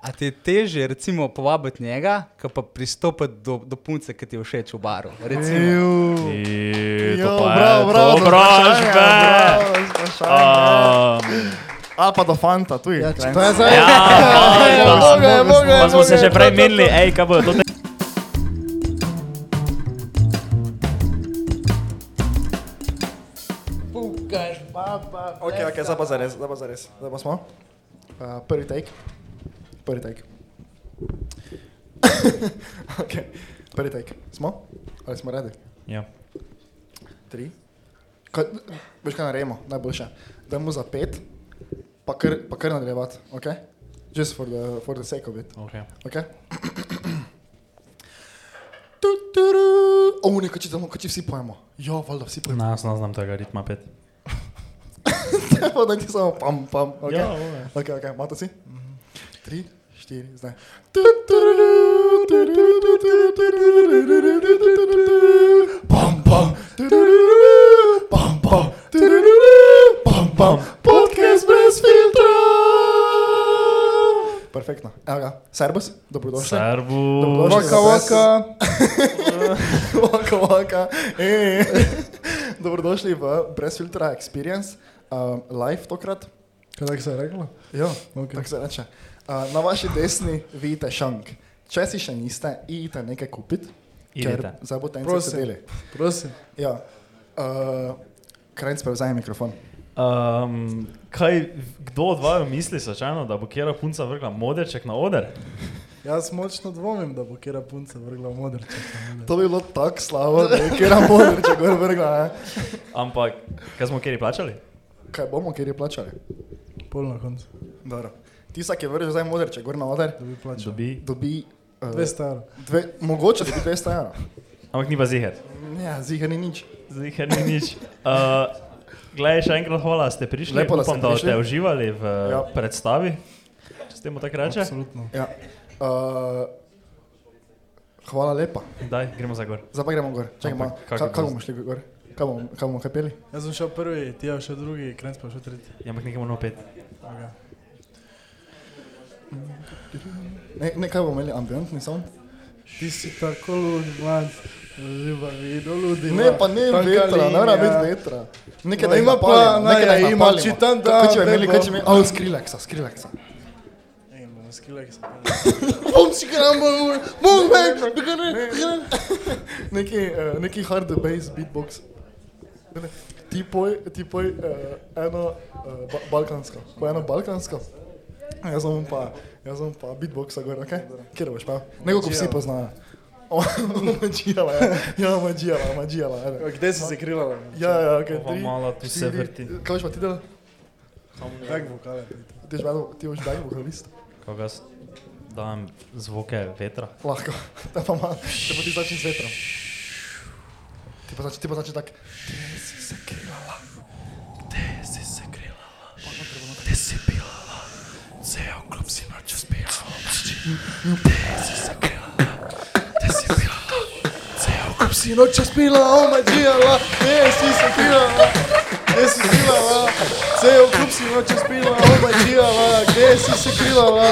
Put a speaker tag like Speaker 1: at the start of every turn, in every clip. Speaker 1: A ti je težje, recimo, povabiti njega, kot pa pristopiti do, do punce, ki ti je všeč v baru? Recimo.
Speaker 2: Ej,
Speaker 3: I,
Speaker 2: to
Speaker 3: jo,
Speaker 2: pa je
Speaker 3: bravo, bravo, za
Speaker 2: Obrožbe!
Speaker 3: vprašanje, ja. bravo, za vprašanje.
Speaker 2: Um,
Speaker 3: Ali pa do fanta, tu je.
Speaker 4: Ja, če
Speaker 3: krajnc.
Speaker 4: to je zdaj.
Speaker 2: Ja,
Speaker 3: Ja,
Speaker 2: fanta.
Speaker 3: mogo je, mogo je,
Speaker 2: pa smo
Speaker 3: mogo
Speaker 2: se
Speaker 3: je,
Speaker 2: že
Speaker 3: to,
Speaker 2: prej
Speaker 3: to,
Speaker 2: menili,
Speaker 3: to.
Speaker 2: hej, kaj bo to? te-
Speaker 4: Pukaš, baba.
Speaker 3: Ok, ok, zdaj pa zares, zdaj pa zares. Zdaj pa smo.
Speaker 4: Uh, prvi take.
Speaker 3: Prvi tek. ok,
Speaker 4: Prvi take.
Speaker 3: smo?
Speaker 4: Ali smo radi?
Speaker 2: Ja.
Speaker 3: Tri.
Speaker 4: Kaj- Veš kaj naredimo, najboljše. Dajmo za pet, pa kar, pa kar nadaljevati, ok? Just for the, for the sake of it,
Speaker 2: Okay.
Speaker 4: ok? Tu, tu, tu. O, ne, kači tam, kači vsi pojemo. Ja, valjda vsi pojemo.
Speaker 2: Na, jaz ne znam tega ritma pet.
Speaker 4: Pa da ti samo pam, pam, ok?
Speaker 2: Ja, ove.
Speaker 4: ok, ok, imate si? Tri, štiri, zdaj. Pam, pam, pam, pam, pam, pam, podcast brez filtra. Perfektno. Evo ga, Serbus, dobrodošli.
Speaker 2: Servus.
Speaker 4: Dobrodošli.
Speaker 3: Vaka, vaka.
Speaker 4: Vaka, vaka. Ej. Dobrodošli v Brez filtra Experience, um, live tokrat.
Speaker 3: Kaj se je reklo?
Speaker 4: Ja,
Speaker 3: Ok.
Speaker 4: okay. tako se reče. Uh, na vaši desni vidite šank. Če si še niste, idite nekaj kupiti.
Speaker 2: Idite.
Speaker 4: Zdaj boste en
Speaker 3: Prosim.
Speaker 4: sedeli.
Speaker 3: Prosim.
Speaker 4: Ja. Uh, Krajc prevzame mikrofon.
Speaker 2: Um, kaj, kdo od vaju misli, sočajno, da bo kjera punca vrgla modrček na oder?
Speaker 3: Jaz močno dvomim, da bo kera punca vrgla v modrček.
Speaker 4: To bi bilo tako slabo, da je kjer amor, če gor vrga. Ne?
Speaker 2: Ampak, kaj smo kjeri plačali?
Speaker 4: Kaj bomo, kjer je plačali?
Speaker 3: Pol na koncu.
Speaker 4: Dobro. Tisa, ki vrže zdaj moder, če gor na oder,
Speaker 3: Da bi plačal.
Speaker 2: Dobi.
Speaker 4: dobi uh,
Speaker 3: Dve staro.
Speaker 4: dve, mogoče dobi 200 evrov.
Speaker 2: Ampak ni pa ziher.
Speaker 4: Ja, zihar ni nič.
Speaker 2: Ziher ni nič. Uh, Glej, še enkrat hvala, ste prišli.
Speaker 4: Lepo, da ste
Speaker 2: Upam, da
Speaker 4: prišli.
Speaker 2: ste uživali v
Speaker 4: Ja.
Speaker 2: ja. predstavi. Če ste mu tako reče,
Speaker 3: Absolutno.
Speaker 4: Ja. Uh, hvala lepa.
Speaker 2: daj, gremo za gor.
Speaker 4: Zdaj pa gremo gor. Čakaj,
Speaker 2: Ampak
Speaker 4: malo. Ka-
Speaker 2: kak je
Speaker 4: kako
Speaker 2: gost?
Speaker 4: bomo šli gor? Kaj bomo, kaj bomo kaj peli?
Speaker 3: Jaz sem šel prvi, ti je šel drugi, krenc pa je šel tretji.
Speaker 2: Ja, ampak nekaj moramo pet.
Speaker 3: Okay.
Speaker 4: Ne, ne, kaj bomo imeli, ambientni sound?
Speaker 3: Ti si tako lud, man. Ljuba vido, ludi.
Speaker 4: Ne, pa ne vetra, ne mora biti vetra. Nekaj da
Speaker 3: No,
Speaker 4: jih
Speaker 3: ima pa,
Speaker 4: napalimo, nekaj da
Speaker 3: naja,
Speaker 4: jih
Speaker 3: ima
Speaker 4: napalimo.
Speaker 3: čitan
Speaker 4: Kaj- Kaj če bi
Speaker 3: dan,
Speaker 4: imeli,
Speaker 3: ne
Speaker 4: kaj
Speaker 3: bo.
Speaker 4: če bi imeli, oh, Skrilleksa, Skrilleksa. Bom si grambo, bom back, Neki, eh, neki hard bass beatbox. Tipo, Ti poj, ti poj eh, eno eh, ba- balkansko, poj eno balkansko. Jaz bom pa, jaz bom pa beatboxa gor, ok? Kjer boš pa? Neko, ko vsi
Speaker 3: Omagijala.
Speaker 4: poznajo. Omagijala, ja, ja, omagijala, omagijala, ajde.
Speaker 3: Kde si se krila?
Speaker 4: Ja, ja, ok,
Speaker 2: Ova
Speaker 4: tri,
Speaker 2: mala tu se
Speaker 4: štiri.
Speaker 2: vrti.
Speaker 4: Kaj boš pa ti delal?
Speaker 3: Tak vokale. pojdi.
Speaker 4: Ti boš back- Ti boš back vokalist?
Speaker 2: Ko jaz dajem zvoke vetra.
Speaker 4: Lahko, te pa malo, te pa ti začneš z vetrom. Ti pa začneš ti pa začneš tako. Ti si se krivala,
Speaker 2: Te si se krila, te si bila, cel klub si noč uspela. Te si se krila, te si bila, cel klub si.
Speaker 4: si noč spila,
Speaker 2: Oh
Speaker 4: omagijala, ne si se krivala, ne si krivala, cel kup si noč spila, omagijala, ne si se krivala,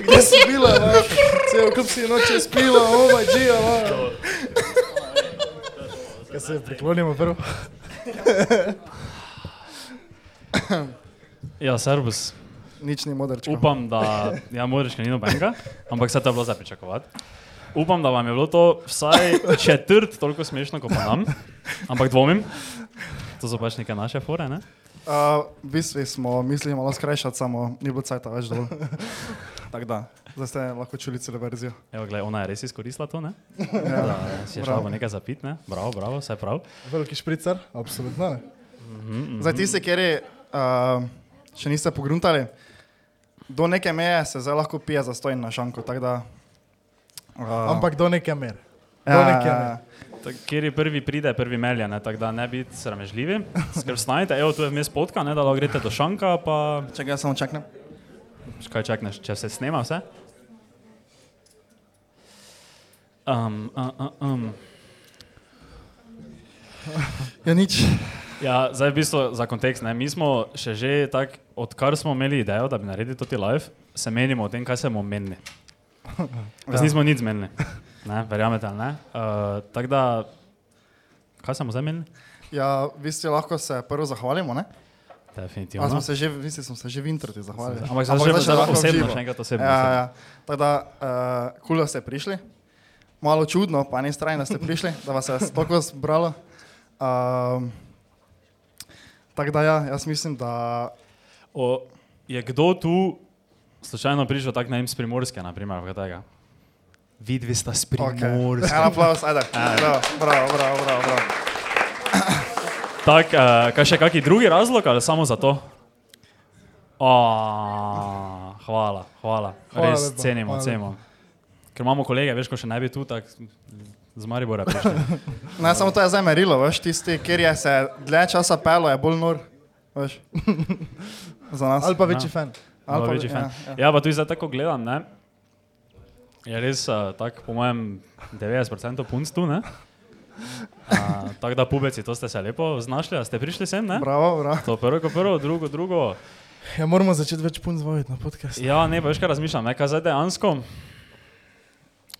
Speaker 4: kde si bila, la? cel kup si noč spila, omagijala.
Speaker 3: Kaj se priklonimo prvo?
Speaker 2: Ja, servus.
Speaker 4: Nič ni modrčko.
Speaker 2: Upam, da ja, Modrička ni nobenega, ampak vse to je bilo za pričakovati. Upam, da vam je bilo to vsaj četrt toliko smešno kot pa nam, ampak dvomim. To so pač neke naše fore, ne?
Speaker 4: Uh, v bistvu smo mislili malo skrajšati, samo ni bilo cajta več dol. Tako da, zdaj ste lahko čuli celo verzijo.
Speaker 2: Evo, gled, ona je res izkoristila to, ne?
Speaker 4: Ja.
Speaker 2: Da si je šla v nekaj zapit, ne? Bravo, bravo, vse prav.
Speaker 3: Veliki špricar? Absolutno. ne.
Speaker 2: Mhm,
Speaker 4: Za tiste, ki uh, še niste pogruntali, do neke meje se zdaj lahko pije za stojn na šanku. tako Da, uh,
Speaker 3: Ampak do neke mere. Do
Speaker 4: ja,
Speaker 3: neke
Speaker 4: ja,
Speaker 3: mere.
Speaker 2: Tak, Kjer je prvi pride, prvi melja, ne? tako da ne biti sramežljivi. Skrb snajte, evo tu je vmes potka, ne da lahko greste do šanka, pa
Speaker 4: ja. Čakaj, jaz samo čakam.
Speaker 2: Kaj čakneš, če se snema vse? Um, uh, uh, um.
Speaker 4: Ja, nič.
Speaker 2: Ja, zdaj v bistvu za kontekst. Ne? Mi smo še že tako, odkar smo imeli idejo, da bi naredili to ti live, se menimo o tem, kaj se bomo menili.
Speaker 4: Ja.
Speaker 2: Zdaj nismo nič menili, ne, verjamete ali ne. Uh, Tako da, kaj smo zdaj menili?
Speaker 4: Ja, vi ste lahko se prvo zahvalimo, ne? A
Speaker 2: Definitivno.
Speaker 4: smo se že, vi ste smo se že v introti zahvalili.
Speaker 2: Ampak zdaj
Speaker 4: še
Speaker 2: že zdaj
Speaker 4: lahko v
Speaker 2: osebno,
Speaker 4: živo.
Speaker 2: še enkrat osebno.
Speaker 4: Ja, ja. Tako da, uh, kula ste prišli. Malo čudno, pa ne strajno ste prišli, da vas je toliko zbralo. Um, tako da, ja, jaz mislim, da
Speaker 2: O, je kdo tu slučajno prišel tako na im s primorske, naprimer, kaj tega?
Speaker 1: Vidvi sta
Speaker 4: Okay. En aplaus, ajde.
Speaker 3: Ja.
Speaker 4: Bravo, bravo, bravo, bravo. bravo.
Speaker 2: Tak, uh, kaj še kaki drugi razlog ali samo zato? Oh, hvala, hvala,
Speaker 3: Hvala
Speaker 2: res
Speaker 3: lepa,
Speaker 2: cenimo,
Speaker 3: hvala
Speaker 2: cenimo. Ker imamo kolege, veš, ko še ne bi tu, tako z Maribora prišli.
Speaker 4: Ne, samo to je zdaj merilo, veš, tisti, kjer je se dlje časa pelo, je bolj nor. Veš. Za nas.
Speaker 3: Ali pa
Speaker 2: No.
Speaker 3: večji fan.
Speaker 4: Ali
Speaker 2: Malo
Speaker 4: pa-
Speaker 2: večji
Speaker 4: ja,
Speaker 2: fan. Ja, pa tudi zdaj tako gledam, ne? Je res, uh, tako po mojem, 90% punc tu, ne? Uh, tako da pubeci, to ste se lepo znašli, a ste prišli sem, ne?
Speaker 4: Bravo, bravo.
Speaker 2: To prvo, kot prvo, drugo, drugo.
Speaker 3: Ja, moramo začeti več pun zvojiti na podcast.
Speaker 2: Ja, ne, pa veš, kaj razmišljam, ne, kaj zdaj dejansko.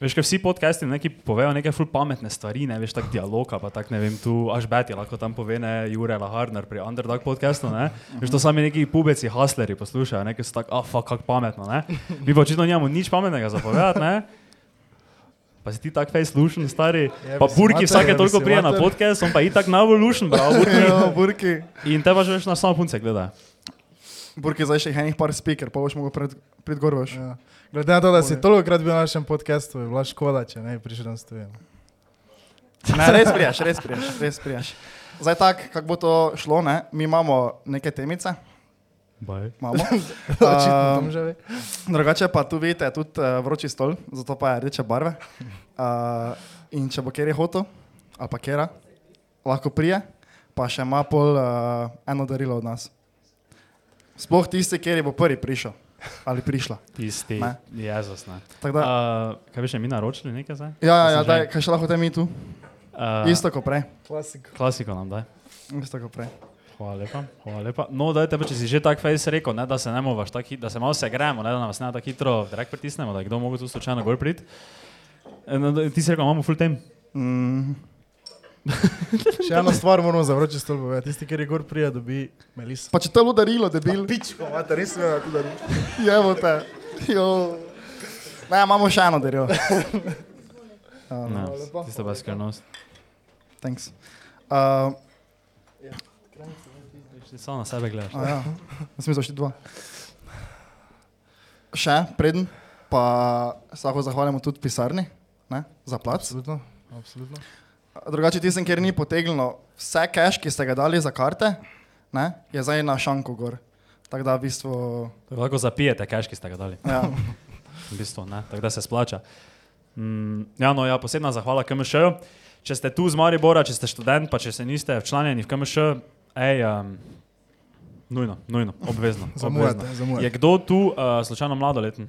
Speaker 2: Veš, kaj vsi podcasti neki povejo neke ful pametne stvari, ne veš, tak dialoga, pa tak ne vem, tu až Beti lahko tam pove, ne, Jure Laharner pri Underdog podcastu, ne. Veš, to sami neki pubeci, hasleri poslušajo, ne, ki so tako, ah, fuck, kako pametno, ne. Mi pa očitno nimamo nič pametnega zapovedati, ne. Pa si ti tak face lušen, stari.
Speaker 3: Jebi
Speaker 2: Pa
Speaker 3: Ja, si
Speaker 2: burki
Speaker 3: mater,
Speaker 2: vsake
Speaker 3: jebi
Speaker 2: toliko
Speaker 3: si
Speaker 2: prije na
Speaker 3: mater.
Speaker 2: podcast, on pa itak najbolj lušen, bravo, burki.
Speaker 4: Ja, burki.
Speaker 2: In te pa že veš na samo punce gledajo.
Speaker 4: Burki zdaj še enih par speaker, pa boš mogel pred, pred gor, veš.
Speaker 3: Ja. Glede na to, da si toliko krat bil na našem podkastu, je bila škoda, če ne bi prišel ja. na studio.
Speaker 4: Ne, res prijaš, res prijaš, res prijaš. Zdaj tak, kako bo to šlo, ne, mi imamo neke temice,
Speaker 2: Bye.
Speaker 4: imamo.
Speaker 3: Očitno tam
Speaker 4: Ehm,
Speaker 3: že ve.
Speaker 4: Drugače pa tu vidite tudi uh, vroči stol, zato pa je rdeče barve. Uh, in če bo kjer je hotel, ali pa kera, lahko prije, pa še ima pol uh, eno darilo od nas. Sploh tisti, kjer bo prvi prišel ali prišla.
Speaker 2: Tisti,
Speaker 4: Ne.
Speaker 2: jezus, ne.
Speaker 4: Tako Da,
Speaker 2: Uh, kaj bi še mi naročili nekaj zdaj?
Speaker 4: ja, ja, ja
Speaker 2: Mislim, že-
Speaker 4: daj, kaj še lahko te mi tu?
Speaker 2: Uh,
Speaker 4: Isto kot prej.
Speaker 3: Klasiko.
Speaker 2: Klasiko nam daj.
Speaker 4: Isto kot prej.
Speaker 2: Hvala lepa, hvala lepa. No, dajte pa, če si že tako fejs rekel, ne, da se ne movaš tako hitro, da se malo segremo, ne, da nas ne tako hitro drag pritisnemo, da je kdo mogel tu slučajno gor priti. E, No, da- ti si rekel, imamo full time.
Speaker 4: Mm,
Speaker 3: Še eno stvar moramo za vroči stol povedati. ja. Tisti, ki je gor prija, dobi meliso.
Speaker 4: pa če te ludarilo, debil.
Speaker 5: Pičko, mate, res ne vem, kako da ni.
Speaker 4: Jevo te. Jo. Ne, imamo še eno darilo.
Speaker 2: Ne, tista pa skrivnost.
Speaker 4: Ja, no. Thanks. Uh,
Speaker 2: Ti Samo na sebe gledaš.
Speaker 4: A Ja. Jaz sem zašli dva. Še preden, pa se lahko zahvalimo tudi pisarni ne, za plač.
Speaker 3: Absolutno. Absolutno.
Speaker 4: Drugače, tistem, kjer ni potegnilo vse cache, ki ste ga dali za karte, ne, je zdaj na šanku gor. Tako da v bistvu.
Speaker 2: Tako Lahko zapijete, kaj ste ga dali.
Speaker 4: Ja.
Speaker 2: v bistvu, ne, tako da se splača. Mm, ja, no, ja, posebna zahvala KMŠ-ju. Če ste tu z Maribora, če ste študent, pa če se niste včlanjeni v KMŠ, ej, um, nujno, nujno, obvezno.
Speaker 3: Zamujate,
Speaker 2: obvezno.
Speaker 3: zamujate.
Speaker 2: Je kdo tu uh, slučajno mladoleten?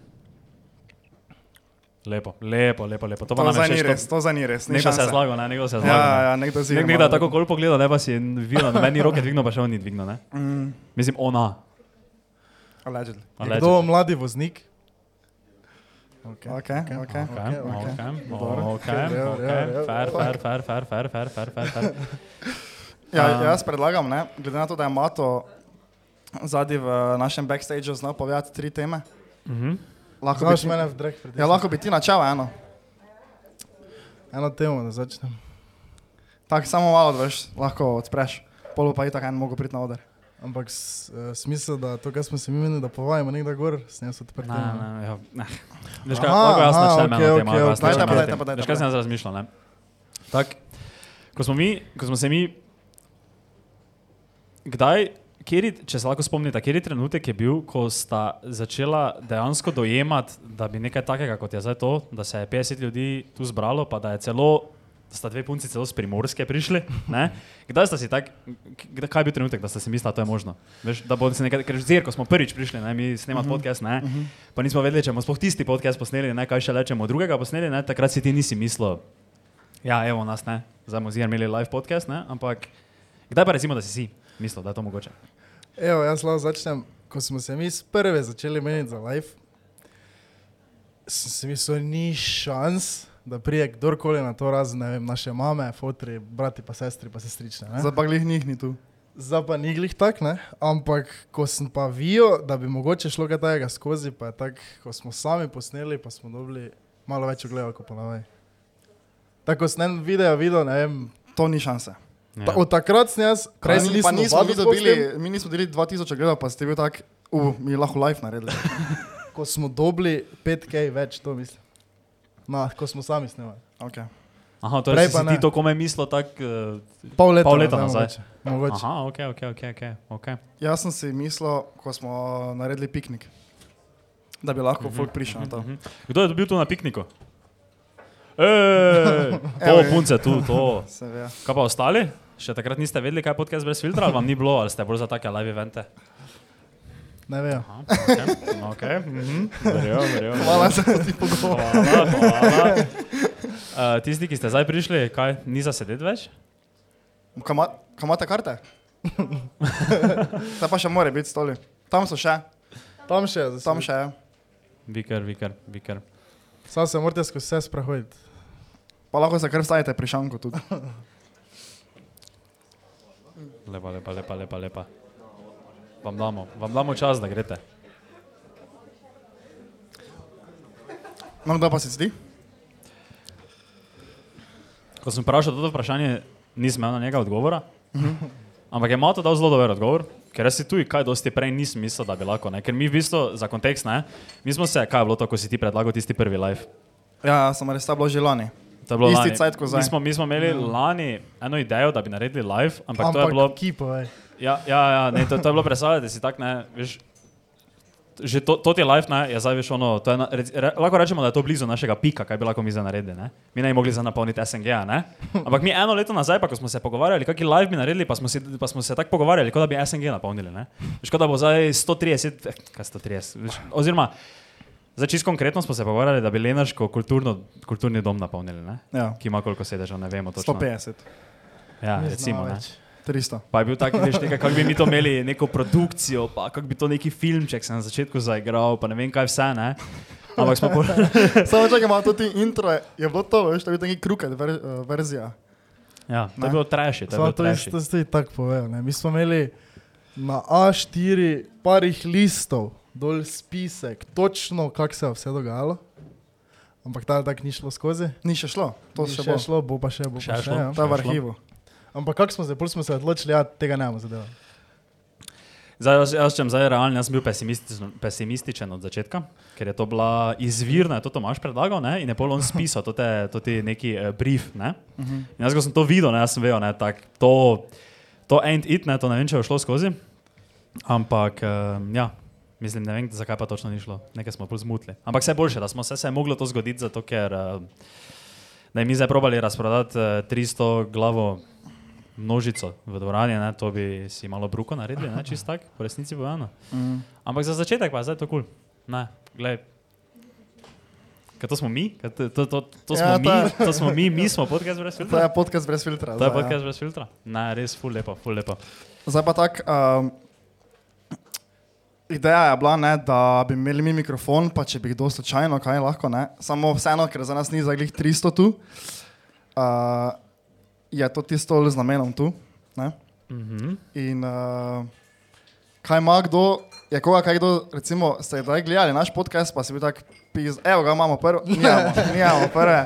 Speaker 2: Lepo, lepo, lepo, lepo. To pa
Speaker 4: To
Speaker 2: nam je
Speaker 4: zdaj ni
Speaker 2: všeč,
Speaker 4: res,
Speaker 2: ko-
Speaker 4: to zdaj ni res. Ni
Speaker 2: Nekdo se je
Speaker 4: šanse.
Speaker 2: zlagal, ne, nekdo se je zlagal. ne.
Speaker 4: Ja, ja, nekdo si
Speaker 2: Nek, nekdo je tako kol pogledal, ne pa si videl, da meni roke dvignil, pa še on ni dvignil, ne?
Speaker 4: Mm.
Speaker 2: Mislim, ona.
Speaker 4: Allegedly.
Speaker 3: Kdo je mladi voznik?
Speaker 4: Okay, okay.
Speaker 2: Ok, ok, ok,
Speaker 3: Dobro.
Speaker 2: ok,
Speaker 3: Ja, ja,
Speaker 2: fair, fair, fair, fair, fair, fair, fair, fair, fair.
Speaker 4: Ja, jaz predlagam, ne, glede na to, da je Mato zadnji v našem backstageu znal povedati tri teme.
Speaker 2: Mhm.
Speaker 4: Lahko bi,
Speaker 3: Znaš
Speaker 4: ti,
Speaker 3: mene v drek pred
Speaker 4: ja, lahko bi ti načel eno.
Speaker 3: Eno temo, da začnem.
Speaker 4: Tako samo malo, da veš, lahko odpreš. Polo pa je tako en mogo priti na oder.
Speaker 3: Ampak s, uh, smisel, da to, kar smo se mi menili, da povajamo nekdo gor, s njim so odprti.
Speaker 2: Ne, ne, ne, ja, ne. Veš kaj,
Speaker 3: Aha,
Speaker 2: lahko jaz
Speaker 3: aha,
Speaker 2: načnem
Speaker 3: okej,
Speaker 2: eno temo,
Speaker 3: okej,
Speaker 2: lahko jaz
Speaker 4: okej. Dajte
Speaker 2: načnem
Speaker 4: pa,
Speaker 2: eno
Speaker 4: dajte
Speaker 2: temo.
Speaker 4: pa, dajte
Speaker 2: Veš kaj
Speaker 4: pa.
Speaker 2: sem jaz razmišljal, ne? Tak, ko smo mi, ko smo se mi, kdaj, kjeri, če se lahko spomnite, kjeri trenutek je bil, ko sta začela dejansko dojemati, da bi nekaj takega, kot je zdaj to, da se je 50 ljudi tu zbralo, pa da je celo, da sta dve punci celo z Primorske prišli, ne? Kdaj sta si tak, kdaj, kaj je bil trenutek, da sta si mislila, da to je možno? Veš, da bo se nekaj, ker zir, ko smo prvič prišli, ne, mi snemamo podcast, ne, pa nismo vedeli, če bomo sploh tisti podcast posneli, ne, kaj še rečemo drugega posneli, ne, takrat si ti nisi mislil, ja, evo nas, ne, zdaj bomo zir imeli live podcast, ne, ampak kdaj pa recimo, da si si mislil, da je to mogoče?
Speaker 3: Evo, jaz lahko začnem. Ko smo se mi sprve začeli meniti za live, sem si mislil, ni šans, da prije kdorkoli na to razen, ne vem, naše mame, fotri, brati pa sestri, pa sestrične. ne.
Speaker 4: Zdaj pa glih njih ni tu.
Speaker 3: Zdaj pa ni glih tak, ne? ampak ko sem pa videl, da bi mogoče šlo kaj takega skozi, pa je tako, ko smo sami posneli, pa smo dobili malo več ogledov kot ponavadi. Tako sem en video videl, ne vem,
Speaker 4: To ni šanse.
Speaker 3: ta, od takrat sem jaz, prej
Speaker 4: Ja. Pa
Speaker 3: sem
Speaker 4: ni- pa
Speaker 3: nisem
Speaker 4: nismo mi
Speaker 3: videl,
Speaker 4: dobili, mi nismo dobili 2000 gledal, pa ste bil tak, uh, mi lahko live naredili.
Speaker 3: ko smo dobili 5K več, to mislim. No, ko smo sami snemali.
Speaker 4: Okay.
Speaker 2: Aha, torej
Speaker 3: Prej
Speaker 2: si
Speaker 3: pa
Speaker 2: si ti
Speaker 3: ne.
Speaker 2: to kome mislil tako... eh,
Speaker 3: Pol leta,
Speaker 2: Pol leta
Speaker 3: ne,
Speaker 2: nazaj.
Speaker 3: Mogoče. Pač- mogoče.
Speaker 2: Aha, ok, ok, ok, ok. okay.
Speaker 4: Jaz sem si mislil, ko smo naredili piknik, da bi lahko folk
Speaker 3: Ja,
Speaker 4: prišel na to.
Speaker 2: Mhm. Kdo je dobil to na pikniku? Eee, to punce tu, to.
Speaker 4: Se ve.
Speaker 2: Kaj pa ostali? Še takrat niste vedeli, kaj je podcast brez filtra, ali vam ni bilo, ali ste bolj za take live evente?
Speaker 3: Ne vem.
Speaker 2: Aha, ok, okay. mhm, verjamem, verjamem.
Speaker 4: Hvala za ti pogovor.
Speaker 2: Hvala, hvala. Eh, tisti, ki ste zdaj prišli, kaj, ni za sedeti več?
Speaker 4: Kama- Kamate karte? Zdaj pa še more biti stoli. Tam so še,
Speaker 3: Tam še, zdaj
Speaker 4: tam še je.
Speaker 2: Vikar, vikar, vikar.
Speaker 3: Sam se morate skozi vse sprohoditi.
Speaker 4: Pa lahko se kar vstajete pri šanku tudi.
Speaker 2: Lepa, lepa, lepa, lepa, lepa. Vam damo, vam damo čas, da greste.
Speaker 4: No, kdo pa se zdi?
Speaker 2: Ko sem vprašal to vprašanje, nisem imel na njega odgovora.
Speaker 4: Mhm.
Speaker 2: Ampak je Mato dal zelo dober odgovor, ker jaz si tu kaj dosti prej nisem mislil, da bi lahko. Ne? Ker mi v bistvu, za kontekst, ne, mi smo se, kaj je bilo to, ko si ti predlagal tisti prvi live.
Speaker 4: Ja, sem res ta bilo že lani.
Speaker 2: To je bilo
Speaker 4: Isti
Speaker 2: lani.
Speaker 4: cajt ko zdaj. Mhm.
Speaker 2: Mi smo, mi smo imeli lani eno idejo, da bi naredili live, ampak, ampak to je
Speaker 3: Ampak
Speaker 2: bilo
Speaker 3: ki povej.
Speaker 2: Ja, ja, ja ne, to, to je bilo predstavljati, si tak ne, veš. Že to, to ti je life, ne, je zdaj veš ono, to je, na, rec, re, lahko rečemo, da je to blizu našega pika, kaj bi lahko mi za naredili, ne. Mi ne bi mogli za napolniti SNG-a, ne. Ampak mi eno leto nazaj, pa ko smo se pogovarjali, kaki live bi naredili, pa smo, si, pa smo se tako pogovarjali, kot da bi SNG napolnili, ne. Veš, kot da bo zdaj 130, eh, kaj 130, veš, oziroma, zdaj čisto konkretno smo se pogovarjali, da bi Lenaško kulturno, kulturni dom napolnili, ne.
Speaker 4: Ja.
Speaker 2: Ki ima koliko sedežev, ne vemo točno.
Speaker 4: 150,
Speaker 2: Ja,
Speaker 3: Ne
Speaker 2: recimo,
Speaker 3: znam
Speaker 2: ne.
Speaker 3: več.
Speaker 4: 300.
Speaker 2: Pa je bil tak, veš, nekaj, kako bi mi to imeli, neko produkcijo, pa kako bi to neki filmček se na začetku zaigral, pa ne vem kaj vse, ne. Ampak smo bolj...
Speaker 4: Samo čakaj, imamo tudi intro, je bilo to, veš, to je bil neki krukat ver, eh, verzija.
Speaker 2: Ja, to
Speaker 4: Ne.
Speaker 2: je bilo traši, to je
Speaker 3: Samo
Speaker 2: bilo
Speaker 3: to je
Speaker 2: traši.
Speaker 3: to tudi tako povedal. ne. Mi smo imeli na A4 parih listov, dol spisek, točno kako se je vse dogajalo. Ampak ta tak ni šlo skozi.
Speaker 4: Ni še šlo, to
Speaker 3: Ni
Speaker 4: še
Speaker 3: še
Speaker 4: bo.
Speaker 3: šlo, bo pa še, bo
Speaker 2: Še
Speaker 3: pa
Speaker 2: je
Speaker 3: še.
Speaker 2: šlo.
Speaker 3: ja.
Speaker 4: To je v
Speaker 2: Še je šlo.
Speaker 4: arhivu.
Speaker 3: Ampak kako smo se, pol smo se odločili, da ja, tega ne bomo zadevali.
Speaker 2: Zdaj, jaz, jaz čem zdaj realen, jaz sem bil pesimističen, pesimističen od začetka, ker je to bila izvirna, je to Tomaš predlagal, ne, in je pol on spisal, to je to ti neki uh, brief, ne. In jaz, ko sem to videl, ne, jaz sem vedel, ne, tak, to, to ain't it, ne, to ne vem, če je šlo skozi. Ampak, um, ja, mislim, ne vem, zakaj pa točno ni šlo. Nekaj smo bolj zmutili. Ampak vse boljše, da smo se, se je moglo to zgoditi, zato ker um, ne, mi zdaj probali razprodati uh, 300 glavo množico v dvorani, ne, to bi si malo bruko naredili, ne, čist tak, v resnici bojano.
Speaker 4: Mm.
Speaker 2: Ampak za začetek pa je zdaj to kul. Cool. Ne, glej. Ker to smo mi, ker to, to, to, to, smo
Speaker 4: Ja,
Speaker 2: mi
Speaker 4: to je-
Speaker 2: to smo mi, mi smo podcast brez
Speaker 4: To je
Speaker 2: filtra.
Speaker 4: podcast brez filtra.
Speaker 2: To
Speaker 4: zdaj,
Speaker 2: je
Speaker 4: ja.
Speaker 2: podcast brez filtra. Ne, res, ful lepa, ful lepa.
Speaker 4: Zdaj pa tako. Um, ideja je bila, ne, da bi imeli mi mikrofon, pa če bi kdo slučajno, kaj lahko ne. Samo vseeno, ker za nas ni zaglih 300 tu, uh, je to tisto z namenom tu. Ne.
Speaker 2: Mhm.
Speaker 4: In uh, kaj ima kdo, je koga, kaj kdo, recimo, ste kdaj gledali naš podcast, pa si bil tak, piz, evo ga imamo prvo, nimamo, nimamo prve.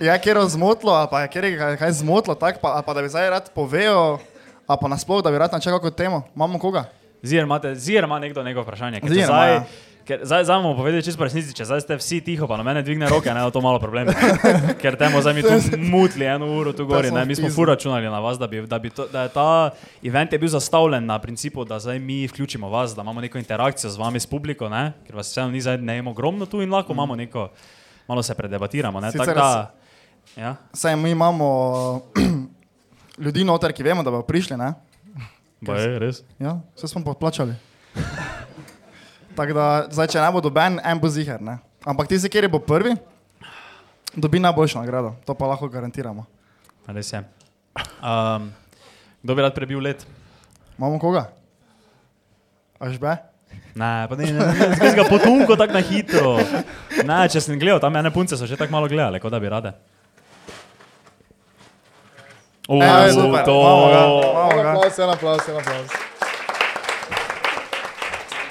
Speaker 4: Je kjer zmotilo, ali pa je kjer ga je kaj zmotilo, tak, pa, ali pa da bi zdaj rad povejo, ali pa nasploh, da bi rad načel kako temo. Imamo koga?
Speaker 2: Zier, imate, zier ima nekdo neko vprašanje. Ker če
Speaker 4: Ziher ima,
Speaker 2: zdaj,
Speaker 4: ja.
Speaker 2: ker zdaj, zdaj bomo povedali čisto po resnici, če zdaj ste vsi tiho, pa na mene dvigne roke, ne, da je to malo problem. Ker temo zdaj mi tu mutili eno uro tu gori,
Speaker 4: smo
Speaker 2: ne, mi smo
Speaker 4: vtisnili.
Speaker 2: fur računali na vas, da, bi, da, bi to, da je ta event je bil zastavljen na principu, da zdaj mi vključimo vas, da imamo neko interakcijo z vami, s publiko, ne, ker vas vseeno ni zdaj ne imamo ogromno tu in lahko imamo neko, malo se predebatiramo, ne,
Speaker 4: Mm. Sicer
Speaker 2: tako da, ja,
Speaker 4: Saj mi imamo ljudi noter, ki vemo, da bodo prišli, ne?
Speaker 2: boje, res.
Speaker 4: Ja, vse smo podplačali. Tako da, zdaj, če ne bo doben, en bo zihar. Ne? Ampak tisti, kjer bo prvi, dobi najboljšo nagrado. To pa lahko garantiramo.
Speaker 2: Res je. Um, kdo bi rad prebil let?
Speaker 4: Imamo koga? Až be?
Speaker 2: Ne, pa ne, ne, ne, ne ga potunko tako na hitro. Ne, če sem gledal, tam ene punce so že tako malo gledale, kot da bi rade. O,
Speaker 4: Evo, E, super,
Speaker 2: to,
Speaker 4: imamo ga, imamo
Speaker 5: En
Speaker 4: ga.
Speaker 5: aplaus, en aplaus, en aplaus.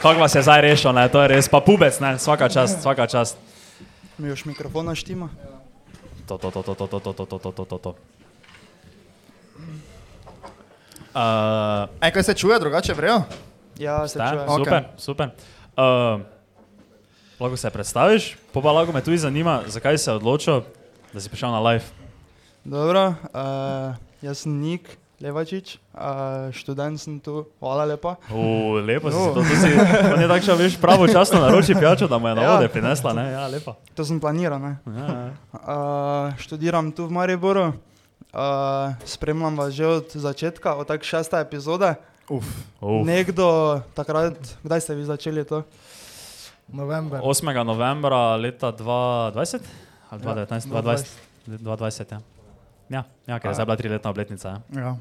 Speaker 2: kako vas je zdaj rešil, ne, to je res, pa pubec, ne, vsaka čast, vsaka čast.
Speaker 6: Mi još mikrofona štima.
Speaker 2: To, to, to, to, to, to, to, to, to, to, to, to, to. Uh,
Speaker 4: Ej, E, kaj se čuje drugače, vrejo?
Speaker 6: Ja, se
Speaker 2: Da,
Speaker 6: čujem.
Speaker 4: Ok.
Speaker 2: super, super. Uh, lahko se predstaviš, pa pa lahko me tudi zanima, zakaj si se odločil, da si prišel na live.
Speaker 6: Dobro, uh, jaz sem Nik Levačič, uh, študent sem tu, hvala lepa.
Speaker 2: U, lepo si se to tudi. On je takšen, veš, pravočasno naroči pijačo, da mu je na
Speaker 6: Ja.
Speaker 2: vode prinesla, ne? Ja, lepa.
Speaker 6: To sem planiral. ne.
Speaker 2: Ja, ja.
Speaker 6: Uh, študiram tu v Mariboru, uh, spremljam vas že od začetka, od tak šeste epizode.
Speaker 2: Uf.
Speaker 6: Nekdo takrat, kdaj ste vi začeli to?
Speaker 3: November.
Speaker 2: 8. novembra leta 2020 ali 2019, 2020, 2020 ja. Ja, ja, ker je zdaj bila triletna obletnica. Ja.
Speaker 4: Ja.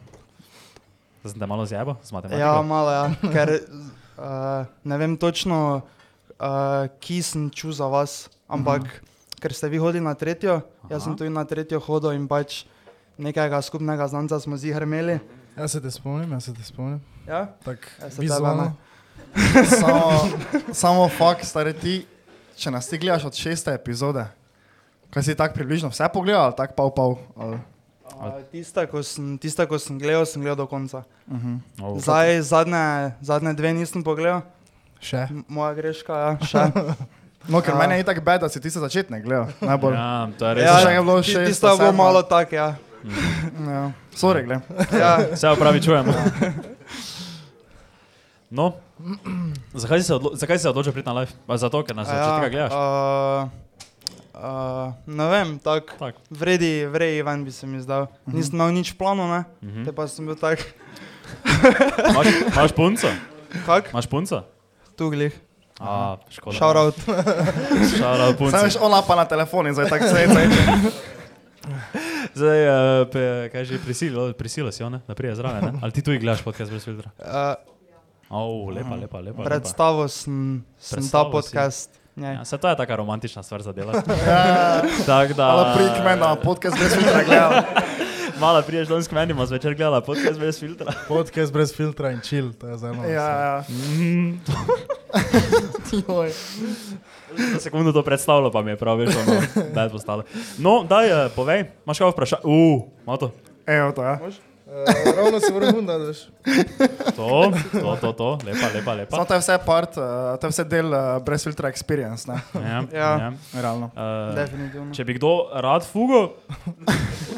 Speaker 2: Zdaj sem te malo zjebo, z matematiko.
Speaker 6: Ja, malo, ja. ker uh, ne vem točno, uh, ki sem ču za vas, ampak uh -huh. ker ste vi hodili na tretjo, jaz sem
Speaker 2: Aha.
Speaker 6: tudi na tretjo hodil in pač nekega skupnega znanca smo zihar imeli.
Speaker 3: Jaz Ja se te spomnim, jaz se te spomnim.
Speaker 6: Ja?
Speaker 3: Tako,
Speaker 6: Ja, se tebe ne.
Speaker 3: vizualno.
Speaker 4: no. Samo, samo fakt, stari ti, če nas ti gledaš od šeste epizode, kaj si tako približno vse pogledal, ali tako pol pol. Ali...
Speaker 6: Uh, tista, ko sem, tista, ko sem gledal, sem gledal do konca.
Speaker 4: Mhm.
Speaker 2: Oh,
Speaker 6: Zdaj, zadnje, zadnje dve nisem pogledal,
Speaker 3: Še.
Speaker 6: M- moja greška, ja, še.
Speaker 4: No, ker
Speaker 6: Ja.
Speaker 4: meni je itak bed, da si ti se začetne gledal, najbolj. Ja.
Speaker 2: ja, to je res.
Speaker 6: ja,
Speaker 4: še kaj bilo
Speaker 6: ti-
Speaker 4: šesto,
Speaker 6: Tista bo
Speaker 4: sedmo?
Speaker 6: malo tak, ja.
Speaker 4: Ja. Sorry, gled.
Speaker 6: ja.
Speaker 2: Se upravičujem. No, zakaj si se, odlo zakaj si se odločil priti na live? Pa Zato, ker nas
Speaker 6: Ja, A
Speaker 2: začetka gledaš.
Speaker 6: Uh, uh, ne vem, tako.
Speaker 2: Tak.
Speaker 6: Vredi, vredi, ven bi se mi zdal. Nisem imel nič plano, ne?
Speaker 2: Mhm.
Speaker 6: Te pa sem bil tak,
Speaker 2: Imaš, imaš punco?
Speaker 6: kak,
Speaker 2: Imaš punco?
Speaker 6: tuglih,
Speaker 2: A, škoda.
Speaker 6: shoutout.
Speaker 2: Šaura punco.
Speaker 4: Sam veš, ona pa na telefon in zdaj tako se je.
Speaker 2: Zdaj, eh, pe, kaj že prisilo, prisilo si, jo, ne? da prije zraven. ne? Ali ti tudi gledaš podcast brez filtra?
Speaker 6: Uh,
Speaker 2: O, lepa, lepa, lepa. lepa.
Speaker 6: predstavo sem, sem ta
Speaker 2: Predstavo si.
Speaker 6: podcast. Ja.
Speaker 2: Ja, se to je taka romantična stvar za delo. Tako da...
Speaker 4: Hvala, prid k meni na podcast, brez filtra gledal.
Speaker 2: Mala priješ danes k meni, ima zvečer gledala podcast brez filtra.
Speaker 3: Podcast brez filtra in chill, to je zelo.
Speaker 4: Ja, ja.
Speaker 2: Za sekundo to predstavljalo, pa mi je prav, veš, ono, da je postalo. No, daj, eh, povej, imaš kaj vprašanje? Uf, malo to.
Speaker 4: Evo to, ja.
Speaker 5: Eh, Ravno se vrhun, da veš.
Speaker 2: To, to, to, to, lepa, lepa, lepa.
Speaker 4: Samo to je vse part, uh, to je vse del uh, brez filtra experience, ne?
Speaker 2: Ja,
Speaker 6: Ja.
Speaker 2: ja.
Speaker 4: Realno.
Speaker 2: Eh,
Speaker 6: Definitivno.
Speaker 2: Če bi kdo rad fugo,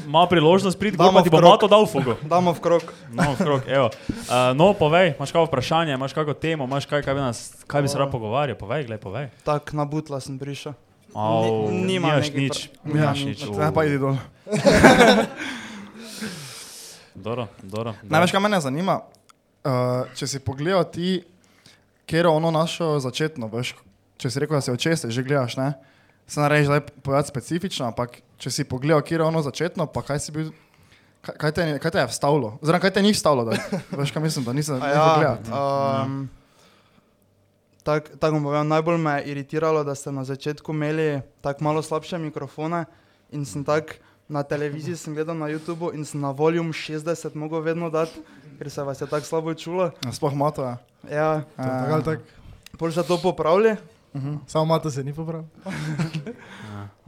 Speaker 2: ima priložnost priti gor,
Speaker 6: Damo
Speaker 2: pa
Speaker 6: v
Speaker 2: ti bo
Speaker 6: krog.
Speaker 2: mato dal fugo.
Speaker 6: Damo v krok.
Speaker 2: No, krok, evo. Eh, no, povej, imaš kakšno vprašanje, imaš kakšno temo, imaš kaj, kaj bi, nas, kaj bi se rad pogovarjal, povej, gled, povej.
Speaker 6: Tak, na butla sem prišel.
Speaker 2: Au,
Speaker 6: Ni- nimam
Speaker 2: nimaš
Speaker 6: nekih
Speaker 2: nič,
Speaker 6: pra-
Speaker 2: nimaš
Speaker 6: nimam
Speaker 2: nič.
Speaker 6: nič.
Speaker 4: Ne, Ja, pa idi dol.
Speaker 2: Dobro, dobro.
Speaker 4: Ne veš, kaj mene zanima. Uh, če si pogledal ti, kjer je ono našo začetno, veš, če si rekel, da se očeste že gledaš, ne? Se ne reče, da je povedati specifično, ampak če si pogledal, kjer je ono začetno, pa kaj si bil. Kaj, kaj, te, je- kaj te je vstavilo? Oziroma, kaj te ni vstavilo? Da, veš, kaj mislim, da nisem
Speaker 6: A
Speaker 4: videl.
Speaker 6: Ja,
Speaker 4: Ja.
Speaker 6: um, Tako tak bom povedal, najbolj me je iritiralo, da ste na začetku imeli tako malo slabše mikrofone in sem tak na televiziji sem gledal na YouTubu in sem na voljum 60 mogel vedno dati, ker se vas je tako slabo čulo.
Speaker 4: Sploh mato je.
Speaker 6: Ja,
Speaker 3: Tako ali tako.
Speaker 6: pol ste to popravili.
Speaker 3: Samo Mato se ni popravil.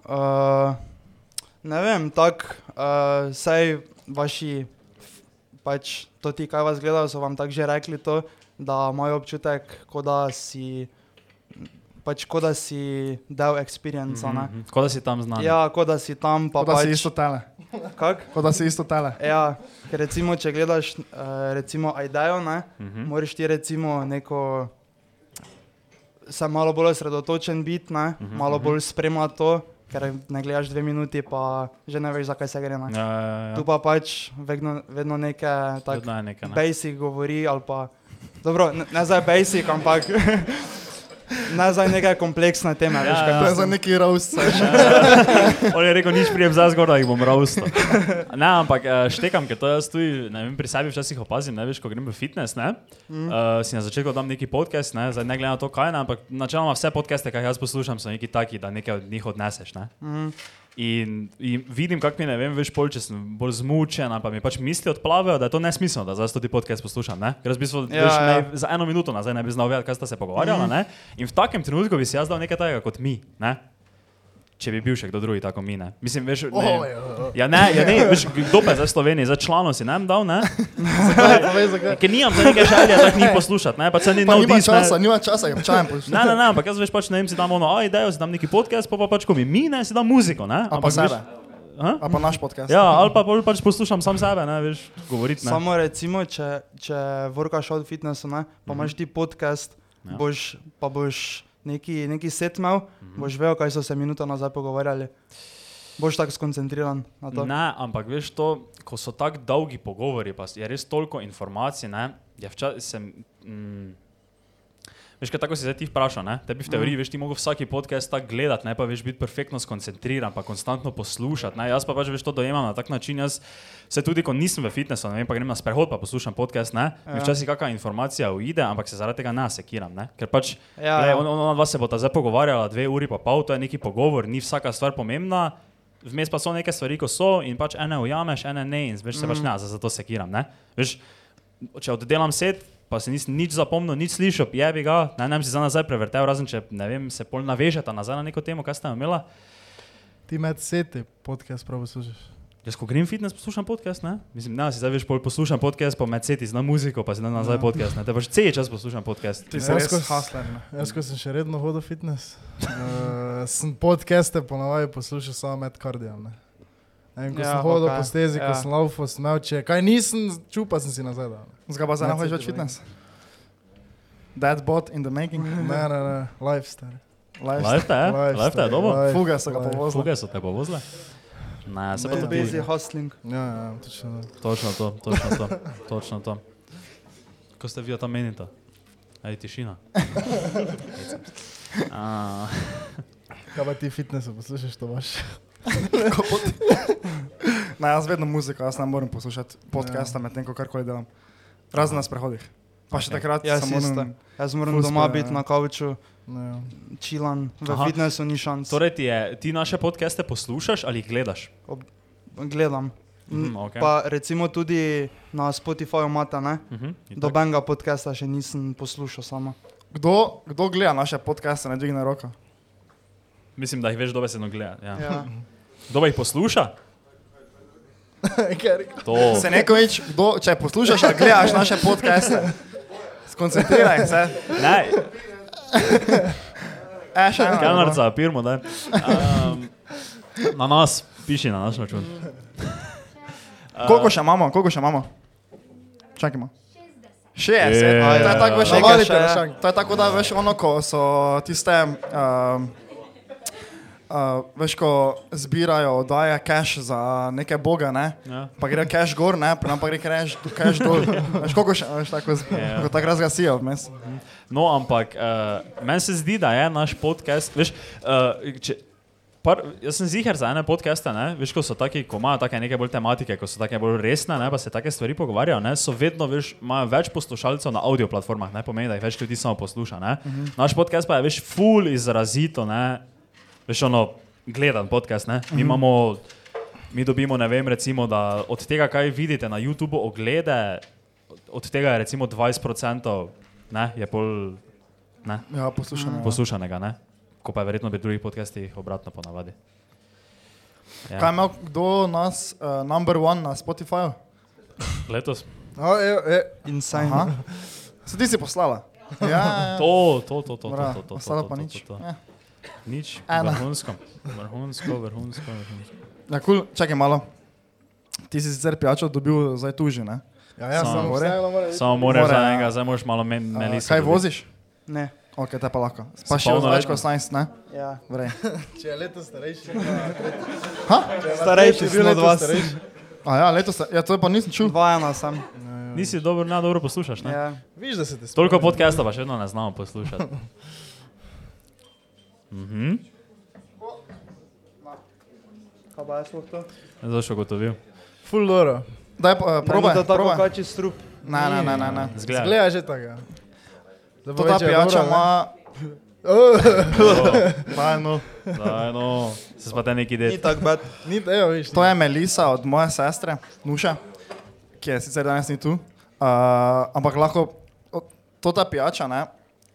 Speaker 6: Uh, ne vem, tako, uh, saj vaši, f- pač to ti, kaj vas gledajo, so vam tako že rekli to, da imajo občutek, kot da si, pač kot da si del eksperienca, ne.
Speaker 2: Mhm, Kot da si tam znan.
Speaker 6: Ja, kot da si tam, pa
Speaker 4: Mhm, Kot da si
Speaker 6: pač,
Speaker 4: isto tele.
Speaker 6: kak?
Speaker 4: Kot da si isto tele.
Speaker 6: Ja, ker recimo, če gledaš, uh, recimo, Aidajo, ne,
Speaker 2: Mhm.
Speaker 6: moraš ti recimo neko, se malo bolj osredotočen biti, ne,
Speaker 2: Mhm,
Speaker 6: malo bolj spremljati to, ker ne gledaš dve minuti, pa že ne veš, zakaj se gre.
Speaker 2: Ja,
Speaker 6: Ne.
Speaker 2: ja, ja.
Speaker 6: Tu pa pač vedno, vedno neke
Speaker 2: Vedno
Speaker 6: take
Speaker 2: je nekaj. Ne?
Speaker 6: basic govori ali pa, dobro, ne, ne zdaj basic, ampak Ne za nekaj kompleksne teme, veš kaj.
Speaker 2: Ja,
Speaker 4: To je za neki roast.
Speaker 2: On je rekel, nič prijem za zgor, da jih bom rausto. Ne, ampak eh, štekam, ker to jaz tudi ne vem, pri sebi včasih opazim, ne veš, ko grem v fitness, ne, mm.
Speaker 6: Mhm.
Speaker 2: uh, si na začetku dam neki podcast, ne, zdaj ne glede na to, kaj ne, ampak načeloma vse podcaste, ki jih jaz poslušam, so neki taki, da nekaj od njih odneseš. Ne.
Speaker 6: Mhm.
Speaker 2: Mm. In, in vidim, kako mi ne vem, veš, pol, če sem bolj zmučen, ali pa mi pač misli odplavajo, da je to nesmiselno, da zdaj tudi podcast poslušam. Ne? Ker jaz v bistvu ja,
Speaker 6: Ja,
Speaker 2: veš, ja.
Speaker 6: ja. Mhm.
Speaker 2: Ne, za eno minuto nazaj ne bi znal vedeti, kaj sta se pogovarjala. Mm. In v takem trenutku bi si jaz dal nekaj takega kot mi. Ne? Če bi bil še kdo drugi, tako mine. Mislim, veš, ne, oh, ja, ne, ja, ne, veš, kdo pa je za Slovenijo, za članov si nam dal, ne? zakaj? Ker nimam za nekaj želja, da jih poslušati, ne, pa se ni
Speaker 4: Pa
Speaker 2: nov
Speaker 4: nima
Speaker 2: dis, ne.
Speaker 4: časa, nima časa, jim čajem poslušati.
Speaker 2: Ne, ne, ne, ampak jaz veš pač, ne vem, si dam ono, a idejo, si dam neki podcast, pa, pa pač ko mi mine, si dam muziko, ne?
Speaker 4: A pa
Speaker 2: veš,
Speaker 4: sebe.
Speaker 2: Ha?
Speaker 4: A pa naš podcast.
Speaker 2: Ja, ali pa pol pač poslušam sam sebe, ne, veš, govoriti, ne.
Speaker 6: Samo recimo, če, če vrkaš od fitnessa, ne, pa imaš ti podcast,
Speaker 2: Ja.
Speaker 6: ja. boš, pa boš neki, neki set imel, mhm. boš vedel, kaj so se minuto nazaj pogovarjali. Boš tako skoncentriran na to.
Speaker 2: Ne, ampak veš to, ko so tako dolgi pogovori, pa je res toliko informacij, ne, je včasih... Mm, Veš, kaj tako si zdaj ti vprašal, ne? tebi
Speaker 6: Mhm.
Speaker 2: v teoriji, veš, ti mogo vsaki podcast tako gledati, ne pa veš biti perfektno skoncentriran, pa konstantno poslušati. Ne? Jaz pa pač veš to dojemam na tak način, jaz se tudi, ko nisem v fitnessu, ne vem, pa grem na sprehod, pa poslušam podcast, ne, mi
Speaker 6: Ja.
Speaker 2: včasih kakšna informacija uide, ampak se zaradi tega ne sekiram, ne? ker pač
Speaker 6: Ja,
Speaker 2: ja,
Speaker 6: ja.
Speaker 2: on, on, ona dva se bosta zdaj pogovarjala dve uri pa pol, to je neki pogovor, ni vsaka stvar pomembna, vmes pa so neke stvari, ko so in pač ene ujameš, ene ne in
Speaker 4: Mhm.
Speaker 2: veš se mm. pač ne, za- zato sekiram, ne. Veš, če oddelam set, pa se nisem nič zapomnil, nič slišal, jebi ga, naj nam si za nazaj prevrtel, razen če ne vem, se pol navežeta nazaj na neko temo, kaj ste imela.
Speaker 3: Ti med seti podcast prav služiš.
Speaker 2: Jaz, ko grem fitness, poslušam podcast, ne? Mislim, ne, si zdaj veš, pol poslušam podcast, pa med seti znam muziko, pa si dam nazaj podcast, ne? Te pač cel čas poslušam podcast.
Speaker 4: Mhm.
Speaker 2: eh?
Speaker 4: Ti si
Speaker 3: Jaz,
Speaker 4: res
Speaker 3: ko s-
Speaker 4: hustler, ne.
Speaker 3: Jaz, ko sem še redno hodil fitness, uh, sem podcaste ponavadi poslušal samo med kardijem. Ne? Ne vem, ko ja,
Speaker 6: Ja,
Speaker 3: sem hodil okay.
Speaker 6: okej,
Speaker 3: po stezi, ja.
Speaker 6: ja.
Speaker 3: ko sem laufal, sem imel če kaj nisem, čupa sem si nazaj dal.
Speaker 4: Zdaj pa zdaj ne
Speaker 3: Ne,
Speaker 4: hočeš več
Speaker 3: ceti,
Speaker 4: fitness. That bot in the making.
Speaker 3: Ne, ne, ne, lifestyle.
Speaker 4: Live.
Speaker 2: Lajfta je,
Speaker 3: Lifestyle,
Speaker 2: lajfta Eh? je dobro.
Speaker 3: life,
Speaker 4: Fuga so ga
Speaker 3: life.
Speaker 4: povozili.
Speaker 2: Sluge so te povozile? Ne, se pa
Speaker 6: Too
Speaker 2: tudi.
Speaker 6: busy hustling.
Speaker 3: Ja, ja, točno. to.
Speaker 2: Točno to, točno to, točno to. Ko ste vi o tam menite? Aj tišina. Hecam se. A,
Speaker 3: Kaj pa ti fitness poslušaš, to baš?
Speaker 4: Ne, jaz vedno muziko, jaz ne morem poslušati
Speaker 6: Ja.
Speaker 4: podcasta medtem, ko karkoli delam. Razen na sprehodih. Pa še
Speaker 2: Okay.
Speaker 4: takrat
Speaker 6: Jaz
Speaker 4: samo
Speaker 6: isto.
Speaker 4: moram...
Speaker 6: Jaz moram
Speaker 4: Ful
Speaker 6: doma
Speaker 4: spe-
Speaker 6: biti na kavču,
Speaker 3: Ne, ja.
Speaker 6: čilan, v
Speaker 2: ja, Aha.
Speaker 6: Aha. fitnessu ni šans.
Speaker 2: Torej ti, je, ti naše podcaste poslušaš ali jih gledaš?
Speaker 6: Gledam.
Speaker 2: Mhm, Torej- okej.
Speaker 6: Pa recimo tudi na Spotifyju imate, ne?
Speaker 2: Mhm, itak.
Speaker 6: Dobenega podcasta še nisem poslušal sama.
Speaker 4: Kdo, kdo gleda naše podcaste, ne dvigne roko?
Speaker 2: Mislim, da jih veš dobesedno gledati. Ja.
Speaker 6: Ja.
Speaker 2: Kdo pa jih posluša? To.
Speaker 6: Oh.
Speaker 4: Se nekoč, kdo, če poslušaš ali gledaš naše podcaste, skoncentriraj se.
Speaker 2: Ne,
Speaker 4: E, še eno.
Speaker 2: kamerca, pirmo, da. Um, na nas, piši na naš račun.
Speaker 4: Koliko še imamo? Koliko še imamo? Čakajmo. 60.
Speaker 2: Ja.
Speaker 4: To je tako, veš,
Speaker 6: Nekaj
Speaker 4: valite,
Speaker 6: še.
Speaker 4: veš, to je tako, da veš ono, ko so tiste, um, uh, veš, ko zbirajo, daje cash za neke boga, ne?
Speaker 2: Ja.
Speaker 4: Pa gre cash gor, ne, pa nam pa gre cash, cash dol. Veš, koliko še, veš, tako,
Speaker 2: Ja.
Speaker 4: yeah. tako razgasijo vmes.
Speaker 2: No, ampak uh, meni se zdi, da je naš podcast. Veš, uh, če, par, jaz sem zihar za ene podcaste, ne? veš, ko so taki, ko imajo take neke bolj tematike, ko so take bolj resne, ne? pa se take stvari pogovarjajo, ne? so vedno veš, imajo več poslušalcev na audio platformah, ne pomeni, da jih več ljudi samo posluša. Ne? Naš podcast pa je, veš, full izrazito, ne? veš, ono, gledan podcast, ne? Mi imamo, mi dobimo, ne vem, recimo, da od tega, kaj vidite na YouTubu oglede, od tega je recimo 20%, ne, je pol, ne,
Speaker 4: Ja, poslušamo. Poslu
Speaker 2: poslušanega, ne. Ko pa je verjetno pri drugih podcastih obratno ponavadi.
Speaker 4: ja. Kaj ima kdo nas, uh, number one na Spotifyju?
Speaker 2: Letos.
Speaker 3: No,
Speaker 4: Ja,
Speaker 3: e, e,
Speaker 6: Insane.
Speaker 4: Aha. Se ti si poslala? Ja, ja. ja.
Speaker 2: To, to, to, to, to,
Speaker 4: Bra,
Speaker 2: to, to,
Speaker 4: ostalo
Speaker 2: to,
Speaker 4: pa
Speaker 2: to,
Speaker 4: nič.
Speaker 2: to, to.
Speaker 4: Ja.
Speaker 2: Nič,
Speaker 4: Ena.
Speaker 2: vrhunsko, vrhunsko, vrhunsko, vrhunsko.
Speaker 4: Ja, kul, cool. čakaj malo. Ti si sicer pijačo dobil zdaj tuži, ne?
Speaker 3: ja, ja,
Speaker 2: Samo
Speaker 3: samo
Speaker 4: gore.
Speaker 3: vseeno moraš.
Speaker 2: Samo moraš
Speaker 4: Mora,
Speaker 2: za
Speaker 4: ja.
Speaker 2: enega, zdaj moraš malo men-
Speaker 4: A,
Speaker 2: melisa.
Speaker 4: Kaj
Speaker 2: dobiti.
Speaker 4: voziš?
Speaker 6: Ne.
Speaker 4: Ok, te pa lahko. Pa še
Speaker 2: Spolnoletno.
Speaker 4: več kot 18, ne?
Speaker 6: Ja.
Speaker 4: Vrej.
Speaker 3: Če je leto starejši,
Speaker 6: Starejši sem od vas.
Speaker 4: A ja, letos, ja, to pa nisem čul.
Speaker 6: Dva ena sem.
Speaker 2: Nisi dobro, ne dobro poslušaš, ne?
Speaker 6: Ja.
Speaker 3: vidiš, da se te spomniš.
Speaker 2: Toliko podcasta pa še vedno ne znamo poslušati. Mhm.
Speaker 6: Kaj pa jaz lahko to?
Speaker 2: Zdaj še ugotovil.
Speaker 3: Full doro.
Speaker 4: Daj,
Speaker 3: Ja,
Speaker 4: uh, probaj,
Speaker 6: Da tako
Speaker 4: probaj.
Speaker 6: kači strup.
Speaker 4: Ne, ne, ne, ne, ne.
Speaker 2: Zgleda.
Speaker 3: Zgleda že tako. Zdaj
Speaker 4: To
Speaker 3: bo
Speaker 4: ta
Speaker 3: večja
Speaker 4: pijača
Speaker 3: dobra, ne? Oh,
Speaker 4: ima...
Speaker 2: Dajno. Dajno. Se pa da neki
Speaker 6: Ni
Speaker 2: del.
Speaker 6: tako bad.
Speaker 3: Ni, evo, viš,
Speaker 4: To je Melisa od moje sestre, Nuša, ki je sicer danes ni tu, uh, ampak lahko o- to ta pijača ne,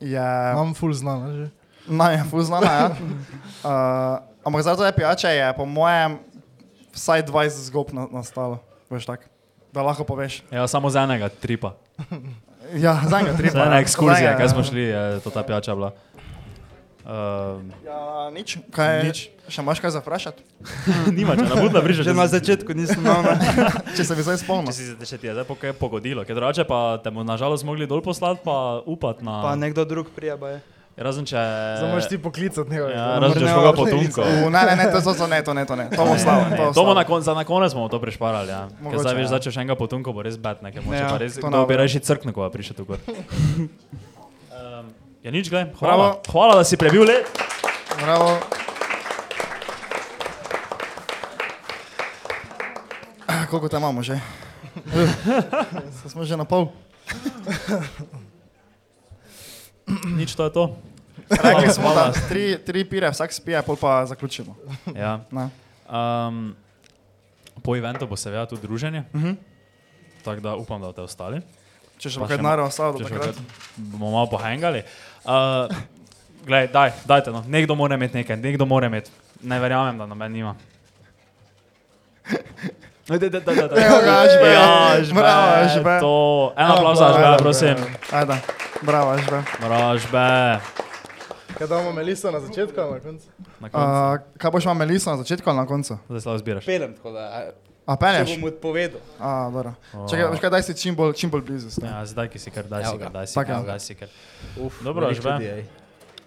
Speaker 4: je
Speaker 3: Imam full znano že.
Speaker 4: najbolj znana. Ja. Uh, ampak zaradi te pijače je po mojem vsaj 20 zgodb na, nastalo, veš tako. Da lahko poveš.
Speaker 2: Ja, samo za enega tripa.
Speaker 4: Ja, za enega ja. tri.
Speaker 2: Za ena ekskurzija, kaj smo šli, je to ta pijača bila. Uh,
Speaker 4: Ja, nič. Kaj, nič. Še imaš kaj za vprašati?
Speaker 2: nima, če ne bo da brižeš.
Speaker 6: Že na začetku nisem imel. ne.
Speaker 4: Če se bi zdaj spomnil.
Speaker 2: Če si se še ti je zdaj po- kaj pogodilo, ker drugače pa te bomo nažalost mogli dol poslati, pa upati na...
Speaker 6: Pa nekdo drug prijeba je.
Speaker 2: Razen če...
Speaker 3: Zdaj moraš ti poklicati nekaj.
Speaker 2: Ja, razen če
Speaker 6: Obrneva
Speaker 2: škoga
Speaker 6: vrtnico.
Speaker 2: potunko.
Speaker 4: U, ne, ne, ne, to, to, to ne, to ne, to ne. To bo slabo. To
Speaker 2: Ne,
Speaker 4: bo
Speaker 2: To bomo
Speaker 4: slabo.
Speaker 2: na koncu, za na konec smo to prešparali, ja. Ker
Speaker 4: Mogoče,
Speaker 2: zdaj veš,
Speaker 4: ja.
Speaker 2: da če še enega potunka bo res bed, nekaj moče
Speaker 6: Ja,
Speaker 2: pa res,
Speaker 4: to
Speaker 2: kdo
Speaker 4: ne
Speaker 2: bi
Speaker 4: bo.
Speaker 2: reči crknil, ko prišel tu gor. Ehm, Ja, nič, gled, hvala.
Speaker 4: Bravo.
Speaker 2: Hvala, da si prebil let.
Speaker 4: Bravo. Ah, Koliko tam imamo že? Saj Smo že na pol.
Speaker 2: Nič, to je to.
Speaker 4: Rekli smo,
Speaker 2: hvala.
Speaker 4: da tri, tri pire vsak spije, pol pa zaključimo.
Speaker 2: Ja.
Speaker 4: Ne.
Speaker 2: Um, po eventu bo seveda tudi druženje. Uh
Speaker 4: Mhm.
Speaker 2: -huh. Tako da upam, da boste ostali.
Speaker 4: Če še
Speaker 2: Pa
Speaker 4: bo kaj
Speaker 2: še-
Speaker 4: denarja ostalo do
Speaker 2: Če še
Speaker 4: takrat.
Speaker 2: enkrat bomo malo pohengali. Uh, glej, daj, dajte, no. nekdo mora imeti nekaj, nekdo mora imeti. Ne verjamem, da noben nima. Ajde, No, da, da, da, da.
Speaker 4: Evo ga, Ažbe.
Speaker 2: Ja, Ažbe,
Speaker 4: Bravo, Ažbe.
Speaker 2: To, en Ja, aplauz za Ažbe, prosim.
Speaker 4: Ajde, bravo, Ažbe.
Speaker 2: Bravo, Ažbe.
Speaker 3: Kaj damo Meliso na začetku, ali na koncu?
Speaker 2: Na koncu.
Speaker 4: Uh, kaj boš imel Meliso na začetku ali na koncu?
Speaker 2: Zdaj slabo zbiraš.
Speaker 1: Pelem, tako da.
Speaker 4: A
Speaker 1: Če
Speaker 4: peneš?
Speaker 1: bom odpovedal.
Speaker 4: A, dobro. Čakaj, veš kaj, daj si čim bolj, čim bolj blizu. s tem.
Speaker 2: Ja, zdaj ki si kar, daj
Speaker 1: Evo
Speaker 2: si
Speaker 1: ga.
Speaker 2: kar, daj si
Speaker 4: Tako,
Speaker 2: kar,
Speaker 4: evo ga.
Speaker 2: daj si kar.
Speaker 1: Uf,
Speaker 2: Dobro,
Speaker 1: veliko
Speaker 2: Ažbe.
Speaker 1: ljudi, ej.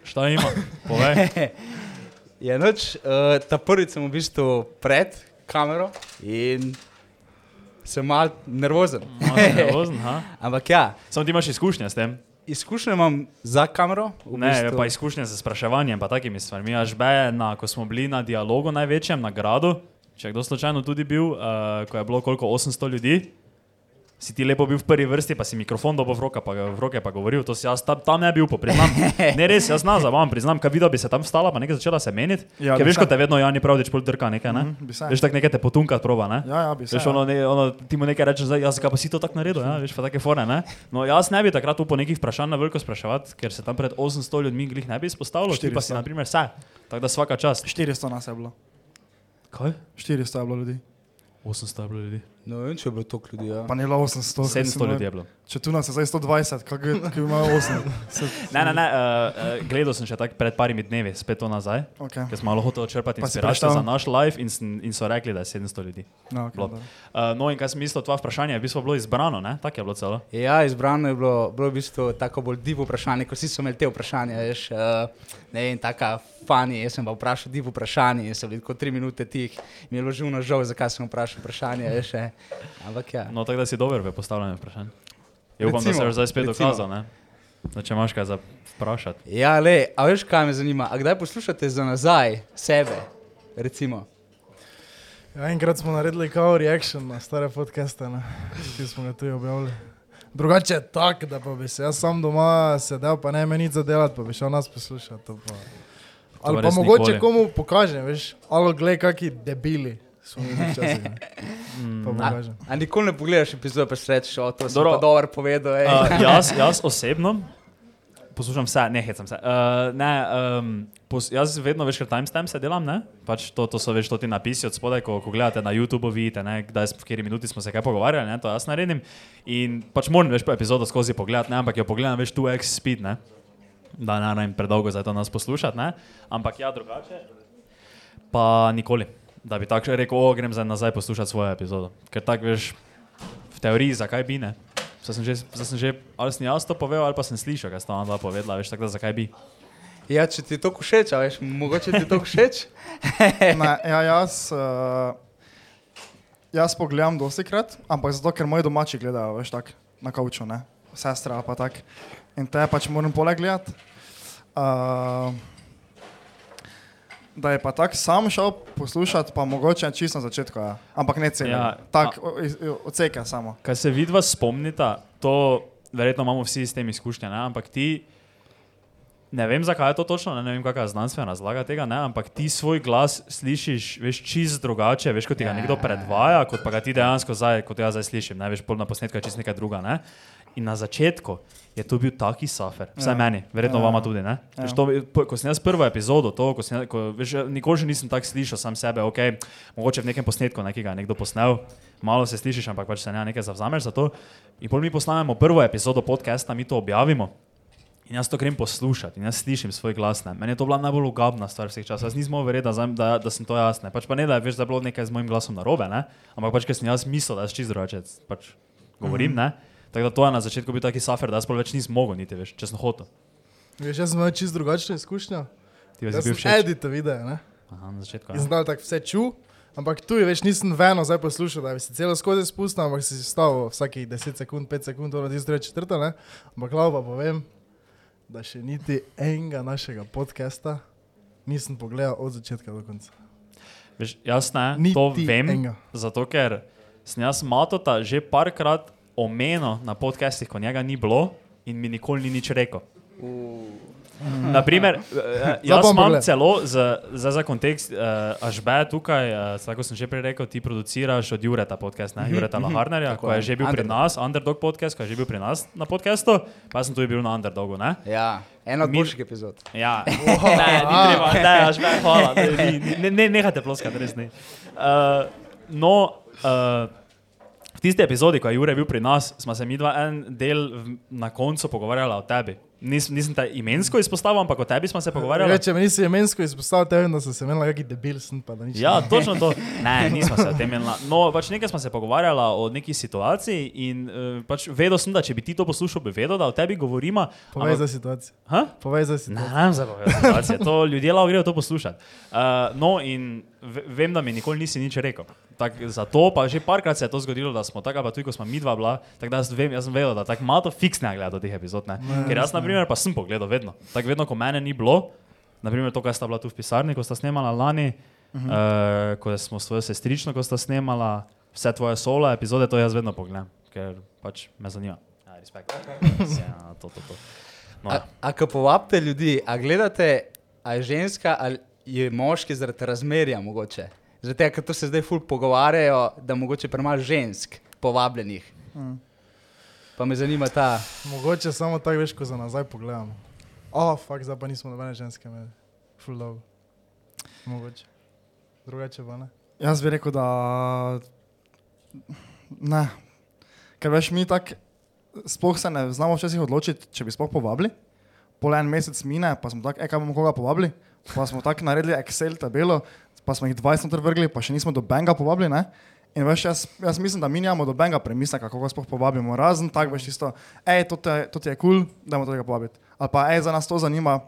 Speaker 2: Šta ima? Povej.
Speaker 1: Ja, noč, uh, ta prvič sem v bistvu pred kamero in sem mal nervozen.
Speaker 2: Malo si nervozen, ha?
Speaker 1: Ampak ja,
Speaker 2: Samo ti imaš izkušnje s tem.
Speaker 1: izkušnje imam za kamero. v
Speaker 2: Ne,
Speaker 1: bistvu.
Speaker 2: pa izkušnje z spraševanjem, pa takimi stvarmi. Aš be, na, ko smo bili na dialogu največjem, na gradu, če je kdo slučajno tudi bil, uh, ko je bilo koliko 800 ljudi, si ti lepo bil v prvi vrsti, pa si mikrofon dobo v, roka, pa, ga- v roke pa govoril, to si jaz tam, tam ne bil, priznam. Ne res, jaz znam, vam priznam, kaj videl bi se tam stala, pa nekaj začela se meniti.
Speaker 4: Ja,
Speaker 2: Ja, ker
Speaker 4: bi
Speaker 2: veš,
Speaker 4: se.
Speaker 2: kot te vedno Jani Pravdič pol trka nekaj, ne?
Speaker 4: Mhm, bi se.
Speaker 2: Veš, tako nekaj te potunka proba, ne?
Speaker 4: Ja, ja, bi se.
Speaker 2: Veš,
Speaker 4: ja.
Speaker 2: ono, ne, ono, ti mu nekaj rečeš, zdaj, ja, zakaj pa si to tako naredil, ja, veš, pa take fore, ne? No, jaz ne bi takrat upal nekih vprašanj na veliko spraševati, ker se tam pred 800 ljudmi glih ne bi izpostavljal, ti pa si
Speaker 4: 400.
Speaker 2: na primer vse. Tako da svaka čast.
Speaker 4: 400 nas je bilo.
Speaker 2: Kaj?
Speaker 4: 400 je bilo ljudi.
Speaker 2: 800 je bilo ljudi.
Speaker 1: No, ne vem, če je bilo toliko ljudi. Ja.
Speaker 4: Pa ne bilo 800.
Speaker 2: 700
Speaker 4: mislim,
Speaker 2: ljudi ja.
Speaker 4: ne.
Speaker 2: je bilo.
Speaker 4: Če tu nas je zdaj 120, kako je, kako ima 8?
Speaker 2: Ne, ne, ne, uh, uh, gledal sem še tako pred parimi dnevi, spet to nazaj,
Speaker 4: Okay.
Speaker 2: ker smo malo hoteli črpati
Speaker 4: Pa si
Speaker 2: inspiracijo za
Speaker 4: preštel?
Speaker 2: naš live in, sem- in so rekli, da je 700 ljudi.
Speaker 4: No, okay,
Speaker 2: Bilo.
Speaker 4: dobro.
Speaker 2: Uh, no, in kaj sem mislil, tvoje vprašanje je v bistvu bilo izbrano, ne? Tako je bilo celo.
Speaker 1: Ja, izbrano je bilo, bilo je v bistvu tako bolj divo vprašanje, kot vsi so imeli te vprašanja. Veš, uh, ne vem, taka fani, jaz sem pa vprašal divo vprašanje in sem bil kot tri minute tih, mi je bilo živno žal, zakaj sem vprašal vprašanje. Veš, eh. Ampak ja.
Speaker 2: No, tako da si dober v postavljanju vprašanj. Je upam, da
Speaker 1: Recimo,
Speaker 2: se je zdaj spet
Speaker 1: recimo.
Speaker 2: dokazal, ne? Da če imaš kaj za vprašati.
Speaker 1: Ja, le, a veš, kaj me zanima, a kdaj poslušate za nazaj sebe, recimo?
Speaker 3: Ja, enkrat smo naredili kao reaction na stare podcaste, ne, ki smo ga tu objavili. Drugače je tako, da pa bi se jaz sam doma sedel, pa ne meni nič zadelati, pa bi šel nas poslušati. to Pa. Ali pa
Speaker 2: res
Speaker 3: mogoče
Speaker 2: nikoli.
Speaker 3: nikoli. komu pokažem, veš, ali glej, kaki debili smo mi včasih. ne. Pa
Speaker 1: A,
Speaker 3: pokažem.
Speaker 1: a nikoli ne pogledaš epizode, pa si rečeš, o, to sem
Speaker 2: Dobro.
Speaker 1: pa dobro povedal. ej."
Speaker 2: Uh, jaz, jaz osebno poslušam vse, ne hecam se. Uh, ne, um, pos, jaz vedno večkrat timestamp se delam, ne? Pač to, to so veš to ti napisi od spodaj, ko, ko gledate na YouTube, vidite, ne? kdaj, smo- v kateri minuti smo se kaj pogovarjali, ne? to jaz naredim. In pač moram več po epizodo skozi pogledati, ne? ampak jo pogledam več 2x speed, ne? da ne rabim predolgo za to nas poslušati, ne? ampak ja, drugače pa nikoli. Da bi tako rekel, o, grem zdaj nazaj poslušati svojo epizodo. Ker tako veš, v teoriji, zakaj bi ne. Zdaj sem že, zdaj sem že ali sem jaz to povedal, ali pa sem slišal, kaj sta ona dva povedala, veš, tako da zakaj bi.
Speaker 1: Ja, če ti je to všeč, a veš, mogoče ti je to všeč.
Speaker 4: Ne, ja, jaz, uh, jaz pogledam dosti krat, ampak zato, ker moji domači gledajo, veš, tak, na kauču, ne, sestra ali pa tak. In te pač moram poleg gledati. Uh, Eh, Da je pa tako sam šel poslušati, pa mogoče čisto na začetku, ja. ampak ne celo.
Speaker 2: Ja,
Speaker 4: Ja, tako odseka samo.
Speaker 2: Kaj se vidva spomnita, to verjetno imamo vsi s tem izkušnje, ne? ampak ti, ne vem zakaj je to točno, ne, ne vem kakšna je znanstvena razlaga tega, ne? ampak ti svoj glas slišiš, veš, čist drugače, veš, kot ti ga nekdo predvaja, kot pa ga ti dejansko zdaj, kot jaz zdaj slišim, ne veš, pol na posnetku je čist nekaj druga. Ne? In na začetku je to bil taki safer, vsaj ja. meni, verjetno ja. vama tudi. Ja. Veš, to, po- ko sem jaz prvo epizodo, to, ko sem, jaz- ko, veš, nikoli še nisem tako slišal sam sebe, ok, mogoče v nekem posnetku ne, ki ga je nekdo posnel, malo se slišiš, ampak pač se ne nekaj zavzameš za to. In pol mi posnamemo prvo epizodo podcasta, mi to objavimo. In jaz to grem poslušati, in jaz slišim svoj glas. Ne. Meni je to bila najbolj ugabna stvar vseh časov. Jaz nisem mogel verjeti, da, znam- da, da sem to jaz. Ne. Pač pa ne, da je veš, da je bilo nekaj z mojim glasom narobe, ne. ampak pač, ker sem jaz mislil, da jaz čisto drugače pač govorim.
Speaker 3: Mhm.
Speaker 2: Mm -hmm. Tako da to je na začetku bil taki safer, da jaz pol več nisem mogel niti več, če sem hotel.
Speaker 3: Veš, jaz sem imel čisto drugačno izkušnjo.
Speaker 2: Ti si
Speaker 3: Jaz
Speaker 2: bil
Speaker 3: sem
Speaker 2: všeč.
Speaker 3: edito videl, ne?
Speaker 2: Aha, na začetku.
Speaker 3: In
Speaker 2: Ja.
Speaker 3: znal tako vse ču, ampak tu je več nisem veno zdaj poslušal, da bi se celo skozi spustil, ampak si stavil vsakih 10 sekund, 5 sekund, ono tisto reče četrta, ne? Ampak lao pa povem, da še niti enega našega podcasta nisem pogledal od začetka do konca.
Speaker 2: Veš, jaz ne,
Speaker 3: Niti
Speaker 2: to vem,
Speaker 3: enega.
Speaker 2: zato ker sem jaz Matota že parkrat omenil na podcestih, ko njega ni bilo in mi nikoli ni nič rekel. Naprimer, eh, jaz
Speaker 3: bom
Speaker 2: imam
Speaker 3: pogled.
Speaker 2: celo za, za, za kontekst, uh, ažbe tukaj, uh, tako kot sem že prej rekel, ti produciraš od Jureta podcast,
Speaker 3: Mhm.
Speaker 2: ne Jureta Laharnerja, ko je že bil pri
Speaker 1: Underdog.
Speaker 2: nas, Underdog podcast, ko je že bil pri nas na podkastu, pa jaz sem tudi bil na Underdogu, ne?
Speaker 1: Ja, ena od
Speaker 2: Mi-
Speaker 1: boljših epizod.
Speaker 2: Ja, ne, ni treba, ne, až me hvala. Ne, ni- ne, ne, nehajte ploskati, res ne. Uh, no, uh, v tisti epizodi, ko je Jure bil pri nas, smo se mi dva en del v- na koncu pogovarjali o tebi. Nis, nisem te imensko izpostavil, ampak o tebi smo se pogovarjali.
Speaker 3: Reče, meni si je mensko izpostavil tebe, da sem se menil, kaki debil sem pa da nič.
Speaker 2: Ja, točno to. Ne, nismo se o tem menili. No, pač nekaj smo se pogovarjali o neki situaciji in uh, pač vedel sem, da če bi ti to poslušal, bi vedel, da o tebi govorimo.
Speaker 3: Povej za
Speaker 2: ampak-
Speaker 3: situacijo.
Speaker 2: Ha?
Speaker 3: Povej za situacijo.
Speaker 2: Ne, ne, zabavaj. To ljudje lahko grejo to poslušati. Uh, no, in ve- vem, da mi nikoli nisi nič rekel. Tak, zato pa že parkrat se je to zgodilo, da smo tako, pa tudi ko smo mi dva bila, tako da jaz vem, jaz sem vedel, da tako malo fiksne gleda do teh epizod. Ne? Ker jaz, na primer, pa sem pogledal vedno. Tako vedno, ko mene ni bilo, naprimer to, kar sta bila tu v pisarni, ko sta snemala lani, uh -huh. uh, ko smo s tvojo sestrično, ko sta snemala vse tvoje solo epizode, to jaz vedno pogledam, ker pač me zanima. Ja, respekt. Ja, to, to, to. No,
Speaker 1: A, a ko povabite ljudi, a gledate, a je ženska ali je moški zaradi razmerja mogoče? Zaradi tega, ker to se zdaj ful pogovarjajo, da mogoče premalo žensk povabljenih.
Speaker 3: Mm.
Speaker 1: Pa me zanima ta.
Speaker 3: Mogoče samo tako veš, ko za nazaj pogledamo. O, oh, fakt, zdaj pa nismo nobene ženske imeli. Full love. Mogoče. Drugače pa ne.
Speaker 4: Jaz bi rekel, da ne. Ker veš, mi tako sploh se ne znamo včasih odločiti, če bi sploh povabili. Pol en mesec mine, pa smo tako, e, kaj bomo koga povabili. Pa smo tako naredili Excel tabelo, pa smo jih 20 noter vrgli, pa še nismo do Benga povabili. Ne? In veš, jaz, jaz mislim, da mi nimamo do Benga premisleka, kako ga sploh povabimo. Razen tako, veš, tisto, hej, to, te- to ti je kul, cool, dajmo tega povabiti. Ali pa, hej, za nas to zanima,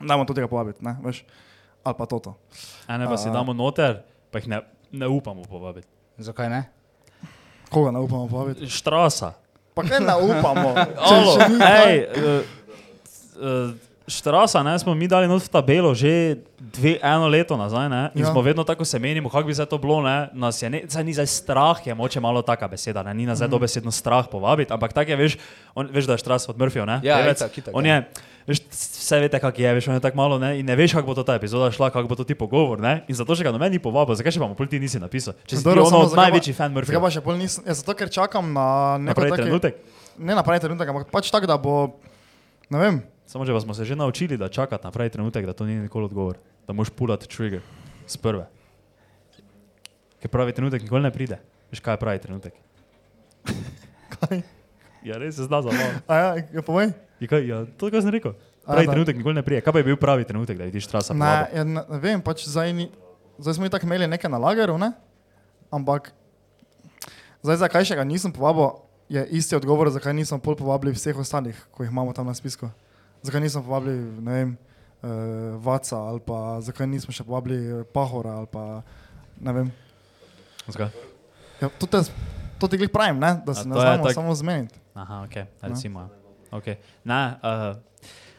Speaker 4: dajmo tega povabiti, ne, veš. Ali pa toto.
Speaker 2: Ene pa si damo noter, pa jih ne, ne upamo povabiti.
Speaker 1: Zakaj ne?
Speaker 4: Koga ne upamo povabiti?
Speaker 2: Štrasa.
Speaker 4: Pa kaj ne upamo?
Speaker 2: Alo, ej, eh, eh, Štrasa, ne, smo mi dali not v tabelo že dve, eno leto nazaj ne, in ja.
Speaker 4: Ja.
Speaker 2: smo vedno tako se menimo, kako bi se to bilo. Ne, nas je ne, saj ni zdaj strah, je moče malo taka beseda, ne, ni nas zdaj
Speaker 4: Mhm.
Speaker 2: dobesedno strah povabiti, ampak tako je, veš, on, veš da je Štras od Murphyja, ne?
Speaker 1: Ja,
Speaker 2: pevec.
Speaker 1: itak, itak, ja.
Speaker 2: on je, veš, vse veste, kak je, veš, on je tako malo ne, in ne veš, kako bo to ta epizoda šla, kako bo to ti pogovor. Ne, in zato še ga noben ni povabil, zakaj še pa mu pol ti nisi napisal? Če si ti
Speaker 4: Dobro, samo
Speaker 2: ono
Speaker 4: zakaj pa-
Speaker 2: največji
Speaker 4: Zakaj
Speaker 2: fan
Speaker 4: pa
Speaker 2: Murphyja.
Speaker 4: še pol nisem? Ja, zato, ker čakam na neko
Speaker 2: Naprej
Speaker 4: take-
Speaker 2: trenutek.
Speaker 4: Ne na pravi trenutek, ampak pač tako, da bo, ne vem,
Speaker 2: Samo če pa smo se že naučili, da čakati na pravi trenutek, da to ni nikoli odgovor, da moš pulati trigger z prve. Ker pravi trenutek nikoli ne pride. Veš, kaj je pravi trenutek? Kaj? Ja, res se zna zabavno.
Speaker 4: a ja, ja, povej.
Speaker 2: Ja, kaj- Ja, to, kar sem rekel.
Speaker 4: A,
Speaker 2: Pravi
Speaker 4: da.
Speaker 2: trenutek nikoli ne pride. Kaj pa je bil pravi trenutek, da vidiš trasa?
Speaker 4: Ne, ja, ne, ne vem, pač zdaj, ni, zdaj smo tako imeli nekaj na lageru, ne? ampak zdaj zakaj še ga nisem povabil, je isti odgovor, zakaj nisem pol povabili vseh ostalih, ko jih imamo tam na spisku. Zakaj nisem povabili, ne vem, uh, Vaca ali pa zakaj nismo še povabili eh, Pahora ali pa ne vem.
Speaker 2: Zakaj?
Speaker 4: Ja, to, te, to ti glih pravim, ne? da
Speaker 2: A
Speaker 4: se ne
Speaker 2: to je
Speaker 4: znamo
Speaker 2: tak-
Speaker 4: tak... samo zmeniti.
Speaker 2: Aha, ok,
Speaker 4: No.
Speaker 2: recimo. ja. eh, Okay. Ne, uh,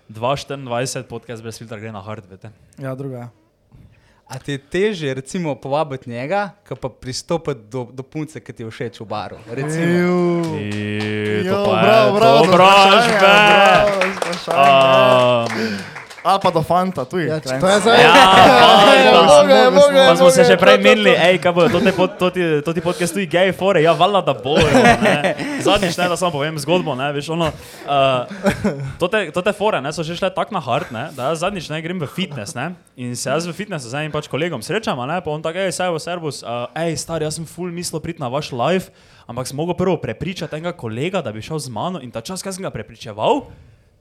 Speaker 2: 2.24 podcast brez filtra gre na hard, veste.
Speaker 4: Ja, druga je.
Speaker 1: A ti je teže, recimo, povabiti njega, ki pa pristopiti do, do punce, ki ti je všeč v baru? Recimo.
Speaker 2: Ti,
Speaker 4: Jo,
Speaker 2: to pa
Speaker 4: bravo,
Speaker 2: je
Speaker 4: bravo, za vprašanje,
Speaker 2: obražbe.
Speaker 4: bravo, za vprašanje. Ali pa do fanta, tu je.
Speaker 3: Ja, če
Speaker 4: kraj.
Speaker 3: to je zdaj.
Speaker 2: Ja, fanta.
Speaker 3: Boga, je Boga, je
Speaker 2: Pa smo se
Speaker 3: Boga,
Speaker 2: še prej
Speaker 3: to, to,
Speaker 2: menili,
Speaker 3: to.
Speaker 2: hej, kaj bo, to, te pod, to, ti, to ti podcast tudi gej fore, ja, valjda da bojo. ne. Zadnjič, ne, da samo povem zgodbo, ne, veš, ono, uh, to, te, to te fore, ne, so že šle tako na hard, ne, da jaz zadnjič ne grem v fitness, ne, in se jaz v fitnessu z enim pač kolegom srečam, a ne, pa on tako, hej, sajvo, servus, uh, hej, star, jaz sem full mislil priti na vaš live, ampak sem mogel prvo prepričati enega kolega, da bi šel z mano in ta čas, kaj sem ga prepričeval,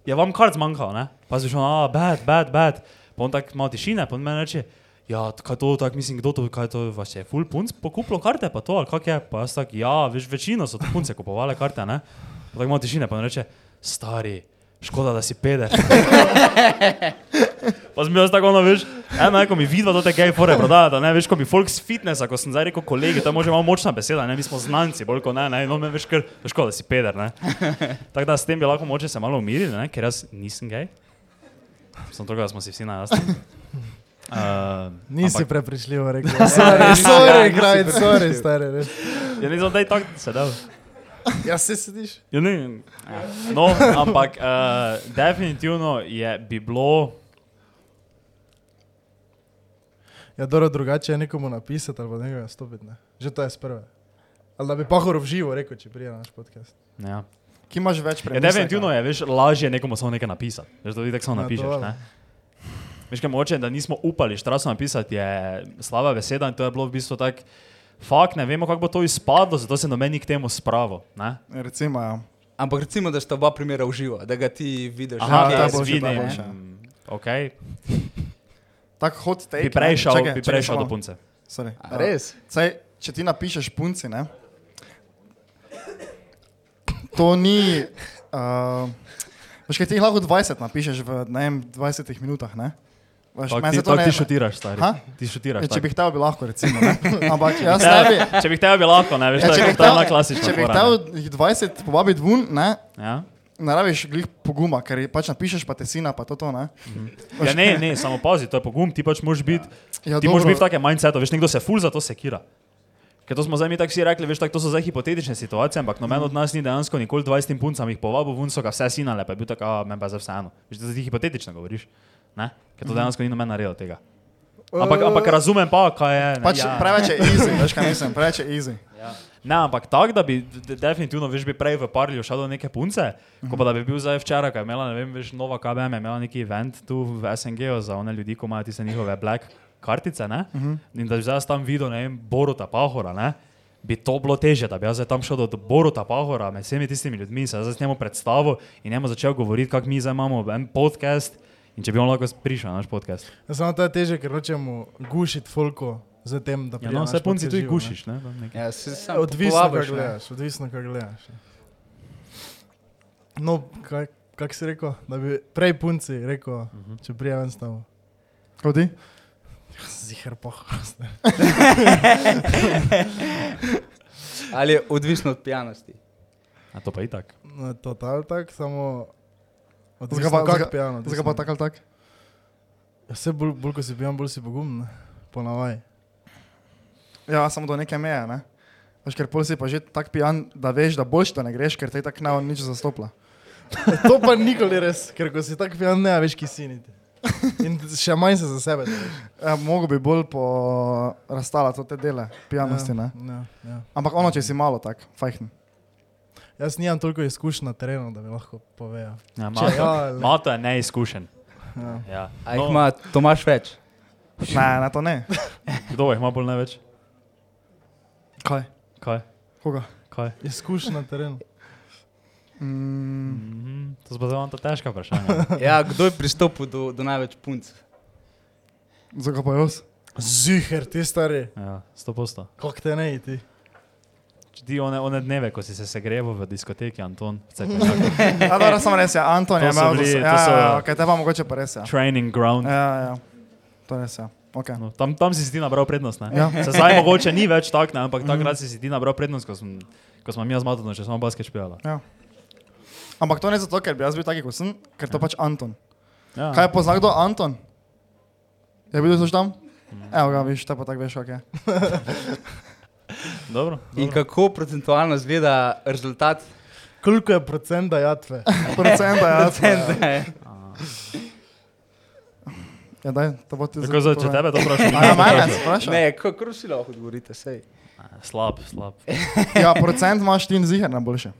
Speaker 2: je vam kart zmanjkal, ne? Pa si šel, a, bad, bad, bad. Pa on tako malo tišine, pa on meni reče, ja, kaj to, tako mislim, kdo to, kaj to, vas je full punc pokupilo karte, pa to, ali kak je, pa jaz tako, ja, veš, večino so to punce kupovale karte, ne? Pa tako malo tišine, pa on reče, stari, škoda, da si peder. Pa sem bil jaz tako, ono, veš, eno je, ko mi vidva to te gej fore prodajata, ne, veš, ko mi folk z fitnessa, ko sem zdaj rekel kolegi, to je mogoče malo močna beseda, ne, mi smo znanci, bolj kot ne, ne, no, me veš, ker, veš, kot da si peder, ne. Tako da s tem bi lahko mogoče se malo umirili, ne, ker jaz nisem gej. Sem toga, da smo si vsi na jasno. Uh,
Speaker 3: Nisi prepričljivo rekel. Sorry, sorry, kraj, sorry, stari. res.
Speaker 2: Ja, nisem zdaj tako sedel.
Speaker 3: Ja, se sediš.
Speaker 2: Ja, ne, ja. No, ampak uh, definitivno je bi bilo.
Speaker 3: Ja, dobro, drugače je nekomu napisati ali pa nekoga stopiti. Ne. Že to je sprve. Ali da bi pahor v živo rekel, če prije na naš podcast.
Speaker 2: Ja.
Speaker 4: Ki imaš več
Speaker 2: Ja,
Speaker 4: premisleka?
Speaker 2: definitivno je, veš, lažje nekomu samo nekaj napisati. Veš, da ti tako samo
Speaker 3: Ja,
Speaker 2: napišeš.
Speaker 3: to je.
Speaker 2: Ne? Veš, kaj moče, da nismo upali štrasno napisati, je slaba beseda in to je bilo v bistvu tako, fakt ne vemo, kako bo to izpadlo, zato se nomeni k temu spravo. Ne?
Speaker 4: Recimo, ja.
Speaker 1: Ampak recimo, da sta oba primera uživa, da ga ti vidiš.
Speaker 2: Aha,
Speaker 1: nekje
Speaker 4: ta
Speaker 2: ja,
Speaker 1: z
Speaker 4: bo
Speaker 2: ta
Speaker 4: boljše,
Speaker 1: vidi-
Speaker 4: ta
Speaker 2: zvine.
Speaker 4: boljše.
Speaker 2: Ok,
Speaker 4: Tako hot take.
Speaker 2: bi prej
Speaker 4: ne.
Speaker 2: šel,
Speaker 4: Čakaj,
Speaker 2: bi
Speaker 4: čakaj, no.
Speaker 2: prej šel do
Speaker 4: samo.
Speaker 2: punce.
Speaker 4: Sorry.
Speaker 1: A, Res?
Speaker 4: Saj, če ti napišeš punci, ne? To ni. Uh, veš, kaj ti jih lahko 20 napišeš v ne vem, 20 minutah, ne? Veš,
Speaker 2: Tako
Speaker 4: meni
Speaker 2: ti,
Speaker 4: se to
Speaker 2: tak
Speaker 4: ne-
Speaker 2: ti šutiraš, stari.
Speaker 4: Ha?
Speaker 2: Ti šutiraš.
Speaker 4: Ja, če
Speaker 2: tako.
Speaker 4: bi hotel, bi lahko, recimo. Ne? Ampak jaz ne bi.
Speaker 2: Ja, Če bi hotel, bi lahko, ne, veš,
Speaker 4: Ja,
Speaker 2: to
Speaker 4: če bi
Speaker 2: je to je ena
Speaker 4: hotel,
Speaker 2: klasična.
Speaker 4: če bi
Speaker 2: fora,
Speaker 4: hotel jih 20 povabiti ven, ne,
Speaker 2: ne. Ja?
Speaker 4: ne rabiš glih poguma, ker ji pač napišeš pa tesina, pa to, to ne.
Speaker 2: Ja, ne, ne, samo pazi, to je pogum, ti pač moraš biti.
Speaker 4: Ja,
Speaker 2: Ti moraš
Speaker 4: dobro.
Speaker 2: biti v takem mindsetu, veš, nekdo se ful za to sekira. Ker to smo zdaj mi tako vsi rekli, veš, tak, to so zdaj hipotetične situacije, ampak noben od nas ni dejansko nikoli 20 puncam jih povabil, vun so ga vse sinale, pa je bil tak, a meni pa je za vseeno. Veš, da ti hipotetično govoriš, ne? Ker
Speaker 4: Mhm.
Speaker 2: to dejansko ni noben naredil tega. Ampak, ampak razumem pa, kaj je. Ne,
Speaker 4: Pač
Speaker 2: ja.
Speaker 4: preveč je easy, veš kaj mislim, preveč je easy.
Speaker 2: ne ampak tako, da bi d- definitivno, veš, bi prej v parlju šel do neke punce, ko pa da bi bil zdaj včeraj, ko je imela, ne vem, veš, nova KBM, je imela neki event tu v SNG-u za one ljudi, ko imajo tiste njihove black kartice, ne? In da bi zdaj jaz tam videl, ne vem, Boruta Pahora, ne? Bi to bilo teže, da bi jaz zdaj tam šel do, do Boruta Pahora med vsemi tistimi ljudmi, se zdaj s njemu predstavil in njemu začel govoriti, kako mi zdaj imamo en podcast in če bi on lahko prišel na naš podcast.
Speaker 3: Ja, samo to je teže, ker hočemo gušiti folko za tem, da
Speaker 2: Ja,
Speaker 3: pride
Speaker 2: no,
Speaker 3: na
Speaker 2: vse
Speaker 3: naš
Speaker 2: punci
Speaker 3: podcast
Speaker 2: tudi
Speaker 3: živo, ne.
Speaker 2: gušiš, ne? Tam nekaj.
Speaker 1: Ja, se sam
Speaker 3: Odvisno, kaj
Speaker 1: povabiš, ne.
Speaker 3: gledaš, odvisno, kaj gledaš. ja. No, kaj, kak si rekel, da bi prej punci rekel, uh -huh. če prije ven stavo.
Speaker 4: Hodi?
Speaker 3: Zihar pohrast.
Speaker 1: Ali je odvisno od pijanosti.
Speaker 2: A to pa itak.
Speaker 3: No, total tak, samo
Speaker 4: Zdaj ga
Speaker 3: odvisno,
Speaker 4: pa- zdaj
Speaker 3: kak
Speaker 4: ga-
Speaker 3: pijano.
Speaker 4: Zdaj ga pa tako ali tako.
Speaker 3: Ja, Vse bolj, bolj ko si pijan, bolj si pogumn, ponavaj.
Speaker 4: Ja, samo do neke meje, ne. Veš, ker pol si pa že tako pijan, da veš, da boš to ne greš, ker te tako na on nič zastopla.
Speaker 3: To pa nikoli res, ker ko si tako pijan, ne veš, ki si niti. In še manj se za sebe. držiš.
Speaker 4: Ja, mogo bi bolj po razstala to te dele pijanosti, ne.
Speaker 3: Ja, ja.
Speaker 4: Ampak ono, če si malo tak, fajn.
Speaker 3: Jaz nimam toliko izkušenj na terenu, da bi lahko povedal.
Speaker 2: Ja,
Speaker 3: Če
Speaker 2: Mato,
Speaker 3: ja, le-
Speaker 2: Mato je neizkušen.
Speaker 3: Ja.
Speaker 2: Ja.
Speaker 1: A
Speaker 4: No.
Speaker 1: jih ima Tomaš več?
Speaker 4: Ne, ne, to ne.
Speaker 2: Kdo jih ima bolj največ?
Speaker 4: Kaj?
Speaker 2: Kaj?
Speaker 4: Koga?
Speaker 2: Kaj?
Speaker 3: Izkušenj na terenu.
Speaker 4: Mm,
Speaker 3: Mhm.
Speaker 2: Mm, to so pa zelo težka vprašanja.
Speaker 1: Ja, kdo je pristopil do, do največ punc?
Speaker 4: Zdaj ga pa jaz.
Speaker 3: Ziher, ti stari,
Speaker 2: Ja, 100%.
Speaker 3: kako te ne iti.
Speaker 2: Če ti one, one dneve, ko si se segreval v diskoteki, Anton, pač cepeljak,
Speaker 4: Ja, dobro, samo res je, Anton je
Speaker 2: To so
Speaker 4: imel
Speaker 2: bili-
Speaker 4: zase-
Speaker 2: to
Speaker 4: Ja,
Speaker 2: so-
Speaker 4: ja, kaj te pa mogoče pa res je.
Speaker 2: training ground.
Speaker 4: Ja, ja, ja. to res je.
Speaker 3: Ja.
Speaker 4: Okay.
Speaker 2: No, tam, tam si si ti nabral prednost. Ne?
Speaker 4: Ja.
Speaker 2: Se zdaj mogoče ni več tako, ne, ampak
Speaker 3: Mhm.
Speaker 2: takrat si si ti nabral prednost, ko, sem, ko smo mi z Matonom še samo basket špijala.
Speaker 4: Ampak to ne zato, ker bi jaz bil taki, kot sem, ker to pač Anton.
Speaker 2: Ja.
Speaker 4: Kaj pozna kdo Anton? Je bil tudi tam? Evo ga, viš, ta pa tako veš, ok.
Speaker 2: Dobro.
Speaker 1: In kako procentualno izgleda rezultat?
Speaker 3: Koliko je procenta jatve?
Speaker 4: Procenta, ja. Procenta. Ja, daj, to bo ti
Speaker 2: Tako za če tebe to vprašam.
Speaker 4: A ja, mene, sprašaj.
Speaker 1: Ne, kako si lahko odgovorite, sej.
Speaker 2: Slab, slab.
Speaker 4: Ja, procent imaš ti in ziher najboljše.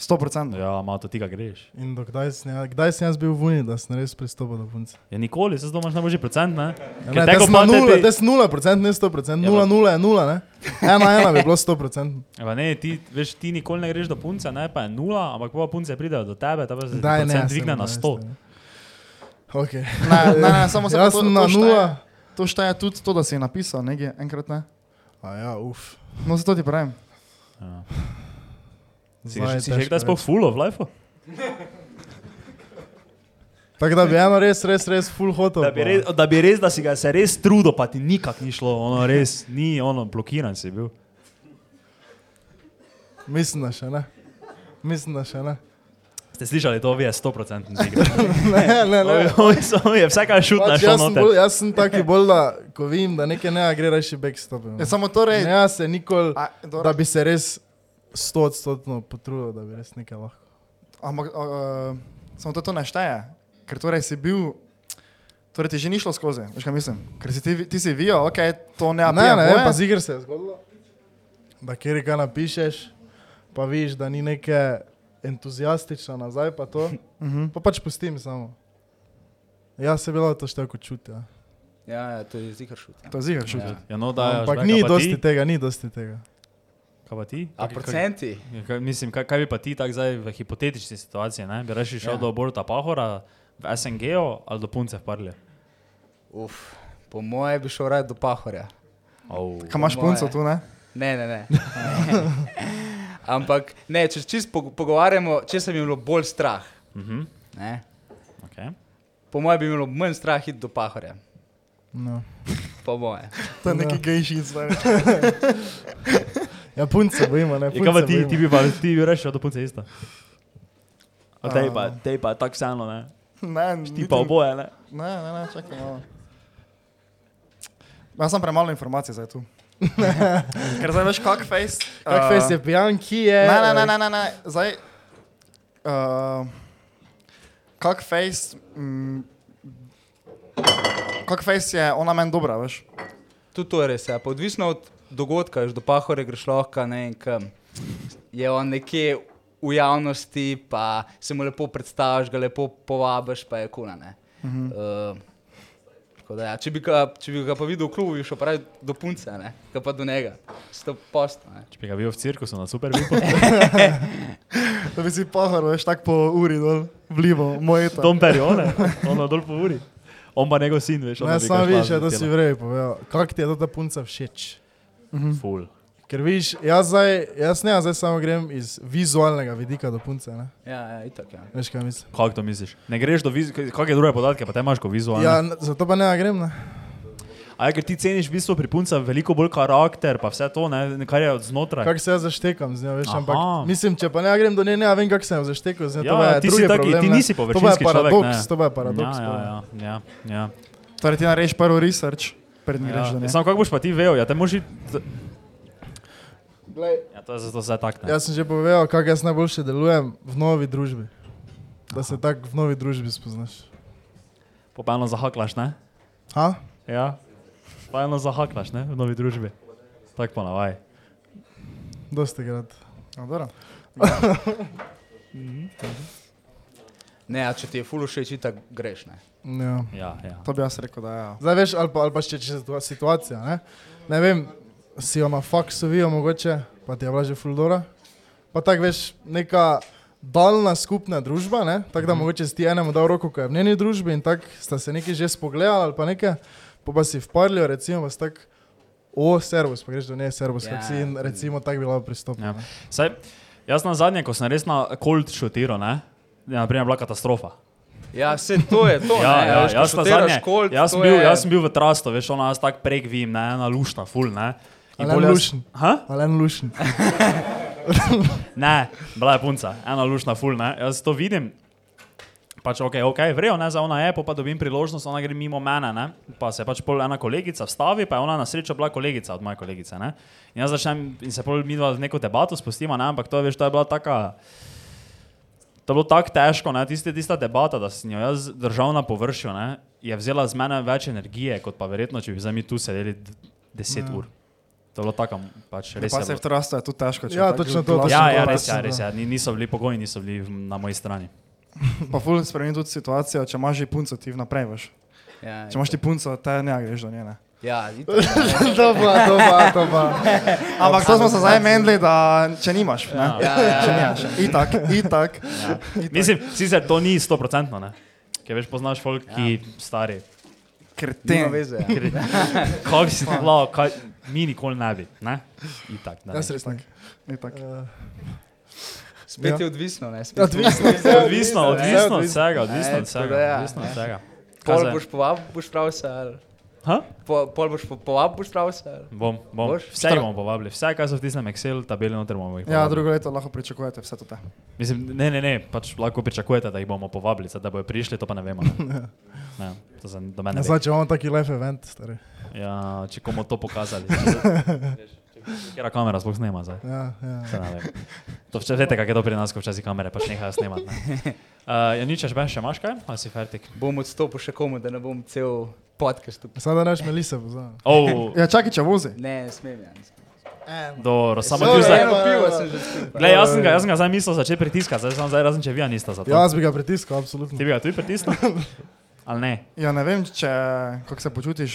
Speaker 4: 100%. Ja.
Speaker 2: Ja, malo to ti ga greš.
Speaker 3: In do kdaj sem, ja- kdaj sem jaz bil v Uni, da sem res pristopil do punce?
Speaker 2: Ja, nikoli, se zdaj imaš najboljši procent, ne?
Speaker 3: Ja,
Speaker 2: Ker
Speaker 3: ne,
Speaker 2: teko
Speaker 3: te
Speaker 2: pa
Speaker 3: smo nula, te smo nula procent, ne sto
Speaker 2: Ja,
Speaker 3: procent, nula,
Speaker 2: pa-
Speaker 3: nula je nula, ne? Ena, ena bi bilo sto procent.
Speaker 2: Ja, ne, ti, veš, ti nikoli ne greš do punce, ne, pa je nula, ampak pa punce pridejo do tebe, ta pa se
Speaker 3: Daj, ne.
Speaker 2: procent
Speaker 3: jaz sem
Speaker 2: dvigne na
Speaker 3: namesto,
Speaker 2: 100.
Speaker 3: ne. Ok.
Speaker 4: Ne, ne, ne, samo se
Speaker 3: Jaz
Speaker 4: to- ja.
Speaker 3: sem
Speaker 4: to
Speaker 3: na
Speaker 4: šteje-
Speaker 3: nula.
Speaker 4: To šteje tudi to, da si je napisal nekaj, enkrat ne.
Speaker 3: A ja, uf.
Speaker 4: No, zato ti pravim.
Speaker 2: Ja. Si, že-
Speaker 3: Zdaj je
Speaker 2: si že
Speaker 3: težko
Speaker 2: kdaj sploh
Speaker 3: reči.
Speaker 2: fulo v lifeu?
Speaker 3: Tako da bi eno res, res, res full hotel.
Speaker 2: Da bi, res, da bi res, da si ga se res trudil, pa ti nikak ni šlo, ono res, ni ono, blokiran si bil.
Speaker 3: Mislim, da še ne. Mislim, da še ne.
Speaker 2: Ste slišali to, vi je 100% zig.
Speaker 3: Ne, ne, ne.
Speaker 2: Samo je vsaka šutna
Speaker 3: Pač
Speaker 2: šla
Speaker 3: jaz, sem
Speaker 2: noter.
Speaker 3: bolj, jaz sem taki bolj, da ko vidim, da nekaj ne gre, reši backstop.
Speaker 4: Ja, samo to reči.
Speaker 3: Ne, jaz se nikoli,
Speaker 4: A, dobro.
Speaker 3: da bi se res stotstotno potrudil, da bi res nekaj lahko.
Speaker 4: Ampak uh, samo to, to ne šteje, ker torej si bil, torej ti že ni šlo skozi, veš kaj mislim. Ker si ti, ti si vijo, ok, to ne
Speaker 3: Ja, ne,
Speaker 4: apijem
Speaker 3: ne,
Speaker 4: boje.
Speaker 3: pa zigr se je zgodilo. Da kjer kaj napišeš, pa vidiš, da ni neke entuzijastično nazaj, pa to.
Speaker 4: Mhm.
Speaker 3: Pa pač pustim samo. Ja, Jaz se bilo to števko čuti. Ja.
Speaker 1: Ja, ja, to je zikar šut. Ja.
Speaker 4: To je zigr, šut.
Speaker 1: Ja.
Speaker 2: Ja, no, da,
Speaker 3: Ampak ni dosti tega, ni dosti tega.
Speaker 2: Kaj pa ti?
Speaker 1: A
Speaker 2: Kaj-
Speaker 1: procenti?
Speaker 2: kaj- Kaj, mislim, kaj, kaj bi pa ti tako zdaj v hipotetični situaciji, ne? Bi rešil šel
Speaker 1: Ja.
Speaker 2: ja. do Boruta Pahora, v SNG-o ali do punce v Parlje?
Speaker 1: Uf, po moje bi šel raje do Pahorja.
Speaker 2: Oh.
Speaker 4: Kaj imaš
Speaker 1: Po
Speaker 4: punco
Speaker 1: moje.
Speaker 4: tu, ne?
Speaker 1: Ne, ne, ne. Ampak ne, če se čist pogo- pogovarjamo, če se bi bilo bolj strah.
Speaker 2: Mhm.
Speaker 1: Ne?
Speaker 2: Okay.
Speaker 1: Po moje bi bilo manj strah iti do Pahorja.
Speaker 3: No.
Speaker 1: Po moje.
Speaker 4: To je neki gejši zdaj.
Speaker 3: Ja, punce bojimo, ne.
Speaker 2: Ja, kaj pa
Speaker 3: punce
Speaker 2: ti,
Speaker 3: bojimo.
Speaker 2: ti bi pa ti bi rešil do punce isto? A Tej pa, tej pa, tako vseeno, ne?
Speaker 4: Ne, ne.
Speaker 2: Ti pa oboje, ne?
Speaker 4: Ne, ne, ne, čakaj malo. Jaz sem premalo informacij zdaj tu. ker zdaj veš, kak face.
Speaker 3: Kak
Speaker 4: eh,
Speaker 3: fejs je pijan, ki je...
Speaker 4: Ne, ne, ne, ne, ne, ne. zdaj. Uh, kak face. Mm, kak face je ona meni dobra, veš?
Speaker 1: Tudi to je res, ja. pa odvisno od dogodka, že do Pahorja greš lahko, ne vem, kam. Je on nekje v javnosti, pa se mu lepo predstaviš, ga lepo povabiš, pa je kuna. Ne. Mhm. Uh, tako da ja, če, bi ga, če bi ga pa videl v klubu, bi šel pa raje do punce, ne, kaj pa do njega. Sto posto, ne.
Speaker 2: Če bi ga bil v cirkusu na super vipu,
Speaker 4: Da bi si pahar, veš, tako po uri dol, vlivo, moje to.
Speaker 2: Tom Perione, ono dol po uri. On pa njegov sin, veš, ono
Speaker 3: Ne,
Speaker 2: bi ga
Speaker 3: samo
Speaker 2: šla
Speaker 3: vidiš, ja, da si
Speaker 2: zletela.
Speaker 3: vrej povedal. Kak ti je ta punca všeč? Mhm.
Speaker 2: Ful.
Speaker 3: Ker vidiš, jaz zdaj, jaz ne, jaz zdaj samo grem iz vizualnega vidika do punce, ne.
Speaker 1: Ja, ja, itak, ja.
Speaker 3: Veš kaj mislim?
Speaker 2: Kako to misliš? Ne greš do vizu, kakšne druge podatke, pa te imaš kot vizualno.
Speaker 3: Ja,
Speaker 2: Ja.
Speaker 3: n- zato pa ne ja grem, ne.
Speaker 2: A je, ker ti ceniš v bistvu pri puncah veliko bolj karakter, pa vse to, ne, ne, kar je od znotraj.
Speaker 3: Kak se jaz zaštekam z njo, veš,
Speaker 2: Aha.
Speaker 3: ampak mislim, če pa ne ja grem do nje, ne ja vem, kak sem jo zaštekal z
Speaker 2: Ja,
Speaker 3: njo. to pa je
Speaker 2: ti si
Speaker 3: drugi
Speaker 2: taki,
Speaker 3: problem,
Speaker 2: ti
Speaker 3: ne.
Speaker 2: nisi
Speaker 3: To pa
Speaker 2: površinski
Speaker 3: je
Speaker 2: človek,
Speaker 3: paradoks,
Speaker 2: ne.
Speaker 3: to pa je paradoks.
Speaker 2: ja,
Speaker 3: pa ne.
Speaker 2: ja, ja, ja,
Speaker 4: Torej ti narediš prvi research, pred njim
Speaker 2: ja.
Speaker 4: greš do
Speaker 2: ja.
Speaker 4: nje.
Speaker 2: Samo kako boš pa ti vejo, ja, te moži...
Speaker 3: Glej,
Speaker 2: Ja, to je zato vse tak, ne.
Speaker 3: Jaz sem že povedal, kako jaz najboljše delujem v novi družbi. Da se tako v novi družbi spoznaš.
Speaker 2: Popelno zahaklaš, ne?
Speaker 3: Ha?
Speaker 2: Ja. Popelno zahaklaš, ne, v novi družbi. Tak pa navaj.
Speaker 3: Dosti krat.
Speaker 4: Ja, dobro.
Speaker 1: Ne, a če ti je fulo všeč, itak greš, ne.
Speaker 3: Ja.
Speaker 2: Ja, ja.
Speaker 4: To bi jaz rekel, da je. Ja.
Speaker 3: Zdaj veš, ali pa, ali pa še če je situa- situacija. Ne? ne vem, si jo na faksu vijo mogoče, pa ti je bila že fuldora. Pa tako veš, neka daljna skupna družba, ne? tako
Speaker 2: Mhm.
Speaker 3: da mm -hmm. mogoče si ti enemu dal roko, ko je v njeni družbi in tako sta se neki že spogledali ali pa nekaj, pa pa si vparlijo, recimo, vas tako, o, servus, pa greš do nje, servus, yeah.
Speaker 1: Ja.
Speaker 3: kak si in recimo tako bi bila pristopna.
Speaker 2: Ja.
Speaker 3: Yeah.
Speaker 2: Saj, jaz na zadnje, ko sem res na kolt šutiral, ne? Je naprimer bila katastrofa.
Speaker 1: Ja, vse to je to.
Speaker 2: Ja,
Speaker 1: ne,
Speaker 2: ja,
Speaker 1: veš, ko
Speaker 2: jaz na
Speaker 1: šotiraš
Speaker 2: zadnje.
Speaker 1: kolt,
Speaker 2: Jaz sem
Speaker 1: to
Speaker 2: bil,
Speaker 1: je-
Speaker 2: jaz sem bil v trastu, veš, ona jaz tako prek vim, ne, ena lušna, ful, ne. In
Speaker 3: Ali
Speaker 2: pol
Speaker 3: en
Speaker 2: jaz-
Speaker 3: lušen,
Speaker 2: Ha?
Speaker 3: ali en lušen.
Speaker 2: Ne, bila je punca, ena lušna, ful, ne. Jaz to vidim. pač ok, ok, vrejo, ne, za ona je, pol pa dobim priložnost, ona gre mimo mene, ne, pa se pač pol ena kolegica vstavi, pa je ona na srečo bila kolegica od moje kolegice, ne. In jaz začnem in se pol midva v neko debato spustiva, ne, ampak to je, veš, to je bila taka, to je bilo tako težko, ne, tiste, tista debata, da sem jo jaz držal na površju, ne, je vzela z mene več energije, kot pa verjetno, če bi zdaj mi tu sedeli d- deset ur. To je bilo tako, pač
Speaker 4: Mm.
Speaker 2: res
Speaker 4: Pa
Speaker 2: je
Speaker 4: se v
Speaker 2: bilo.
Speaker 4: trastu je tudi težko. če
Speaker 3: Ja,
Speaker 4: tako
Speaker 3: točno to,
Speaker 4: glas-
Speaker 3: točno
Speaker 2: Ja,
Speaker 3: to.
Speaker 2: ja,
Speaker 3: pa
Speaker 2: res je,
Speaker 3: sem,
Speaker 2: res je, ni- niso bili pogoji, niso bili na moji strani.
Speaker 4: Pa ful spremeni tudi situacijo, če imaš že punco, ti vnaprej veš.
Speaker 1: Ja,
Speaker 4: Če imaš ti punco, te ne greš do njene.
Speaker 1: ja, itak.
Speaker 3: to pa, to pa, to pa.
Speaker 4: Ampak to smo se zdaj menili, da če nimaš, ne?
Speaker 1: ja, ja,
Speaker 4: Če
Speaker 1: ja.
Speaker 4: nimaš, itak, itak.
Speaker 2: Mislim, sicer to ni stoprocentno, ne? Ker veš, poznaš folk, ki ja. stari.
Speaker 1: Nima
Speaker 4: Kreten.
Speaker 1: veze. ja.
Speaker 2: Ker- Kaj bi si bilo, kaj mi nikoli ne bi, ne?
Speaker 4: Ja,
Speaker 2: Itak, da ne.
Speaker 3: Jaz res tak.
Speaker 4: Itak.
Speaker 1: Spet
Speaker 3: Ja.
Speaker 1: je odvisno, ne? Spet je
Speaker 3: Odvisno je. vse
Speaker 2: Odvisno,
Speaker 1: ne,
Speaker 2: odvisno od
Speaker 3: odvisno.
Speaker 2: vsega, odvisno
Speaker 1: Ej,
Speaker 2: od
Speaker 1: tako da
Speaker 2: vsega,
Speaker 1: ja,
Speaker 2: odvisno od
Speaker 1: ne.
Speaker 2: vsega. Kaj
Speaker 1: Pol
Speaker 2: zdaj?
Speaker 1: boš povabil, boš prav se. ali-
Speaker 2: Ha?
Speaker 1: Po, pol boš po- povabil, boš prav se. ali?
Speaker 2: Bom, bom.
Speaker 1: Boš?
Speaker 2: Vse bomo povabili, vse, kar so v tistem Excel tabeli noter bomo jih
Speaker 4: Ja,
Speaker 2: povabili.
Speaker 4: drugo leto lahko pričakujete vse to. te.
Speaker 2: Mislim, ne, ne, ne, pač lahko pričakujete, da jih bomo povabili, sad, da bojo prišli, to pa ne vemo. Ne? Ne, to za, do mene.
Speaker 3: Ja,
Speaker 2: ne
Speaker 3: Zdaj, če imamo taki live event, stari.
Speaker 2: ve. Ja, če komu to pokazali. Kera kamera sploh snema zdaj.
Speaker 3: Ja, ja.
Speaker 2: Saj ne vem. To včasih veste, kako je to pri nas, ko včasih kamere pač nehajo snemati. Ne? Uh, ja, nič, še imaš kaj? Ali si fertik?
Speaker 1: Bom odstopil še komu, da ne bom cel podcast. tu-
Speaker 3: Sada naš melise, pozna.
Speaker 2: Oh,
Speaker 4: Ja, čakaj, če vozi.
Speaker 1: Ne, ne smem. Ja.
Speaker 2: dobro, samo
Speaker 1: Dobro,
Speaker 2: ti zdaj.
Speaker 1: Eno pivo sem že skupaj.
Speaker 2: Glej, jaz sem ga, jaz sem ga zdaj mislil začeti pritiskati, zdaj sem zdaj razen, če vi niste za to.
Speaker 3: Jaz bi ga pritiskal, absolutno.
Speaker 2: Ti bi ga tudi pritisnil? Ali ne?
Speaker 4: Ja, ne vem, če, kako se počutiš.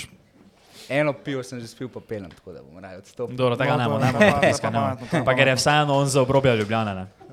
Speaker 1: Eno pivo sem že spil, pa pelem, tako da bom raje odstopil.
Speaker 2: Dobro, tega
Speaker 4: No,
Speaker 2: ne
Speaker 4: to je
Speaker 2: bomo, ne bomo
Speaker 4: pametno,
Speaker 2: pritiska, ne
Speaker 4: pametno, to
Speaker 2: bomo.
Speaker 4: je
Speaker 2: Pa ker je
Speaker 4: pametno.
Speaker 2: vseeno on za obrobja Ljubljana, ne?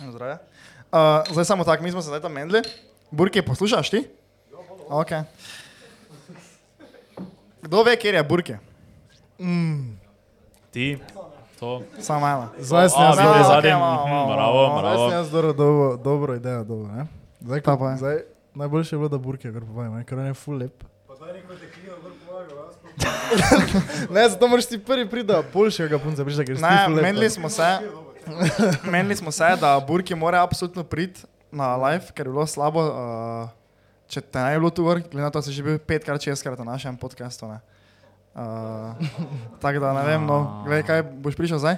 Speaker 4: Zdravje. Uh, zdaj samo tako, mi smo se zdaj tam menili. Burki, poslušaš ti? Okay. Kdo ve, kje je Burki?
Speaker 2: Ti, to,
Speaker 4: Samo ena.
Speaker 3: Mm. Zdaj sem
Speaker 2: A,
Speaker 3: jaz
Speaker 2: videl
Speaker 3: dobro.
Speaker 2: je
Speaker 4: ok,
Speaker 2: zadnji,
Speaker 4: malo,
Speaker 2: mhm,
Speaker 4: malo,
Speaker 2: bravo,
Speaker 4: malo.
Speaker 3: Zdaj
Speaker 2: bravo.
Speaker 3: sem jaz dobro, dobro, dobro idejo, dobro, ne? Zdaj,
Speaker 4: Ta pa je.
Speaker 3: zdaj, najboljše je bilo, da Burke gor povem, ne? ker on je full lep. ne, zato moraš ti prvi priti, da boljšega punca prišla, ker si ti
Speaker 4: Ne,
Speaker 3: ful lep,
Speaker 4: menili smo se, menili smo se, da Burki mora absolutno priti na live, ker je bilo slabo. Uh, če te ne bi bilo tu gor, glede na to, da si že bil petkrat, šestkrat na našem podkastu. ne. Uh, Tako da ne vem, no, gledaj, kaj boš prišel zdaj.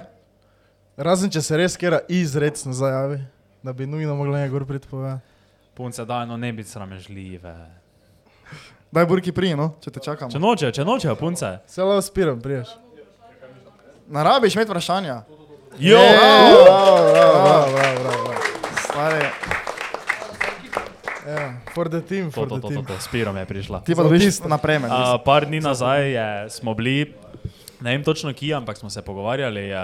Speaker 3: Razen če se res kera izredno zajavi, da bi nujno mogla nekaj gor priti povedati.
Speaker 2: punce, da eno ne biti sramežljive.
Speaker 4: Daj Burki pri, no, če te čakamo.
Speaker 2: Če nočejo, če nočejo, punce.
Speaker 3: Se lahko spiram, priješ.
Speaker 4: Ne rabiš imeti vprašanja.
Speaker 2: Jo,
Speaker 3: Bravo, bravo, bravo, bravo, bravo, bravo.
Speaker 4: Stari,
Speaker 3: Ja, for the team,
Speaker 2: to,
Speaker 3: for
Speaker 2: to,
Speaker 3: the
Speaker 2: to, to,
Speaker 3: team.
Speaker 2: to, s pirom je prišla.
Speaker 4: ti pa dobiš naprej. meni.
Speaker 2: A, par dni nazaj je, smo bili, ne vem točno kje, ampak smo se pogovarjali, eh,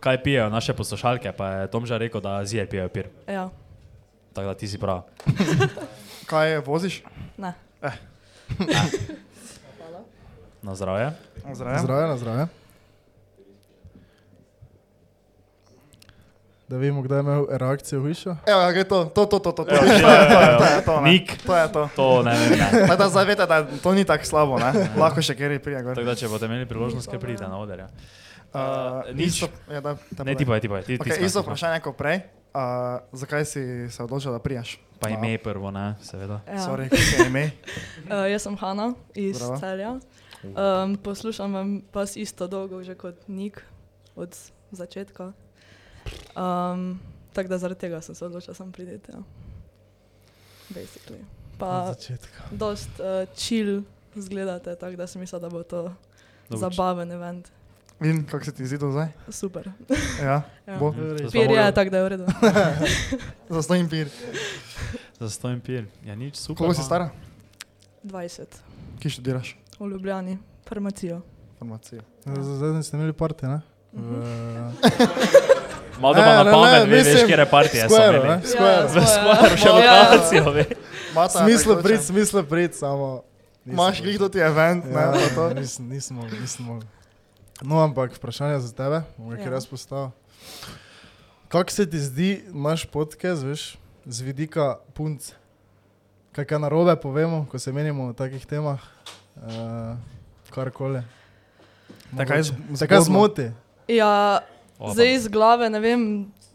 Speaker 2: kaj pijejo naše poslušalke. Pa je Tom že rekel, da zijer pijejo pir.
Speaker 7: Ja,
Speaker 2: Tako da ti si prav.
Speaker 4: Kaj voziš?
Speaker 7: ne.
Speaker 2: Na zdravje.
Speaker 4: Zdravje.
Speaker 3: Zdravje, na zdravje. Da vidimo, kdaj je imel reakcijo hujšo.
Speaker 4: Evo, ja, gre to, to, to, to, to, to, to,
Speaker 2: Ja, ja,
Speaker 4: to,
Speaker 2: ja.
Speaker 4: je to, ne.
Speaker 2: Nik,
Speaker 4: to je to.
Speaker 2: to ne vem. Ne.
Speaker 4: Tako da zdaj veste, da to ni tako slabo, ne? lahko še kjer prije. Gor.
Speaker 2: Tako da, če boste imeli priložnost, kaj pride na oder. Ja.
Speaker 4: Uh,
Speaker 2: eh, nič.
Speaker 4: isto- Ja, da, te
Speaker 2: Ne,
Speaker 4: povej.
Speaker 2: ti pa je, no. ti pa je. Ti, ti
Speaker 4: Okay, isto vprašanje kot prej. Uh, zakaj si se odločil, da prijaš?
Speaker 2: Pa ime prvo, ne, seveda.
Speaker 7: Ja.
Speaker 4: Sorry, kaj je ime?
Speaker 7: Uh, jaz sem Hanna iz
Speaker 4: Zdravo.
Speaker 7: Bravo. Celja. Um, poslušam vam vas isto dolgo, že kot Nik, od začetka. Um, Tako da zaradi tega sem se odločila, da sem pridete. Ja. Basically. Pa
Speaker 3: Od začetka.
Speaker 7: dost uh, chill zgledate, tako da sem mislila, da bo to
Speaker 2: Dobro,
Speaker 7: zabaven event.
Speaker 4: Vidim, kako se ti zdi to zdaj.
Speaker 7: Super.
Speaker 4: Ja,
Speaker 7: Ja.
Speaker 4: bo.
Speaker 2: hm, to smo
Speaker 7: Pir
Speaker 2: mogli-
Speaker 7: je, tako da je v redu.
Speaker 4: Zastojim pir.
Speaker 2: Zastojim pir. Ja, nič, super.
Speaker 4: Koliko si
Speaker 2: no.
Speaker 4: stara?
Speaker 7: 20.
Speaker 4: Ki študiraš?
Speaker 7: V Ljubljani. Farmacijo.
Speaker 4: Farmacijo.
Speaker 7: Ja.
Speaker 3: Z- z- Zadnjič ste imeli parte, ne?
Speaker 7: Mhm.
Speaker 2: Malo da ima
Speaker 3: Ne,
Speaker 2: na
Speaker 3: ne, ne,
Speaker 2: pamet, ve- veš,
Speaker 3: mislim,
Speaker 2: kje je partija.
Speaker 3: Square, ne?
Speaker 7: Ja,
Speaker 3: Square.
Speaker 2: Skoro še no,
Speaker 7: ja, ja.
Speaker 2: lokacijo, veš.
Speaker 4: Mata je
Speaker 3: Smisel
Speaker 4: tekoče.
Speaker 3: prid, smisel prid, samo. nisem
Speaker 4: Imaš
Speaker 3: prišel.
Speaker 4: glih do ti event, ne,
Speaker 3: Ja,
Speaker 4: pa to.
Speaker 3: ja, nisem, nisem mogel, nisem mogel. No, ampak vprašanje za tebe, bom ga
Speaker 7: Ja.
Speaker 3: kar jaz postavil. Kako se ti zdi naš podcast, veš, z vidika punc? Kaj kaj narobe povemo, ko se menimo o takih temah, uh, karkoli.
Speaker 4: Takaj z- zgodno.
Speaker 3: Zakaj zmoti?
Speaker 7: Ja,
Speaker 2: Opa.
Speaker 7: zdaj iz glave ne vem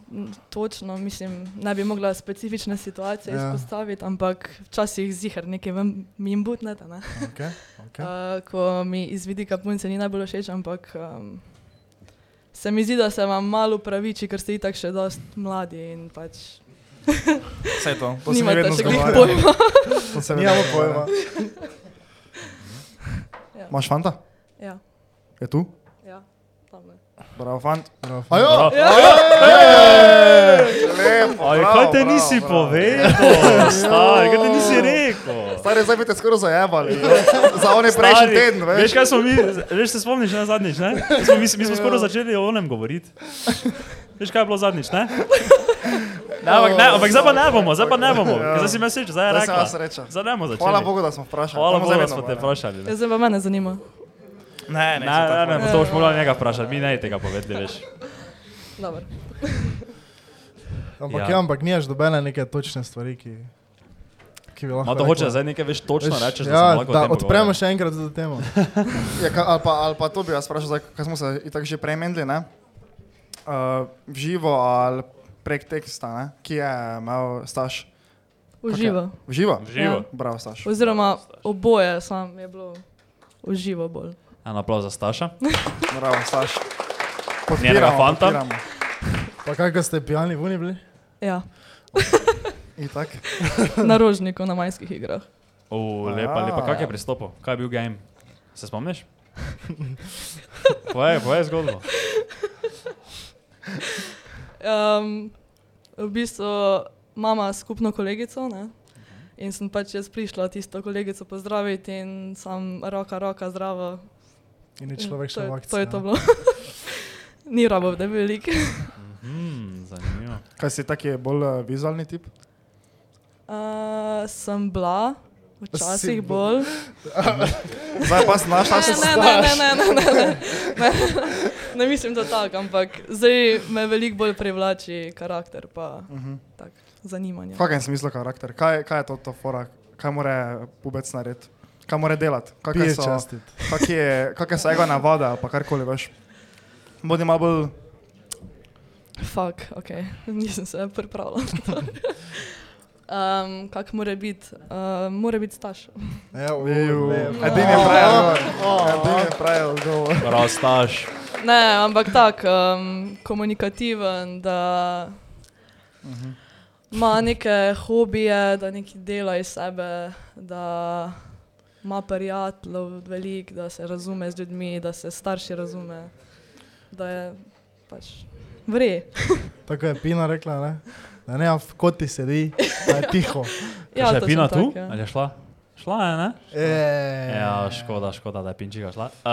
Speaker 7: m, točno, mislim, ne bi mogla specifične situacije
Speaker 3: Ja.
Speaker 7: ja. izpostaviti, ampak včasih zihar nekaj vem, mi jim butnete. Ne?
Speaker 3: Okay, okay.
Speaker 7: Okay. Uh, ko mi iz vidika punce ni najbolj všeč, ampak um, se mi zdi, da se vam malo praviči, ker ste itak še dost mladi in pač
Speaker 4: Vse to, to se mi
Speaker 7: nimate
Speaker 4: vedno
Speaker 7: še glih
Speaker 4: zgovarja.
Speaker 7: pojma.
Speaker 4: To se mi
Speaker 3: Nimamo
Speaker 4: vedno
Speaker 3: pojma.
Speaker 4: zgovarja.
Speaker 7: Ja.
Speaker 4: Imaš fanta?
Speaker 7: Ja,
Speaker 4: Je tu?
Speaker 7: ja, tam ne.
Speaker 4: Bravo, fant.
Speaker 3: Bravo, fant.
Speaker 4: Ajo!
Speaker 2: Bravo.
Speaker 4: Lepo,
Speaker 2: Aj,
Speaker 4: bravo,
Speaker 2: kaj te
Speaker 4: bravo,
Speaker 2: nisi
Speaker 4: bravo.
Speaker 2: povedal, stari, kaj te nisi rekel?
Speaker 4: Stari, zdaj bi te skoraj zajebali. no. Za one prejšnji
Speaker 2: Stari,
Speaker 4: teden,
Speaker 2: Veš,
Speaker 4: veš.
Speaker 2: kaj smo mi, veš, se spomniš na zadnjič, ne? Mi smo, mi, mi smo skoro začeli o onem govoriti. Veš, kaj je bilo zadnjič, ne? ne ampak, ne, ampak zdaj pa ne bomo, zdaj pa ne bomo. ker Zdaj si me sreča, zdaj je
Speaker 4: Ja. Zdaj se
Speaker 2: rekla.
Speaker 4: vas sreča.
Speaker 2: Zdaj ne bomo začeli.
Speaker 4: Hvala Bogu, da smo vprašali.
Speaker 2: Hvala
Speaker 4: Tam
Speaker 2: Bogu, da
Speaker 4: zavedamo,
Speaker 2: smo te
Speaker 4: ne.
Speaker 2: vprašali.
Speaker 7: Ja, zdaj pa mene zanima.
Speaker 4: Ne,
Speaker 2: Ne,
Speaker 4: ne,
Speaker 2: ne, ne,
Speaker 4: ne.
Speaker 2: ne, to boš moral njega vprašati, mi ne tega povedali, veš.
Speaker 7: Dobar.
Speaker 3: Ampak,
Speaker 2: Ja.
Speaker 3: ja. ja, ampak nimaš dobene neke točne stvari, ki, ki bi lahko.
Speaker 2: Ma to hoče
Speaker 3: rekla.
Speaker 2: zdaj nekaj veš točno
Speaker 3: Veš,
Speaker 2: rečeš, da
Speaker 3: ja,
Speaker 2: se lahko o
Speaker 3: da
Speaker 2: tem
Speaker 3: odpremo
Speaker 2: pogovarjamo.
Speaker 3: še enkrat to temo.
Speaker 4: Ja, ka, ali, pa, ali pa to bi vas vprašal, zdaj, kaj smo se itak že prej menili, ne? Uh, živo ali prek teksta, ne? Ki je imel staž.
Speaker 7: Uživo.
Speaker 4: Živo?
Speaker 2: V Živo.
Speaker 4: Bravo, staž.
Speaker 7: Oziroma oboje sam je bilo uživo bolj.
Speaker 4: Ja.
Speaker 2: En aplauz za Staša.
Speaker 4: Bravo, staž.
Speaker 2: Njenega fanta.
Speaker 4: podpiramo.
Speaker 3: Pa kako ste pijani, vuni bili?
Speaker 7: Ja,
Speaker 4: Itak.
Speaker 7: na rožniku na majskih igrah.
Speaker 2: O, lepa, lepa. Kak je pristopil? Kaj je bil game? Se spomniš? Povej, povej zgodbo.
Speaker 7: Um, v bistvu imamo skupno kolegico ne? in sem pač jaz prišla tisto kolegico pozdraviti in sam roka, roka zdravo.
Speaker 3: In je
Speaker 7: In
Speaker 3: človek
Speaker 7: Ja, to
Speaker 3: še v
Speaker 7: je-
Speaker 3: akciji.
Speaker 7: To je to
Speaker 3: ne.
Speaker 7: bilo. Ni rabo, da bi velik.
Speaker 2: Hmm, zanimivo.
Speaker 4: Kaj si tak je bolj uh, vizualni tip?
Speaker 7: Uh, sem bila, včasih
Speaker 3: Si
Speaker 7: bolj.
Speaker 4: Zdaj pa si našla se
Speaker 7: Ne, ne, ne, ne, ne, ne, ne, ne. Ne mislim, da tako, ampak zdaj me veliko bolj privlači karakter, pa
Speaker 3: Mhm.
Speaker 7: tak, zanimanje.
Speaker 4: V kakšnem smislu karakter? Kaj, kaj je to, to fora? Kaj mora pubec narediti? Kaj mora delati? Kakšne
Speaker 3: Pije
Speaker 4: so,
Speaker 3: častiti.
Speaker 4: kak je- kakšne so njegove navade ali pa karkoli veš? Bodi malo bolj
Speaker 7: Fak, ok, nisem se pripravila. um, kak mora biti? Uh, mora biti staž.
Speaker 3: Ja, u,
Speaker 4: Eju.
Speaker 3: ne,
Speaker 4: Edini je pravi odgovor. Edini je pravi odgovor.
Speaker 2: Prav Staš.
Speaker 7: Ne, ampak tak, um, komunikativen, da ima neke hobije, da nekaj dela iz sebe, da ima prijateljev veliko, da se razume z ljudmi, da se starši razume, da je pač vre.
Speaker 3: Tako je Pina rekla, ne? Da ne, v koti sedi, da je tiho.
Speaker 2: Ja, je
Speaker 7: točno
Speaker 2: Pina
Speaker 7: tak,
Speaker 2: tu?
Speaker 7: ja.
Speaker 2: Ali je šla? Šla je, ne?
Speaker 3: E,
Speaker 2: Ja, škoda, škoda, da je Pinčiga šla. Uh,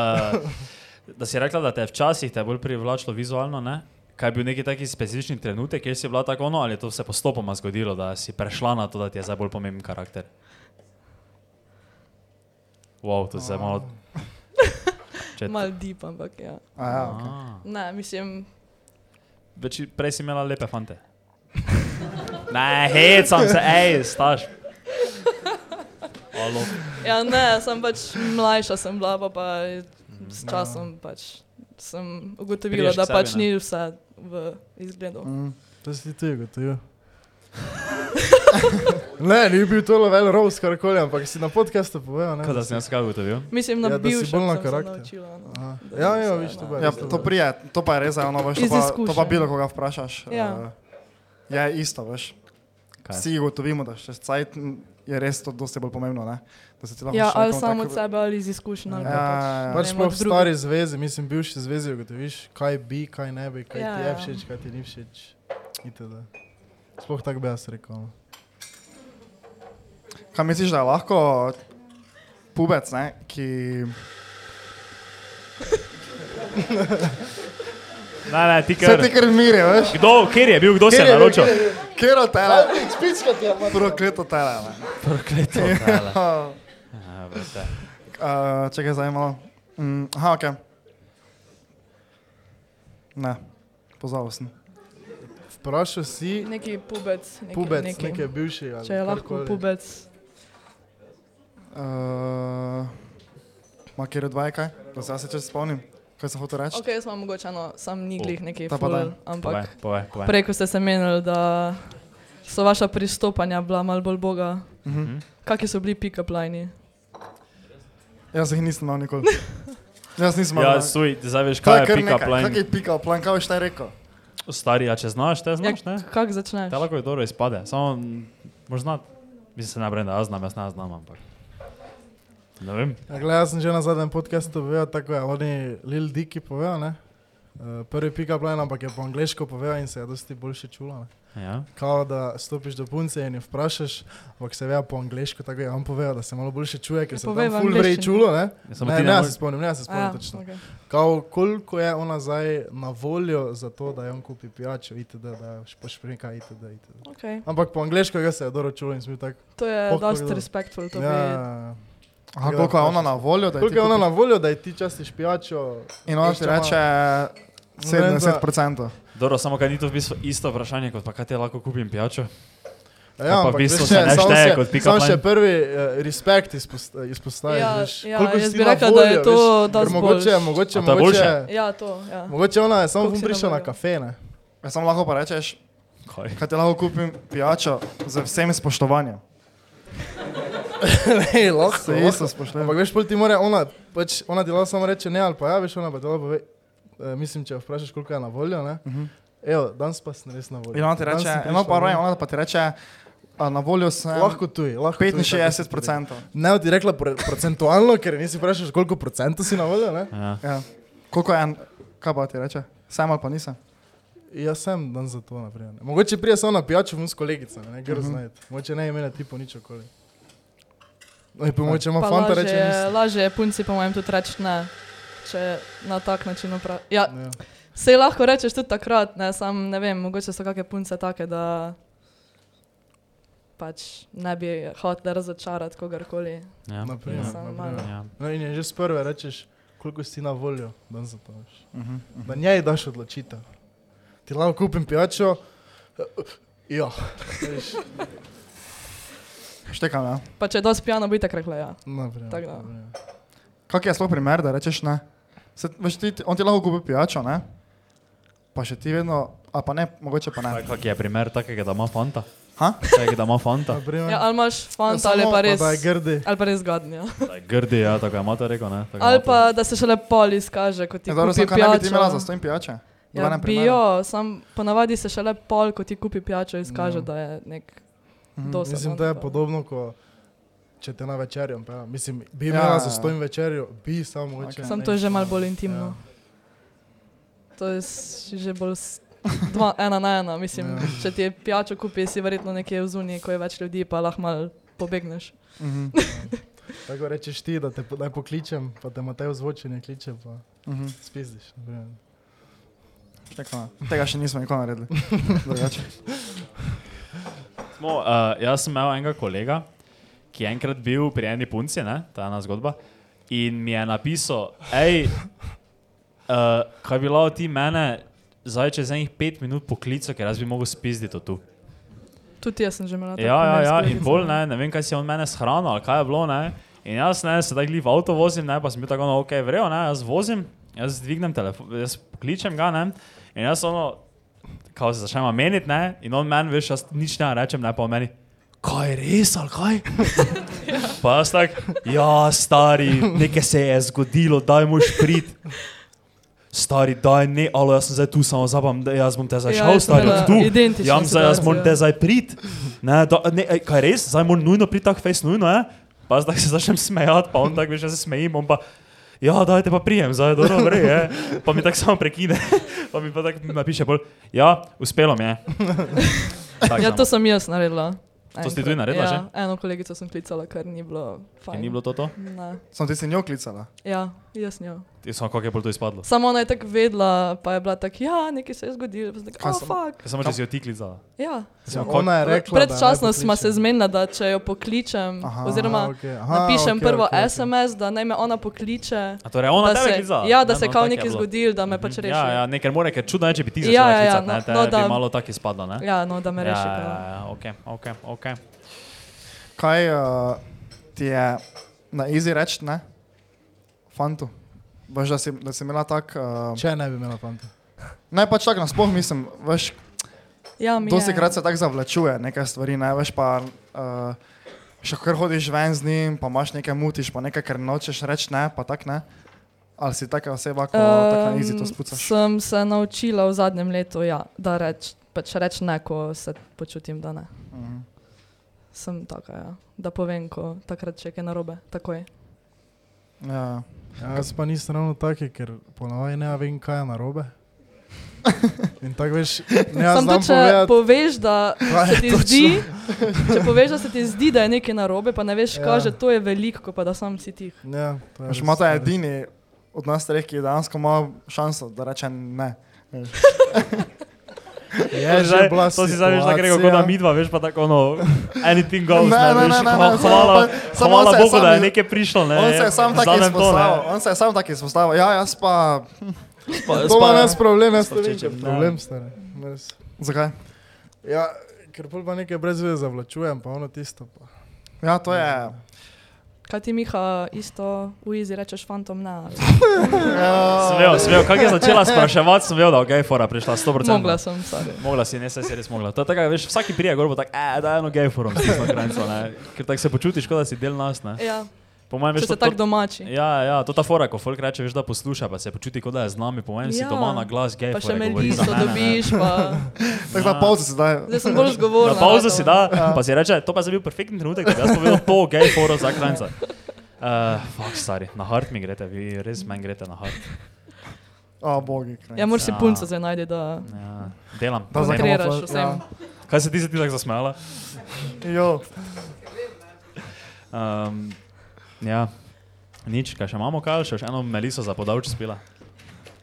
Speaker 2: da si rekla, da te je včasih te je bolj privlačilo vizualno, ne? Kaj je bil neki taki specifični trenutek, kjer si bila tako ono, ali je to se postopoma zgodilo, da si prešla na to, da ti je zdaj bolj pomemben karakter? Wow, to se je malo... Če-
Speaker 7: Mal deep, ampak ja.
Speaker 4: A ja, ok.
Speaker 2: A.
Speaker 7: Ne, mislim,
Speaker 2: Več, prej si imela lepe fante. Ne, hecam se, hej, staž. Alo.
Speaker 7: ja, ne, sem pač mlajša, sem bila pa, pa je s časom pač sem ugotovila,
Speaker 2: Prideš k
Speaker 7: da
Speaker 2: sebi,
Speaker 7: pač
Speaker 2: ne?
Speaker 7: ni vse v izgledu.
Speaker 3: To si ti tu ugotovil. ne, ni bil to level rose, karkoli, ampak si na podkastu povedal, ne?
Speaker 2: Kaj da sem jaz kaj ugotovil?
Speaker 7: Mislim, na
Speaker 3: Ja, da si
Speaker 7: bivšem
Speaker 3: bolj na
Speaker 7: sem se
Speaker 3: karakter.
Speaker 7: naučila, no,
Speaker 3: Aha.
Speaker 7: da
Speaker 3: Ja,
Speaker 7: nisem
Speaker 3: ja,
Speaker 7: se
Speaker 3: viš to
Speaker 7: na-
Speaker 3: bo.
Speaker 4: Ja, to prije, to pa je res eno, veš, to
Speaker 7: Iz
Speaker 4: pa, to
Speaker 7: izkušenj.
Speaker 4: pa bilo koga vprašaš.
Speaker 7: Ja.
Speaker 4: eh, Je isto, veš.
Speaker 2: Kaj?
Speaker 4: Vsi ugotovimo, da še cajt m, je res to dosti bolj pomembno, ne? Da se ti lahko še
Speaker 7: Ja, ali
Speaker 4: nekomu
Speaker 7: samo
Speaker 4: tako-
Speaker 7: od sebe, ali iz izkušenj. ali pa
Speaker 4: Ja,
Speaker 7: pač,
Speaker 4: ja, ja.
Speaker 7: ne
Speaker 3: Pač
Speaker 7: vem,
Speaker 3: pa
Speaker 7: od
Speaker 3: v
Speaker 7: drugih.
Speaker 3: stari zvezi, mislim, bivši zvezi ugotoviš, kaj bi, kaj ne bi, kaj
Speaker 7: Ja,
Speaker 3: ti je
Speaker 7: ja.
Speaker 3: všeč, kaj ti ni všeč. Itd. Sploh tako bi jaz rekel. no.
Speaker 4: Kaj misliš, da je lahko pubec, ne, ki...
Speaker 2: Ne, ne, ti
Speaker 4: Se
Speaker 2: kar.
Speaker 4: ti kar miri, veš?
Speaker 2: Kdo, kjer je bil, kdo se je naročil?
Speaker 4: Kero tele. Spicka ti je. Prvo kleto tele, ne. Ja.
Speaker 2: Prokleto. brale. A, veste.
Speaker 4: Uh, čakaj, zdaj malo. Mm, aha, ok. Ne, pozabil sem.
Speaker 3: Vprašal si
Speaker 7: pač Neki pubec. Neki,
Speaker 3: pubec,
Speaker 7: neki.
Speaker 3: nekaj bivšega. ali
Speaker 7: Če je lahko
Speaker 3: karkoli.
Speaker 7: pubec.
Speaker 4: Uh, Makero 2 je kaj? Da se jaz se čez spomnim. Kaj sem hotel
Speaker 3: Pač-
Speaker 4: reči?
Speaker 7: Ok, jaz imam mogoče eno, sam niglih nekaj
Speaker 4: Ta pa daj.
Speaker 7: ful,
Speaker 2: Povej,
Speaker 7: ampak
Speaker 2: povej, povej.
Speaker 7: prej, ko ste se menili, da so vaša pristopanja bila malo bolj boga.
Speaker 4: Mhm.
Speaker 7: Kakšni so bili pick-up lini?
Speaker 4: Jaz jih nisem imel nikoli. Jaz nisem imel.
Speaker 2: Ja,
Speaker 4: ne.
Speaker 2: suj, zdaj veš,
Speaker 4: To
Speaker 2: kaj je
Speaker 4: nekaj.
Speaker 2: pick-up
Speaker 4: Kak
Speaker 2: line.
Speaker 4: je pick-up line? Kaj boš taj rekel?
Speaker 2: Stari, a če znaš, te znaš, ne?
Speaker 7: Kako Ja, začneš?
Speaker 2: Te lahko je dobro izpade, samo možda, mislim se ne brenda, jaz znam, jaz ne znam, ampak. Ne vem.
Speaker 3: Ja, gled, jaz sem že na zadnjem podkastu povedal, tako je, oni Lil Dicky povedal, ne? Eh, Prvi pika plan, ampak je po angliško povedal in se je dosti boljše čulo. Ne?
Speaker 2: Ja.
Speaker 3: Kao da stopiš do punce in jo vprašaš, ampak se ve po angliško, tako je on povedal, da se malo boljše čuje, ker se
Speaker 7: Povej
Speaker 3: tam
Speaker 7: Ja, v
Speaker 3: ful vrej
Speaker 7: angleščini. Ja.
Speaker 3: čulo, ne?
Speaker 2: Ja, samo
Speaker 3: Ne,
Speaker 2: ti
Speaker 3: ne,
Speaker 2: ne
Speaker 3: jaz se
Speaker 2: moreš.
Speaker 3: spomnim, ne, jaz se spomnim
Speaker 7: Aja,
Speaker 3: točno.
Speaker 7: okej.
Speaker 3: Kao, koliko je ona zdaj na voljo za to, da je on kupi pijačo, itd., da pošprinka, itd., itd.
Speaker 7: Okej.
Speaker 3: Ampak po angleško ga se je dobro čulo in smo bili tako.
Speaker 7: To je
Speaker 3: Fuck,
Speaker 7: dosti
Speaker 3: kako je
Speaker 7: respektful, to bi...
Speaker 3: Ja,
Speaker 4: Aha, koliko je ona na voljo? da je
Speaker 3: koliko
Speaker 4: ti
Speaker 3: je ona
Speaker 4: kupiš?
Speaker 3: na voljo, da ji ti častiš pijačo?
Speaker 4: In ona ti
Speaker 3: Išče malo.
Speaker 4: reče 70%.
Speaker 2: Dobro, samo kaj ni to v bistvu isto vprašanje, kot pa kaj te lahko kupim pijačo.
Speaker 3: Ja,
Speaker 2: pa v
Speaker 3: ampak
Speaker 2: bistvu
Speaker 3: veš,
Speaker 2: se ne
Speaker 3: samo
Speaker 2: šteje
Speaker 3: še-
Speaker 2: kot pick-up
Speaker 3: Samo še
Speaker 2: line.
Speaker 3: prvi uh, respekt izpost, izpostaviš.
Speaker 7: Ja,
Speaker 3: veš.
Speaker 7: ja,
Speaker 3: Koliko si
Speaker 7: jaz
Speaker 3: ti
Speaker 7: bi
Speaker 3: na
Speaker 7: rekla, da je
Speaker 3: voljo,
Speaker 7: to
Speaker 3: veš, ker
Speaker 7: dosti
Speaker 3: mogoče,
Speaker 7: boljše.
Speaker 3: mogoče,
Speaker 2: A to je
Speaker 3: mogoče,
Speaker 2: boljše?
Speaker 7: Ja, to, ja.
Speaker 3: mogoče ona je samo
Speaker 7: Koliko si na
Speaker 3: prišla na
Speaker 7: voljo?
Speaker 3: kafe. Ne?
Speaker 4: Ja, samo lahko pa rečeš,
Speaker 2: Kaj?
Speaker 4: kaj ti lahko kupim pijačo z vsem spoštovanjem.
Speaker 3: Ej, lahko,
Speaker 4: Se isto spoštujem.
Speaker 3: Ampak veš, pol ti mora ona, pač ona ti lahko samo reče ne ali pa ja, veš, ona pa ti lahko pove, eh, mislim, če jo vprašaš, koliko je na voljo, ne?
Speaker 4: Mhm.
Speaker 3: Evo, danes pa sem res na voljo.
Speaker 4: In ona ti
Speaker 3: Danes
Speaker 4: reče,
Speaker 3: sem prišla
Speaker 4: eno pa
Speaker 3: ven.
Speaker 4: raje, ona pa ti reče, a na voljo sem
Speaker 3: Lahko tuji, lahko tuji, tako si ti rekel.
Speaker 4: 65%.
Speaker 3: Ne, ti rekla pre, procentualno, ker nisi vprašaš, koliko procentov si na voljo, ne?
Speaker 2: Ja.
Speaker 4: Ja. Koliko je en, kaj pa ti reče? Sem ali pa nisem.
Speaker 3: Jaz Ja, sem dan za to, naprimer. Mogoče prije samo na pijačo vun s kolegicami, ne gre znati. Mogoče ne imena tipo nič okoli. No, in pa mogoče ima
Speaker 7: Pa
Speaker 3: fanta
Speaker 7: lažje,
Speaker 3: reče,
Speaker 7: je-
Speaker 3: nisem.
Speaker 7: lažje je punci, po mojem, tudi reči ne. Če na tak način opraviš. Ja,
Speaker 3: Ja.
Speaker 7: se lahko rečeš tudi takrat, ne, sam ne vem, mogoče so kakšne punce take, da pač ne bi hotel razočarati kogarkoli.
Speaker 2: Ja.
Speaker 3: Naprimer,
Speaker 7: Samo
Speaker 3: naprimer.
Speaker 7: malo.
Speaker 2: Ja.
Speaker 3: No, in je že s prve rečeš, koliko si ti na voljo, dan za to. veš.
Speaker 4: Mhm.
Speaker 3: Da njej daš odločitev. Ti lahko kupim pijačo. Ja, veš,
Speaker 4: Štekam, ja.
Speaker 7: Pa če je dosti pijano, bi tako rekla ja.
Speaker 3: naprimer.
Speaker 7: Tako da.
Speaker 3: naprimer.
Speaker 4: Kak je sploh primer, da rečeš ne? Se, veš, ti, on ti lahko kupi pijačo, ne? Pa še ti vedno, a pa ne, mogoče pa ne.
Speaker 2: Kaj, kak je primer takega, da ima fanta?
Speaker 4: Ha?
Speaker 2: Takega, da ima fanta.
Speaker 3: Naprimer.
Speaker 7: ja ali imaš fanta, ali
Speaker 3: Samo
Speaker 7: pa res.
Speaker 3: Da je grdi.
Speaker 7: Ali pa res gadni. Ja.
Speaker 2: Da je Grdi, ja, tako je Mata rekel, ne? Tako je
Speaker 7: Ali
Speaker 2: Mata-
Speaker 7: pa da se šele pol izkaže, kot ti
Speaker 4: Ja, dobro,
Speaker 7: kupi
Speaker 4: sem kaj ne bi ti imela za
Speaker 7: pijačo.
Speaker 4: stojim pijače. V
Speaker 7: Ja,
Speaker 4: nobenem primeru.
Speaker 7: bio, sam ponavadi se šele pol, ko ti kupi pijačo, izkaže,
Speaker 2: No.
Speaker 7: da je nek
Speaker 2: Mhm.
Speaker 7: no, dosti.
Speaker 3: Mislim, da je podobno, ko če te na večerjo. peljem. Mislim, bi
Speaker 4: Ja,
Speaker 3: imela
Speaker 4: ja,
Speaker 3: za
Speaker 4: ja.
Speaker 3: stojim večerjo, bi samo mogoče.
Speaker 4: Ok.
Speaker 7: Sam
Speaker 3: ne,
Speaker 7: to je že malo bolj
Speaker 3: Ja.
Speaker 2: Ja.
Speaker 7: intimno. To je s- že bolj s- dva, ena na ena. Mislim,
Speaker 3: Ja.
Speaker 7: če ti je pijačo kupi, si verjetno nekje v zuniji, ko je več ljudi, pa lahko malo pobegneš.
Speaker 4: Mhm.
Speaker 3: Tako rečeš ti, da te po- naj pokličem, pa te Matej zvoči ne kliče, pa
Speaker 4: Mhm.
Speaker 3: spizdiš. naprimer.
Speaker 4: Štekam, ja. Tega še nismo nikoli naredili. Drugače.
Speaker 2: Smo, uh, jaz sem imel enega kolega, ki je enkrat bil pri eni punci, ne, ta ena zgodba, in mi je napisal, hej, uh, kaj bi lao ti mene zdaj čez enih pet minut poklical, ker jaz bi mogel spizditi to tu.
Speaker 7: Tudi jaz sem že imel.
Speaker 2: Ja, ja, ja, in bolj
Speaker 7: no.
Speaker 2: ne, ne vem, kaj si je on mene shranil ali kaj je bilo. Ne. In jaz ne, se tako glih v avto vozim, ne, pa sem bil tako, no, ok, vrejo, ne, jaz vozim, jaz dvignem telefon, jaz kličem ga, ne, in jaz ono, kao se začnem meniti, ne, in on meni, veš, jaz nič ne rečem, ne, pa on meni, kaj res ali kaj? pa jaz tako, ja, stari, nekaj se je zgodilo, daj moš prid. Stari, daj ne, alo, jaz sem zdaj tu, samo zabam, jaz bom te
Speaker 7: Ja,
Speaker 2: zašel, ja,
Speaker 7: jaz sem
Speaker 2: stari,
Speaker 7: imela
Speaker 2: tu.
Speaker 7: identično
Speaker 2: Jam zdaj, jaz
Speaker 7: situacijo.
Speaker 2: moram te zdaj prid. Ne, da, ne, ej, kaj res, zdaj moram nujno prid, tak face nujno je. Pa zdaj se začnem smejati, pa on tako veš, jaz se smejim, on pa, ja, dajte pa prijem, zdaj dobro, dobro, je. Pa mi tako samo prekine, pa mi pa tako napiše bolj, ja, uspelo mi je. Tak,
Speaker 7: Ja,
Speaker 2: samo.
Speaker 7: to sem jaz naredila.
Speaker 2: no. To si ti tudi naredila
Speaker 7: ja, že? Eno kolegico sem klicala, ker ni bilo fajn.
Speaker 2: In ni bilo to to?
Speaker 7: Ne.
Speaker 4: Samo ti si njo klicala.
Speaker 7: Ja, jaz njo.
Speaker 2: Samo kako je bolj to izpadlo.
Speaker 7: Samo ona je tako vedela, pa je bila tako, ja, nekaj se je zgodilo. Pa sem tako,
Speaker 4: Kaj
Speaker 7: oh,
Speaker 4: samo-
Speaker 7: fuck.
Speaker 2: Samo če si otikli za.
Speaker 7: Ja.
Speaker 2: Samo kako-
Speaker 3: Ona je rekla, da je
Speaker 7: Predčasno
Speaker 3: naj
Speaker 7: smo se
Speaker 3: pokliče.
Speaker 7: zmenili, da če jo pokličem, Aha, oziroma
Speaker 3: okay. Aha,
Speaker 7: napišem
Speaker 3: okej,
Speaker 7: prvo
Speaker 3: okej, okej.
Speaker 7: SMS, da naj me ona pokliče.
Speaker 2: A torej ona
Speaker 7: da
Speaker 2: tebe
Speaker 7: se,
Speaker 2: klica?
Speaker 7: ja, da se
Speaker 2: no,
Speaker 7: kao
Speaker 2: tako je
Speaker 7: nekaj
Speaker 2: bilo.
Speaker 7: zgodilo, da me pač reši.
Speaker 2: Ja, ja, ne, ker mora, ker čudno je, če bi ti
Speaker 7: Ja,
Speaker 2: začela
Speaker 7: ja, ja,
Speaker 2: klicat, ne,
Speaker 7: no,
Speaker 2: te
Speaker 7: no, da.
Speaker 2: bi malo tako izpadlo, ne?
Speaker 7: ja, no, da me reši.
Speaker 2: Ja,
Speaker 7: pa.
Speaker 2: ja, ja, ok, ok, ok.
Speaker 4: Kaj uh, ti je na izi reči, ne? Fantu. Veš, da si, da si imela tak. Uh,
Speaker 3: Če ne bi imela fanta.
Speaker 4: ne, pač tako nasploh mislim. Veš,
Speaker 7: Ja, mi
Speaker 4: dosti
Speaker 7: je.
Speaker 4: krat se tako zavlačuje nekaj stvari, ne veš pa. Uh, še kar hodiš ven z njim, pa imaš nekaj mutiš, pa nekaj, kar nočeš reči, ne, pa tak ne. Ali si taka oseba, ko um, tako na izi to
Speaker 7: Em,
Speaker 4: spucaš?
Speaker 7: Sem se naučila v zadnjem letu, ja, da reč, pač reč ne, ko se počutim, da ne.
Speaker 4: Mhm.
Speaker 7: Sem taka, ja. da povem, ko takrat še kaj narobe, takoj.
Speaker 4: Ja.
Speaker 3: Ja, jaz pa nisem ravno taki, ker ponavadi ne vem, kaj je narobe. In tako veš, ne
Speaker 4: Ja,
Speaker 7: Sam
Speaker 3: znam
Speaker 7: to, če
Speaker 3: povedati.
Speaker 7: poveš, da
Speaker 3: Kaj
Speaker 7: se
Speaker 3: je
Speaker 7: ti
Speaker 3: točno?
Speaker 7: zdi, če poveš, da se ti zdi, da je nekaj narobe, pa ne veš,
Speaker 3: Ja.
Speaker 7: ja. kaže, to je veliko, ko pa da sam si tih.
Speaker 3: Ja, to je
Speaker 4: Veš,
Speaker 3: res,
Speaker 4: Mata
Speaker 3: to
Speaker 4: je
Speaker 3: res.
Speaker 4: edini od nas treh, ki dejansko ima šanso, da reče ne.
Speaker 3: Je
Speaker 2: To si
Speaker 3: že
Speaker 2: zdaj-
Speaker 3: bila
Speaker 2: To si zdaj veš, da gre
Speaker 3: situacija.
Speaker 2: kot da midva, veš pa tako ono, anything
Speaker 4: Ne,
Speaker 2: goes, ne,
Speaker 4: ne,
Speaker 2: veš,
Speaker 4: ne, ne,
Speaker 2: hva-
Speaker 4: ne, samo
Speaker 2: hvala,
Speaker 4: pa- samo
Speaker 2: hvala
Speaker 4: on se je
Speaker 2: Bogu,
Speaker 4: sam
Speaker 2: da je
Speaker 4: iz-
Speaker 2: nekaj prišlo, ne.
Speaker 4: On se je sam tako
Speaker 2: vzanem to, ne.
Speaker 4: izpostavil. On se je sam tako izpostavil. Ja, jaz pa.
Speaker 3: To ima nas problem, jaz to vem,
Speaker 2: Čičem,
Speaker 3: ker
Speaker 2: ja.
Speaker 3: problem stane. Res.
Speaker 4: Zakaj?
Speaker 3: Ja, ker pol pa nekaj brez veze zavlačujem, pa ono tisto. Pa.
Speaker 4: Ja, to je.
Speaker 7: Kaj ti Miha isto v izi rečeš fantom ne? ali?
Speaker 2: Sem
Speaker 4: Ja.
Speaker 2: vedel, sem vedel, kako je začela spraševati, sem vedel, da je fora prišla, 100%.
Speaker 7: Mogla sem, sorry.
Speaker 2: Mogla si, ne, saj si res mogla. To je tako, veš, vsaki prija gor bo tako, eh, da eno gejforom, stisno grenco, ne. Ker tako se počutiš, kot da si del nas, ne.
Speaker 7: Ja,
Speaker 2: Po mojem,
Speaker 7: če
Speaker 2: veš,
Speaker 7: se
Speaker 2: to, to,
Speaker 7: tako domači.
Speaker 2: ja, ja, to ta fora, ko folk reče, veš, da posluša, pa se počuti, kot da je z nami, po mojem, si
Speaker 7: Ja.
Speaker 2: doma na glas gej.
Speaker 7: Pa še
Speaker 2: fore
Speaker 7: me
Speaker 2: govori za
Speaker 7: listo
Speaker 2: mene, ne.
Speaker 7: dobiš, pa
Speaker 4: Tako da pauza se zdaj.
Speaker 7: zdaj sem bolj
Speaker 2: Na
Speaker 7: zgovorna.
Speaker 2: pauzo
Speaker 7: ratala.
Speaker 2: si da,
Speaker 4: Ja.
Speaker 2: pa si reče, to pa je bil perfekten trenutek, da bi jaz povedal to, gej, foro za kranca. Uh, fuck, stari, na hart mi greste, vi res meni greste na hart.
Speaker 4: O, bogi. kraj.
Speaker 7: Ja, moraš si
Speaker 2: Ja.
Speaker 7: punco zdaj najti, da
Speaker 2: Ja, delam.
Speaker 4: Da
Speaker 2: Ne,
Speaker 4: zakrije.
Speaker 7: kontriraš vsem.
Speaker 4: Ja.
Speaker 2: Kaj se ti zdi tako zasmejala?
Speaker 4: Jo.
Speaker 2: Um, ja, nič, kaj še imamo, kaj še, še eno meliso za podavč spila.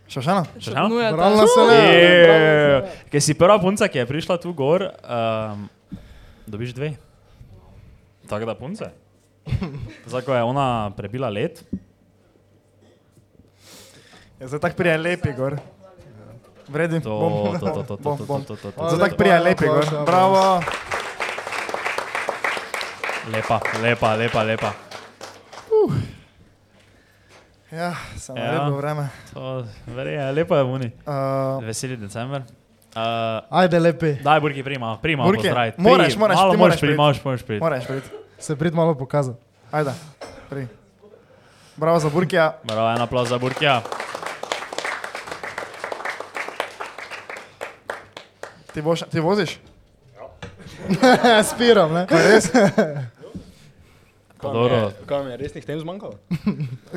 Speaker 4: Še še ena?
Speaker 2: Še eno?
Speaker 7: Ponujata.
Speaker 3: Moralna se ne.
Speaker 2: Je, Ker si prva punca, ki je prišla tu gor, um, dobiš dve. Tako da punce. Zato je ona prebila let.
Speaker 4: Ja, zdaj tako prije lepi gor. Vredi.
Speaker 2: To, to, to, to, to,
Speaker 4: Bom,
Speaker 2: to,
Speaker 4: bom.
Speaker 2: to, to, to.
Speaker 3: Hvala
Speaker 4: Zdaj tako prije lepi gor. Bravo.
Speaker 2: Lepa, lepa, lepa, lepa.
Speaker 4: Ja, sem
Speaker 2: Ja.
Speaker 4: naredil vreme.
Speaker 2: To, verje, lepa je vuni.
Speaker 4: Uh,
Speaker 2: Veseli december. Uh,
Speaker 3: Ajde lepi,
Speaker 2: daj, Burki, prima, prima,
Speaker 4: Burki,
Speaker 2: pozdrav.
Speaker 4: moraš, moraš,
Speaker 2: malo
Speaker 4: ti
Speaker 2: moraš
Speaker 4: moraš
Speaker 2: priti,
Speaker 4: priti.
Speaker 2: moraš, moraš priti.
Speaker 4: moraš priti.
Speaker 3: se prid malo pokazati.
Speaker 4: Ajde. Pri. Bravo za Burkija.
Speaker 2: Bravo, en aplauz za Burkija.
Speaker 4: Ti, boš, ti voziš?
Speaker 3: Spiram, ne?
Speaker 2: Pa dobro.
Speaker 5: Kaj mi je resnih tem zmanjkalo?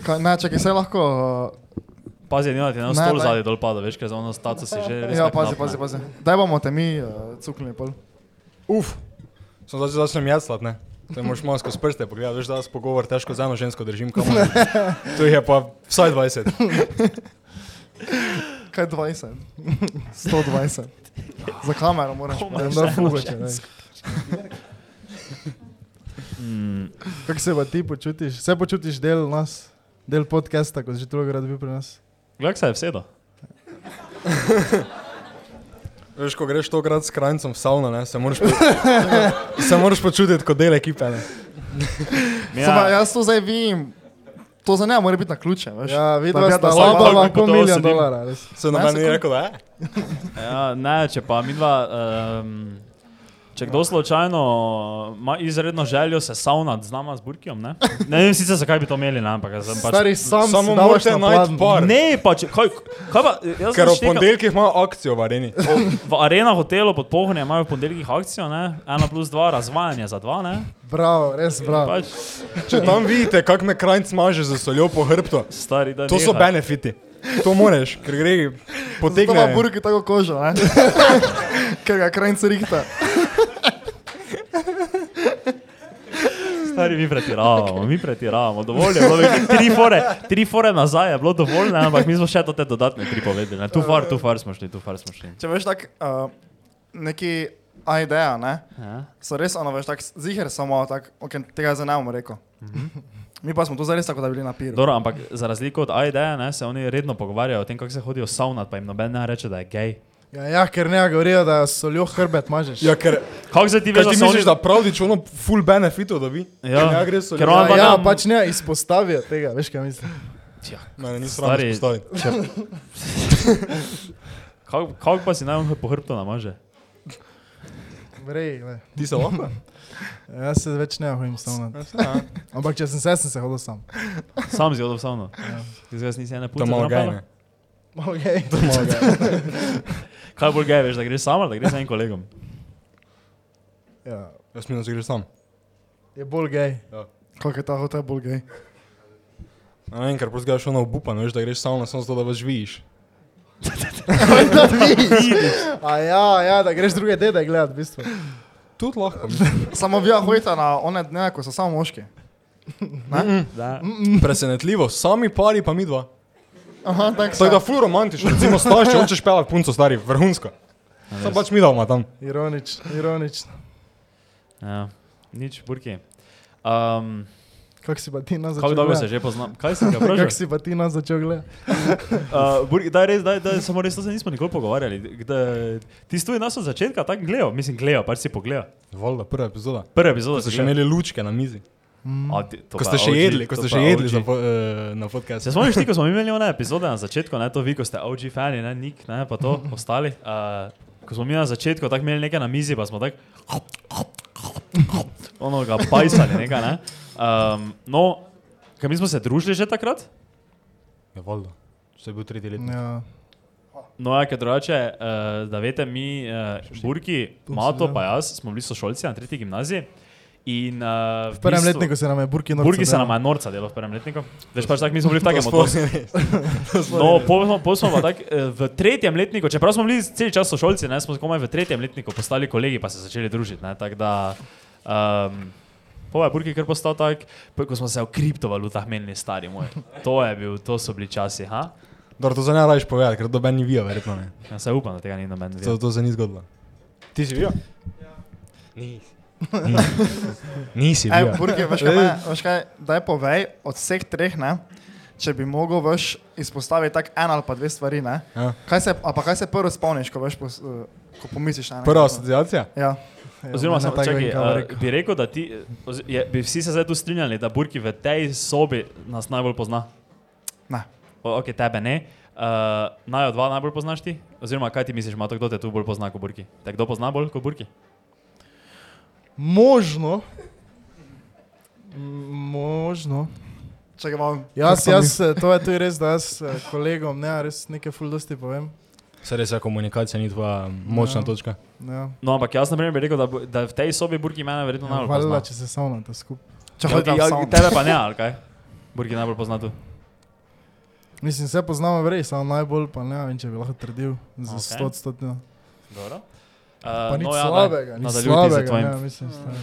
Speaker 4: Kaj, ne, čakaj, se lahko. uh,
Speaker 2: Pazi, da ti ne bo
Speaker 4: Ne,
Speaker 2: stol
Speaker 4: daj.
Speaker 2: zadaj dol padel, veš, ker za ono status si že res. no.
Speaker 4: Ja,
Speaker 2: tako
Speaker 4: pazi,
Speaker 2: napne.
Speaker 4: pazi, pazi. Daj bomo te mi uh, cuknili pol.
Speaker 5: Uf, sem začel začnem jeclat, ne? To moraš malo skozi prste pogledati, veš, da jaz pogovor težko z eno žensko držim, kam To jih je pa vsaj 20.
Speaker 4: Kaj 20? 120. Za kamero moraš.
Speaker 3: Da fugače, ne.
Speaker 2: Mm,
Speaker 3: Kako se pa ti počutiš? Se počutiš del nas, del podcasta, kot že drugi rad bi pri nas?
Speaker 2: Glej, se je vsedo.
Speaker 5: Veš, ko greš tokrat s krancem v savno, ne, se moraš, po... se moraš počutiti kot del ekipe, ne.
Speaker 4: Ja. Sama, jaz to zdaj vidim. To za ne more biti na ključe, veš. Da
Speaker 3: Ja, vidva
Speaker 4: bi
Speaker 3: sta
Speaker 4: jaz
Speaker 2: lahko
Speaker 3: labala
Speaker 2: tako
Speaker 3: kot milijon
Speaker 2: sedim.
Speaker 3: dolarja, res.
Speaker 5: Se na
Speaker 4: Ne,
Speaker 5: meni
Speaker 4: se-
Speaker 5: ni rekel, da je.
Speaker 2: Ja, ne, če pa midva, um, če kdo slučajno ima izredno željo se savnati z nama, z Burkijem, ne? Ne vem sicer, zakaj bi to imeli, ne, ampak sem pač...
Speaker 3: Stari sam
Speaker 5: Samo
Speaker 3: si davaš
Speaker 5: morate
Speaker 3: na
Speaker 5: najti
Speaker 3: pladen.
Speaker 5: par.
Speaker 2: Ne, pa če, kaj, kaj pa, jaz
Speaker 5: Ker
Speaker 2: sem
Speaker 5: ob
Speaker 2: štekal-
Speaker 5: ponedeljkih imajo akcijo v areni.
Speaker 2: v Arena hotelu pod Pohorjem imajo v ponedeljkih akcijo, ne? Ena plus dva, razvajanje za dva, ne?
Speaker 3: Bravo, res bravo.
Speaker 2: Pač,
Speaker 5: Če tam vidite, kako me kranc maže za soljo po hrbtu,
Speaker 2: stari, da
Speaker 5: to so benefiti. To moraš, ker gre
Speaker 4: Zato ima
Speaker 5: potegne.
Speaker 4: Burki tako kožo, ne? Ker ga krajnc rihta.
Speaker 2: Stari, mi pretiravamo, mi pretiravamo, dovolj je bilo, več- tri fore, tri fore nazaj je bilo dovolj, ne, ampak mi smo še to te dodatne tri povedali, ne. tu far, tu far smo šli, tu far smo šli.
Speaker 4: Če veš tako, uh, neki a ideja, ne?
Speaker 2: Ja.
Speaker 4: so res ono, veš tako, ziger samo, tak, okay, tega zdaj ne bom rekel.
Speaker 5: Mhm.
Speaker 4: Mi pa smo tu zares tako, da bi bili na piru.
Speaker 2: Dobro, ampak za razliko od AID-ja, ne, se oni redno pogovarjajo o tem, kako se hodijo savnat, pa jim noben ne reče, da je gej.
Speaker 3: Ja, ja, ker ne govorijo, da soljo hrbet mažeš.
Speaker 5: Ja, ker
Speaker 2: Kako se ti
Speaker 5: kaj
Speaker 2: veš, da
Speaker 5: ti
Speaker 2: so oni...
Speaker 5: misliš, da pravdič ono full benefitov dobi?
Speaker 2: Ja,
Speaker 5: Ja, gre so
Speaker 2: ker
Speaker 5: ljudje.
Speaker 2: on pa
Speaker 3: ja,
Speaker 2: nam-
Speaker 3: pač ne izpostavijo tega, veš kaj mislim.
Speaker 5: Ne, ni sram
Speaker 2: Stari-
Speaker 5: izpostaviti.
Speaker 2: Kako kako pa si naj on po hrbtu namaže?
Speaker 3: Vrej, ne.
Speaker 5: Ti se lahko?
Speaker 3: Jaz se več ne hodim sam. Ampak če sem se, sem se hodil sam.
Speaker 2: Sam si hodil v savno.
Speaker 5: Ja.
Speaker 2: Ti se jaz nisi ene
Speaker 1: To
Speaker 2: punce
Speaker 1: malo gaj,
Speaker 2: trampala?
Speaker 1: ne?
Speaker 3: Okay.
Speaker 2: Kaj bolj gej, veš, da greš sam ali da greš z enim kolegom?
Speaker 3: Ja.
Speaker 5: Jaz mi ne zgriš sam.
Speaker 3: Je bolj gej.
Speaker 2: Ja.
Speaker 4: Kako je ta hotel bolj gej?
Speaker 5: Ne vem, ker prozgaš ono obupan, veš, da greš samo samo zato, da vas vidiš.
Speaker 3: A ja, ja, da greš druge dede gledat, v bistvu.
Speaker 5: Tudi lahko.
Speaker 4: Samo vi hojite na one dneve, ko so samo moški.
Speaker 2: Da.
Speaker 5: Presenetljivo, sami pari pa mi dva.
Speaker 4: Aha, tako
Speaker 5: Tako
Speaker 4: so.
Speaker 5: da ful romantično, recimo staš, če hočeš pelat punco, stari, vrhunsko. Sam pač mi doma tam.
Speaker 3: Ironično, ironično.
Speaker 2: Ja, nič, burki. Um,
Speaker 3: Kako si pa ti nas začel
Speaker 2: kako dolgo se
Speaker 3: gledati?
Speaker 2: že poznam? Kaj sem ga vprašal?
Speaker 3: Kako si pa ti nas začel gledati?
Speaker 2: Uh, Burki, daj res, daj, daj, samo res to se nismo nikoli pogovarjali. Kdaj- Ti stoji nas od začetka, tako gledal, mislim, gledal, pač si pogledal.
Speaker 5: Valjda, prva epizoda.
Speaker 2: Prva epizoda
Speaker 5: Ste
Speaker 2: si
Speaker 5: še
Speaker 2: gledal.
Speaker 5: imeli lučke na mizi.
Speaker 3: Mm,
Speaker 2: A, ti- to
Speaker 5: Ko
Speaker 2: pa
Speaker 5: ste še
Speaker 2: OG,
Speaker 5: jedli, ko
Speaker 2: to
Speaker 5: ste
Speaker 2: pa
Speaker 5: še jedli
Speaker 2: OG.
Speaker 5: za po- eh, na podkastu.
Speaker 2: Se spomniš, ti, ko smo mi imeli one epizode na začetku, ne to vi, ko ste OG fani, ne Nik, ne pa to, ostali. Uh, ko smo mi na začetku tako imeli nekaj na mizi, pa smo tako ono ga pajsali nekaj, ne. Um, no, kaj mi smo se družili že takrat?
Speaker 5: Ja, valjda. To je bil tretji let.
Speaker 3: Ja.
Speaker 2: No, ja, ker drugače, uh, da veste, mi, uh, Burki, Mato pa jaz, smo bili sošolci na tretji gimnaziji. In, uh,
Speaker 3: V prvem letniku se nam je Burki norca
Speaker 2: Burgi se
Speaker 3: delal.
Speaker 2: nam je norca delo v prvem letniku. Veš pač tako, mi smo bili v takem odnosu. No, pol smo- pol smo pa tako, eh, v tretjem letniku, čeprav smo bili cel čas sošolci, ne, smo komaj v tretjem letniku postali kolegi, pa se začeli družiti. Ne, tako da, um, Pova je Burki kar postal tak, pa ko smo se o kriptovalutah menili, stari moj. To je bil, to so bili časi, ha?
Speaker 5: Dobro, to za ne rabiš povedati, ker doben ni bil, verjetno ne.
Speaker 2: Ja, se upam, da tega ni noben
Speaker 5: To,
Speaker 2: vedel.
Speaker 5: to se ni zgodilo. Ja. Ti si bil? Nisi. Nisi
Speaker 4: Ej,
Speaker 5: bil.
Speaker 4: Burki, veš kaj, me- veš kaj, daj povej od vseh treh, ne? Če bi mogel veš izpostaviti tako eno ali pa dve stvari, ne?
Speaker 5: Ja.
Speaker 4: Kaj se, a pa kaj se prvo spomniš, ko veš, pos, eh, ko pomisliš na
Speaker 5: Prva
Speaker 4: nekaj?
Speaker 5: asociacija?
Speaker 4: Ja.
Speaker 2: Oziroma,
Speaker 3: mene
Speaker 2: sem,
Speaker 3: tako
Speaker 2: čakaj,
Speaker 3: vem, kaj bo
Speaker 2: uh,
Speaker 3: rekel.
Speaker 2: bi rekel, da ti, eh, oz- je, bi vsi se zdaj tu strinjali, da Burki v tej sobi nas najbolj pozna.
Speaker 4: Ne.
Speaker 2: O, ok, tebe ne. Uh, Najo dva najbolj poznaš ti? Oziroma, kaj ti misliš, Mato, kdo te tu bolj pozna kot Burki? Te kdo pozna bolj kot Burki?
Speaker 3: Možno. M, Možno.
Speaker 4: Če ga imam.
Speaker 3: Jaz, jaz, eh, to je tudi res, da jaz eh, kolegom ne, res nekaj ful dosti povem.
Speaker 5: Se res je, komunikacija ni tvoja močna
Speaker 3: Ja.
Speaker 5: točka.
Speaker 3: Ja.
Speaker 2: No, ampak jaz na primer bi rekel, da, bo- da v tej sobi Burki mene verjetno
Speaker 3: Ja,
Speaker 2: najbolj pozna.
Speaker 3: Hvala, če se savnate skupaj.
Speaker 4: Če hodim
Speaker 2: ja,
Speaker 4: sam.
Speaker 2: tebe pa ne, ali kaj? Burki najbolj pozna tu.
Speaker 3: Mislim, se poznamo res, samo najbolj pa ne vem, če bi lahko trdil. Za
Speaker 2: Okej.
Speaker 3: okay. 100 stotno.
Speaker 2: Dobro.
Speaker 3: Pa
Speaker 2: Uh,
Speaker 3: nič
Speaker 2: no,
Speaker 3: no,
Speaker 2: ja,
Speaker 3: slabega,
Speaker 2: da,
Speaker 3: nič
Speaker 2: nadaljuj ti z
Speaker 3: slabega.
Speaker 2: tvojim.
Speaker 3: Ne, mislim, stari.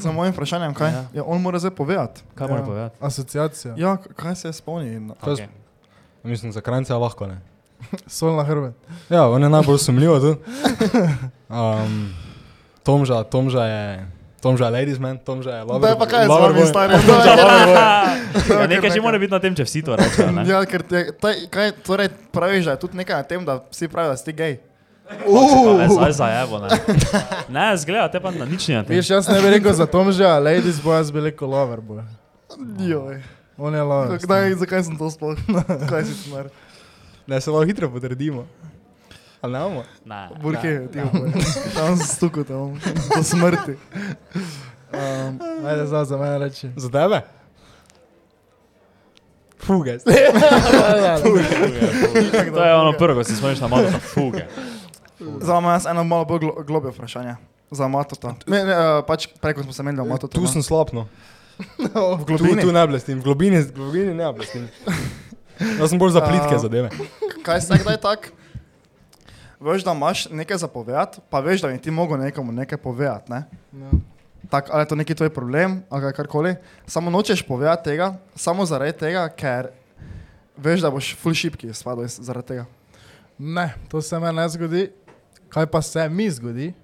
Speaker 4: Za mojim vprašanjem, kaj? Ja, on mora zdaj povedati.
Speaker 2: Kaj moram
Speaker 3: Ja.
Speaker 2: povedati?
Speaker 3: Asociacija.
Speaker 4: Ja, k- kaj se No. je spomnil?
Speaker 5: To je
Speaker 2: Okay.
Speaker 5: Mislim, za krajce je lahko ne.
Speaker 3: Sol na hrbet.
Speaker 5: Ja, on je najbolj sumljiv tu. Um, Tomža, Tomža je, Tomža je ladies man, Tomža je lover.
Speaker 4: Daj pa kaj je z
Speaker 5: lover
Speaker 4: vami,
Speaker 5: boy.
Speaker 4: stari?
Speaker 2: Ja, nekaj že mora biti na tem, če vsi to rečejo. ne?
Speaker 4: Ja, ker te, taj, kaj, torej praviš, da je tudi nekaj na tem, da vsi pravijo, da si ti gej.
Speaker 2: Pač, Zdaj zajebo, ne. Ne, zgleda, te pa na nič ne.
Speaker 3: Veš, jaz ne bi rekel za tom že, a ladies boy, jaz bi rekel lover boy.
Speaker 4: Joj.
Speaker 3: On je lover. stari.
Speaker 4: Kdaj, zakaj sem to sploh? Kaj si smar?
Speaker 5: Ne, se lahko hitro potrdimo. Ali ne bomo?
Speaker 2: Ne.
Speaker 4: Burke, ti boš. Tam si stukal, tam do smrti. Um,
Speaker 3: Ajde, zdaj za mene reči.
Speaker 5: Za tebe? Fugas.
Speaker 2: To je ono prvo, ko si spomniš na malo fuge.
Speaker 4: za me je eno malo bolj glo globje vprašanje. Za Matota. Ne, ne, eh, pač preko smo se menili o Matotu.
Speaker 5: Tu
Speaker 4: ne.
Speaker 5: sem slabno.
Speaker 4: No, v
Speaker 5: Tu,
Speaker 4: globini.
Speaker 5: tu ne blestim, v globini, v globini ne blestim. Jaz sem bolj za plitke
Speaker 4: A.
Speaker 5: zadeve.
Speaker 4: Kaj se kdaj tak? Veš, da imaš nekaj zapovedati, pa veš, da bi ti mogel nekomu nekaj povedati. Ne?
Speaker 3: Ja.
Speaker 4: Tak, ali je to neki tvoj problem, ali kaj- karkoli. Samo nočeš povedati tega, samo zaradi tega, ker veš, da boš full šipki spadal iz- zaradi tega.
Speaker 3: Ne, to se meni ne zgodi. Kaj pa se mi zgodi,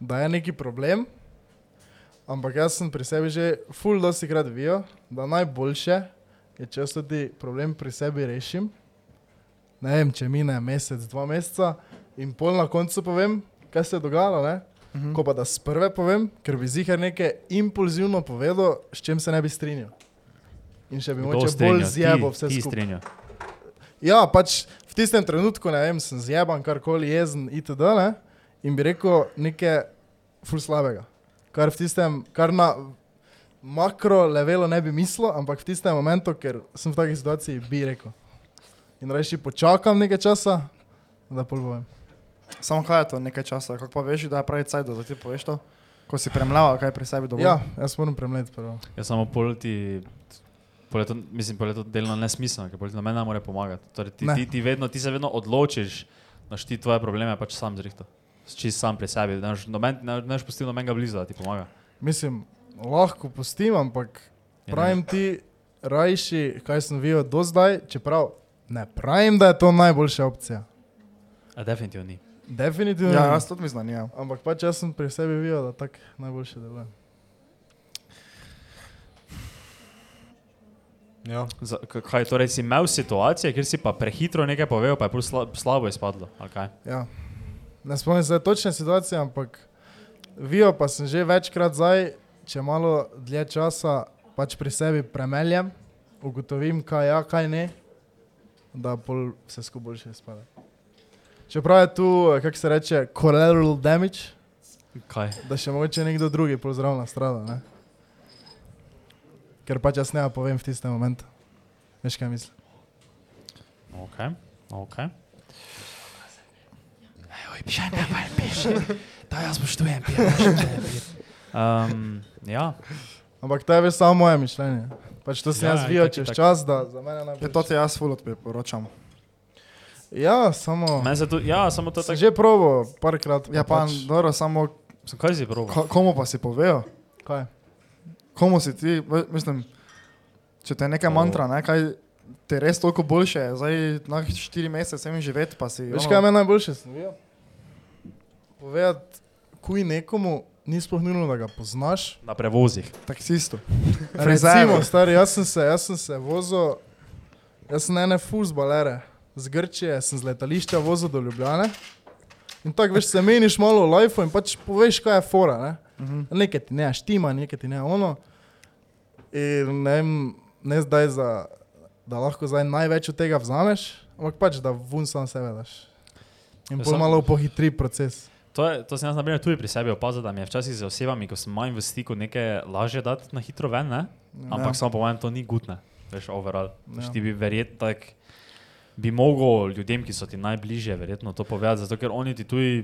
Speaker 3: da je neki problem, ampak jaz sem pri sebi že full dosti krat videl, da najboljše je, če jaz tudi problem pri sebi rešim. Ne vem, če mine mesec, dva meseca in pol na koncu povem, kaj se je dogajalo. Ne? Mhm. Ko pa da sprve povem, ker bi zihar nekaj impulzivno povedal, s čim se ne bi strinjal. In še bi
Speaker 2: Kdo
Speaker 3: mogoče
Speaker 2: strinja?
Speaker 3: bolj zjebo
Speaker 2: Ti-
Speaker 3: vse
Speaker 2: ti
Speaker 3: skupaj.
Speaker 2: strinja.
Speaker 3: Ja, pač v tistem trenutku, ne vem, sem zjeban, karkoli jezen, itd. Ne? In bi rekel nekaj ful slabega. Kar v tistem, kar na makro levelu ne bi mislil, ampak v tistem momentu, ker sem v taki situaciji, bi rekel. In reči, počakam nekaj časa, da polvojem.
Speaker 4: Samo kaj je to nekaj časa, kako pa veš, da je pravi cajt, da ti poveš to, ko si premlaval, kaj pri sebi dovolj.
Speaker 3: Ja, jaz moram premleti prvo.
Speaker 2: Ja, samo pol ti, pol je to, mislim, pol je to delno nesmiselno, ker pol ti noben ne more pomagati. Torej, ti,
Speaker 3: Ne.
Speaker 2: ti, ti, vedno, ti se vedno odločiš, da boš ti tvoje probleme pač sam zrihtal. Čist sam pri sebi, da ne boš noben- ne boš pustil nobenega blizu, da ti pomaga.
Speaker 3: Mislim, lahko pustim, ampak
Speaker 2: Ja, ne.
Speaker 3: pravim ti, rajši, kaj sem videl do zdaj, čeprav ne pravim, da je to najboljša opcija.
Speaker 2: A definitivno ni.
Speaker 3: Definitivno.
Speaker 4: ja jaz tudi mislim, da ni, ja.
Speaker 3: Ampak pač jaz sem pri sebi videl, da tako najboljše deluje.
Speaker 5: Ja.
Speaker 2: Za- k- Kaj, torej si imel situacije, kjer si pa prehitro nekaj povedal, pa je pol sla, slabo izpadlo. ali kaj?
Speaker 3: Ja. Ne spomnim se točne situacije, ampak videl pa sem že večkrat zdaj, če malo dlje časa pač pri sebi premeljem, ugotovim, kaj ja, kaj ne, da pol se skupaj boljše spada. Čeprav je tu, kako se reče, collateral damage,
Speaker 2: Kaj?
Speaker 3: da še mogoče nekdo drugi pol zraven strada, ne? Ker pač jaz ne povem v tistem momentu. Veš kaj mislim?
Speaker 2: Okay. Okay.
Speaker 8: Da, jaz spoštujem, pijem.
Speaker 2: Um, ja,
Speaker 3: Ampak to je veš samo moje mišljenje. Pač to
Speaker 2: Ja,
Speaker 3: sem ja, jaz videl
Speaker 2: itak,
Speaker 3: čez
Speaker 2: itak.
Speaker 3: čas, da za mene
Speaker 4: Ja,
Speaker 3: najbolj.
Speaker 4: to ti jaz full odporočam.
Speaker 3: Ja, samo.
Speaker 2: Meni se tu, ja, samo to je
Speaker 3: Sem
Speaker 2: tako.
Speaker 3: že probo, parkrat.
Speaker 4: Ja, pa
Speaker 3: pač,
Speaker 4: dobro, samo
Speaker 2: Sem Kaj si prav?
Speaker 4: ko- komu pa si povejo?
Speaker 3: kaj?
Speaker 4: komu si ti, v- mislim, če te je neka mantra, ne, kaj ti je res toliko boljše, zdaj na štiri mesece sem živeti, pa si.
Speaker 3: Veš, kaj je meni najboljše? Sem videl? Povedati, kuj nekomu ni sploh nujno, da ga poznaš.
Speaker 2: Na prevozih.
Speaker 4: Taksistu.
Speaker 3: Recimo, stari, jaz sem se, jaz sem se vozil, jaz sem ene fuzbalere z Grčije, sem z letališča vozil do Ljubljane. In tako veš, se meniš malo o lifeu in pač poveš, kaj je fora. Ne? Uh -huh. Nekaj ti ne štima, nekaj ti ne ono. In ne, vem, ne zdaj, za, da lahko zdaj največ od tega vzameš, ampak pač da vun sam sebe daš. In
Speaker 2: Ja,
Speaker 3: pol
Speaker 2: samo-
Speaker 3: malo pohitri proces.
Speaker 2: To, je, to sem jaz na primer tudi pri sebi opazil, da mi je včasih z osebami, ko sem manj v stiku, nekaj lažje dati na hitro ven, ne? ampak ja. samo po mojem to ni gutne, veš, overall. Ja.
Speaker 3: Ja.
Speaker 2: Ti bi verjetno tak, bi mogel ljudem, ki so ti najbližje, verjetno to povedati, zato ker oni ti tuji,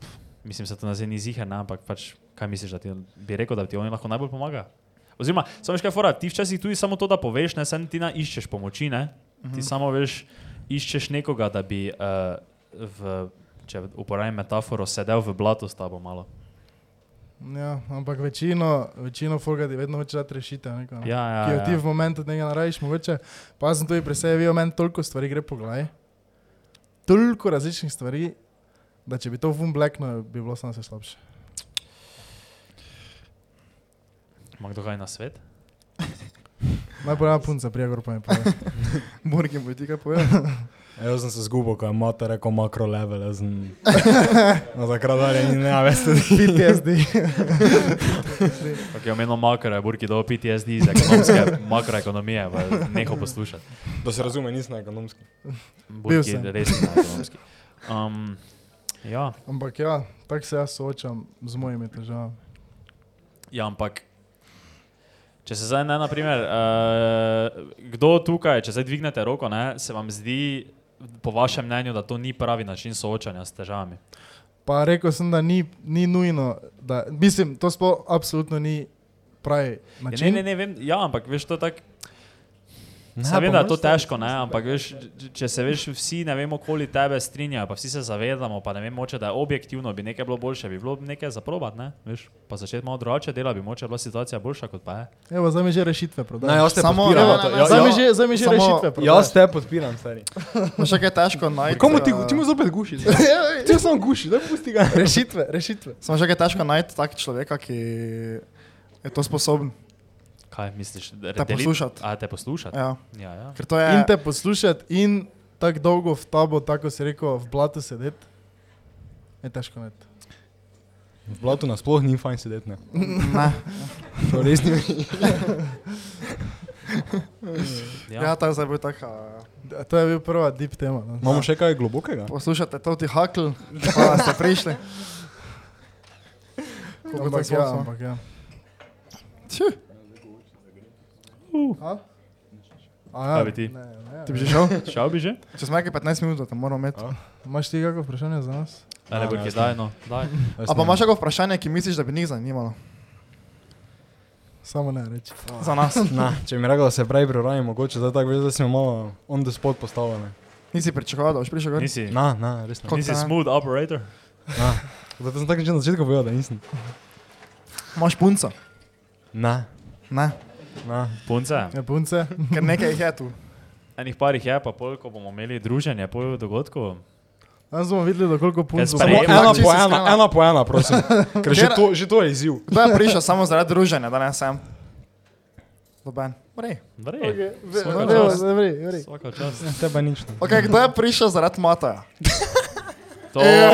Speaker 2: pf, mislim, se to na zeni zihar, ne? ampak pač, kaj misliš, da ti bi rekel, da ti oni lahko najbolj pomaga? Oziroma, samo veš kaj, fora, ti včasih tudi samo to, da poveš, ne, sen ti na iščeš pomoči, ne, mhm. ti samo veš, iščeš nekoga, da bi, uh, v, če uporabim metaforo, sedel v blatu s tabo malo.
Speaker 3: Ja, ampak večino, večino folgati vedno hoče dati rešitev. Neko, ne?
Speaker 2: Ja, ja,
Speaker 3: ki jo ti
Speaker 2: ja.
Speaker 3: v momentu tega narediš, mogoče. Pa sem tudi presejal, meni toliko stvari gre po glavi. Toliko različnih stvari, da če bi to vum blekno, no, bi bilo samo še slabše.
Speaker 2: Ima kdo kaj na svet?
Speaker 3: Najprej ena punca, prija gor pa mi pove.
Speaker 4: Morgi bo ti kaj povedal.
Speaker 5: Ja, Jaz sem se zgubil, ko je mata rekel makro level, jaz sem... No, takrat dalje ni ne, veste.
Speaker 3: PTSD.
Speaker 2: Ok, omenil makro, je burki dol PTSD iz ekonomske makroekonomije, pa neho poslušati.
Speaker 5: Da se razume, nisem ekonomski.
Speaker 2: Burki
Speaker 3: sem.
Speaker 2: je res ne ekonomski. Um, ja.
Speaker 3: Ampak ja, tako se jaz soočam z mojimi težavami.
Speaker 2: ja, ampak če se zdaj ne, naprimer, uh, kdo tukaj, če zdaj dvignete roko, ne, se vam zdi, po vašem mnenju, da to ni pravi način soočanja s težavami.
Speaker 3: Pa rekel sem, da ni, ni nujno, da, mislim, to sploh absolutno ni pravi
Speaker 2: Ja,
Speaker 3: način.
Speaker 2: Ne, ne, ne, vem, ja, ampak veš, to je tako. Saj vem, da je to težko, ne? ampak veš, če- če se veš, vsi ne vem, okoli tebe strinjajo, pa vsi se zavedamo, pa ne vem, moče, da je objektivno bi nekaj bilo boljše, bi bilo nekaj zaprobat, ne? veš, pa začeti malo drugače dela, bi moče bila situacija boljša kot pa je.
Speaker 3: Evo, zdaj mi že rešitve
Speaker 5: Ne,
Speaker 3: prodajaš.
Speaker 5: jaz te
Speaker 4: Samo-
Speaker 5: podpiram.
Speaker 4: ne,
Speaker 5: to-
Speaker 4: ne, ne,
Speaker 5: ja-
Speaker 3: Zdaj mi
Speaker 5: ja-
Speaker 3: že, zdaj mi že
Speaker 4: Samo
Speaker 3: rešitve prodajaš.
Speaker 5: Jaz te podpiram, stari.
Speaker 4: No, še kaj je težko najti.
Speaker 5: Komu ti,
Speaker 4: eh,
Speaker 5: ti mu zopet gušiš? Ti samo gušiš, da pusti ga.
Speaker 3: Rešitve, rešitve.
Speaker 4: Samo še kaj je težko najti tak človeka, ki je to sposoben.
Speaker 2: Kaj misliš? da-
Speaker 4: Te
Speaker 2: deliti-
Speaker 4: poslušati.
Speaker 2: A te poslušati?
Speaker 4: Ja.
Speaker 2: Ja, ja.
Speaker 4: Ker to je...
Speaker 3: In te poslušati in tako dolgo v tabo, tako si rekel, v blatu sedeti. Je težko net.
Speaker 5: V blatu nasploh ni fajn sedeti, ne.
Speaker 4: Ne.
Speaker 5: To res ni.
Speaker 4: Ja, ta je zdaj bil tak... eh,
Speaker 3: Da, To je bil prva deep tema. No.
Speaker 5: Imamo še kaj globokega?
Speaker 4: Poslušate, to ti hakl, pa ste prišli. Koliko
Speaker 3: Ampak
Speaker 4: tako
Speaker 3: ja,
Speaker 4: smo?
Speaker 3: ampak ja. A? A
Speaker 2: Kaj
Speaker 3: ja,
Speaker 2: bi ti?
Speaker 3: Ne, ne.
Speaker 4: Ti bi že šel?
Speaker 2: Šel bi že?
Speaker 4: Čez nekaj 15 minut, da moramo imeti.
Speaker 3: Imaš ti kakšno vprašanje za nas?
Speaker 2: Da ne
Speaker 5: Ja,
Speaker 2: bo kaj
Speaker 5: jasno.
Speaker 2: daj, no. Daj.
Speaker 4: A pa imaš kakšno vprašanje, ki misliš, da bi njih zanimalo?
Speaker 3: Samo ne reči.
Speaker 5: Ja.
Speaker 4: Za nas.
Speaker 5: Na, če mi rekel, da se prej preraji, mogoče zdaj tako veš, da smo malo on the spot postavljeni.
Speaker 4: Nisi pričakoval, da boš prišel gor?
Speaker 2: Nisi,
Speaker 5: Na, na, res ne.
Speaker 4: Kot
Speaker 2: nisi
Speaker 4: ne.
Speaker 2: smooth operator.
Speaker 5: Zato sem tako že na začetku povedal, da nisem.
Speaker 4: Imaš punco?
Speaker 5: Na,
Speaker 4: Ne.
Speaker 5: na.
Speaker 2: Punce.
Speaker 3: Ja, punce.
Speaker 4: Ker nekaj jih je tu.
Speaker 2: Enih parih je, pa pol, ko bomo imeli druženje po dogodku.
Speaker 3: Danes bomo videli, do koliko punc
Speaker 5: E,
Speaker 2: Samo Prejema,
Speaker 5: ena
Speaker 4: če
Speaker 5: po
Speaker 4: si
Speaker 5: ena,
Speaker 4: iskrena.
Speaker 5: ena po ena, prosim. Ker že to, že to je izziv.
Speaker 4: Kdo je prišel samo zaradi druženja, da ne sem? Doben. Vrej.
Speaker 2: Vrej,
Speaker 3: No,
Speaker 2: Svaka
Speaker 3: dobro,
Speaker 2: čast.
Speaker 3: dobro, dobro.
Speaker 2: Svaka
Speaker 4: E,
Speaker 2: čast.
Speaker 5: Tebe nič ne.
Speaker 4: Ok, kdo je prišel zaradi Mataja?
Speaker 2: To
Speaker 4: e,
Speaker 2: je.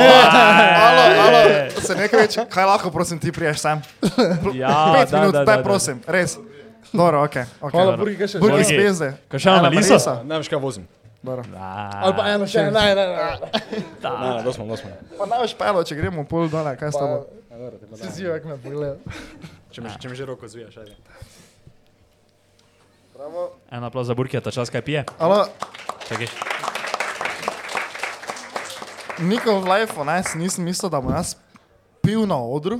Speaker 4: Alo, alo, se nekaj več. Kaj lahko, prosim, ti priješ sem?
Speaker 2: Ja,
Speaker 4: Pet
Speaker 2: da,
Speaker 4: minut, daj,
Speaker 2: da, da, da.
Speaker 4: prosim, res. Dobro, ok. okay.
Speaker 3: Hvala, Burgi, kaj še?
Speaker 4: Burgi
Speaker 2: Burgi.
Speaker 4: zvezde.
Speaker 2: Kaj še Ah, analiza?
Speaker 5: Ne veš kaj vozim.
Speaker 3: Ali pa eno še, ne, ne, ne.
Speaker 5: Ne, da smo, da smo.
Speaker 4: Pa naj boš pelo, če gremo pol dol, kaj s tabo?
Speaker 3: Si si, kako me pogledal.
Speaker 5: Če mi, če mi že roko zvijaš, ajde.
Speaker 2: En aplauz za Burkija, ta čas kaj pije.
Speaker 4: Alo,
Speaker 2: Čakaj.
Speaker 4: Ja. Niko v life, ne, si nisem mislil, da bom jaz pil na odru,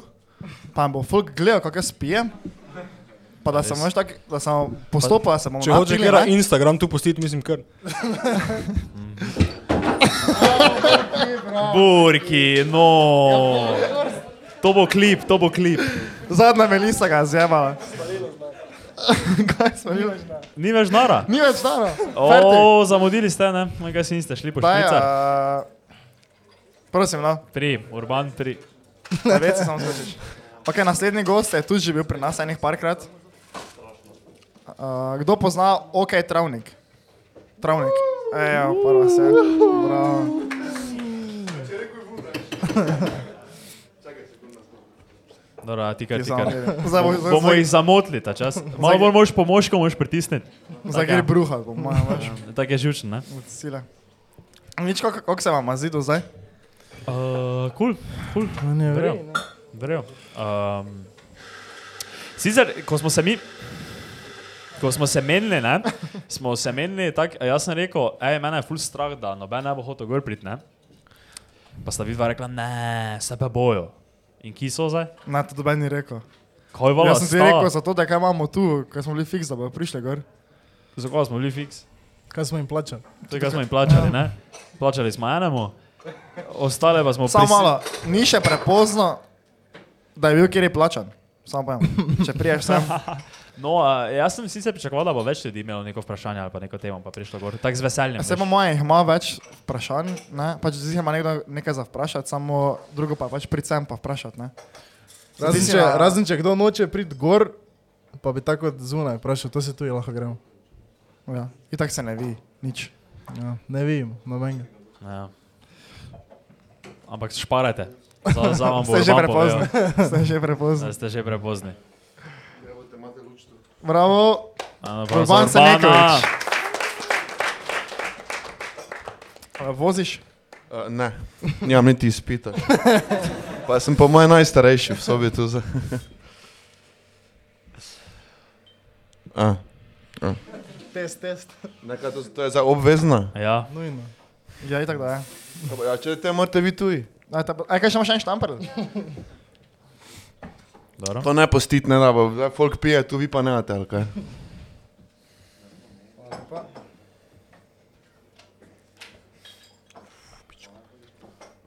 Speaker 4: pa bo folk gledal, kako jaz pijem. Pa da sem več tak, da sem postopal, da sem
Speaker 5: Če hočeš
Speaker 4: napil,
Speaker 5: kjer
Speaker 4: ne.
Speaker 5: Instagram tu postiti, mislim kar.
Speaker 2: Burki,
Speaker 4: Ja,
Speaker 2: no. To bo klip, to bo klip.
Speaker 4: Zadnja melisa ga je zjevala. Kaj smo bili?
Speaker 2: Ni več nara.
Speaker 4: Ni več dano.
Speaker 2: O, zamudili ste, ne? No, Kaj si niste šli po
Speaker 4: Daj,
Speaker 2: špicah?
Speaker 4: uh, prosim, no,
Speaker 2: Pri, Urban, pri.
Speaker 4: na veci samo skočiš. Ok, naslednji gost je tudi že bil pri nas enih parkrat. Uh, kdo pozna OK Travnik? Travnik. Ejo, prva se. Bravo.
Speaker 2: Dobro, a tikar,
Speaker 4: Ti samo
Speaker 2: tikar.
Speaker 4: gledaj. Zdaj bo- zdaj-
Speaker 2: Bomo
Speaker 4: zdaj-
Speaker 2: jih zamotili ta čas. Malo bolj moš po moško, moš pritisniti.
Speaker 4: Zdaj gre bruha, po mojem, več
Speaker 2: Tako je žučen, ne?
Speaker 4: od sile. Nič, kako kako se vam zdi do zdaj?
Speaker 2: Uh, Kul, kul.
Speaker 3: Ne,
Speaker 2: Verjel.
Speaker 3: ne.
Speaker 2: Verjel. Um, Sicer, ko smo se mi, ko smo se menili, ne, smo se menili tako, jaz sem rekel, ej, mene je ful strah, da noben ne bo hotel gor priti, ne. Pa sta vidva rekla, ne, se pa bojo. In ki so zdaj?
Speaker 4: Na to doben ni rekel.
Speaker 2: Kaj vala
Speaker 4: Jaz sem si
Speaker 2: sta?
Speaker 4: rekel, zato da kaj imamo tu, ker smo bili fiks, da bo prišli gor.
Speaker 2: Zakaj smo bili fiks?
Speaker 3: Kaj smo jim plačali?
Speaker 2: To je, kar smo jim plačali, ne? Plačali smo enemu, ostale pa smo
Speaker 4: Samo
Speaker 2: prisi-
Speaker 4: malo, ni še prepozno, da je bil kjer je plačan. Samo povem, če priješ sem.
Speaker 2: No, a, jaz sem sicer pričakoval, da bo več ljudi imelo neko vprašanje ali pa neko temo, pa prišlo gor. Tako z veseljem.
Speaker 4: Vse po
Speaker 2: veš.
Speaker 4: mojem ima več vprašanj, ne? pač zdaj ima nekdo nekaj za vprašati, samo drugo pa je pač pricem pa vprašati. Ne? ja.
Speaker 3: Razen
Speaker 4: Ti si
Speaker 3: če,
Speaker 4: na-
Speaker 3: razen če kdo noče priti gor, pa bi tako od zunaj vprašal, to se tu je lahko gremo.
Speaker 4: Ja. In tako se ne vi, nič.
Speaker 3: Ja, ne vidim, nobenega.
Speaker 2: Ja. Ampak šparajte, za, za vam bo
Speaker 4: Ste že
Speaker 2: vam
Speaker 4: prepozni.
Speaker 2: povedal.
Speaker 4: Ste že prepozni.
Speaker 2: Zdaj ste že prepozni.
Speaker 4: Bravo.
Speaker 2: Ano,
Speaker 4: Urban
Speaker 2: pravzaprav
Speaker 4: Senekovič. Voziš?
Speaker 9: Uh, ne, nimam niti izpita. Pa sem po mojem najstarejši v sobi tu. Za... A,
Speaker 4: Test, test.
Speaker 9: nekaj, to, to je za obvezno.
Speaker 2: Ja,
Speaker 3: Nujno.
Speaker 4: Ja, itak da je.
Speaker 9: Kaj pa, Ja, če te morate vi tuji.
Speaker 4: Aj, ta, aj kaj še imaš en štamper?
Speaker 2: dobro.
Speaker 9: To ne postiti ne da, bo, zdaj folk pije, tu vi pa ne date, ali kaj.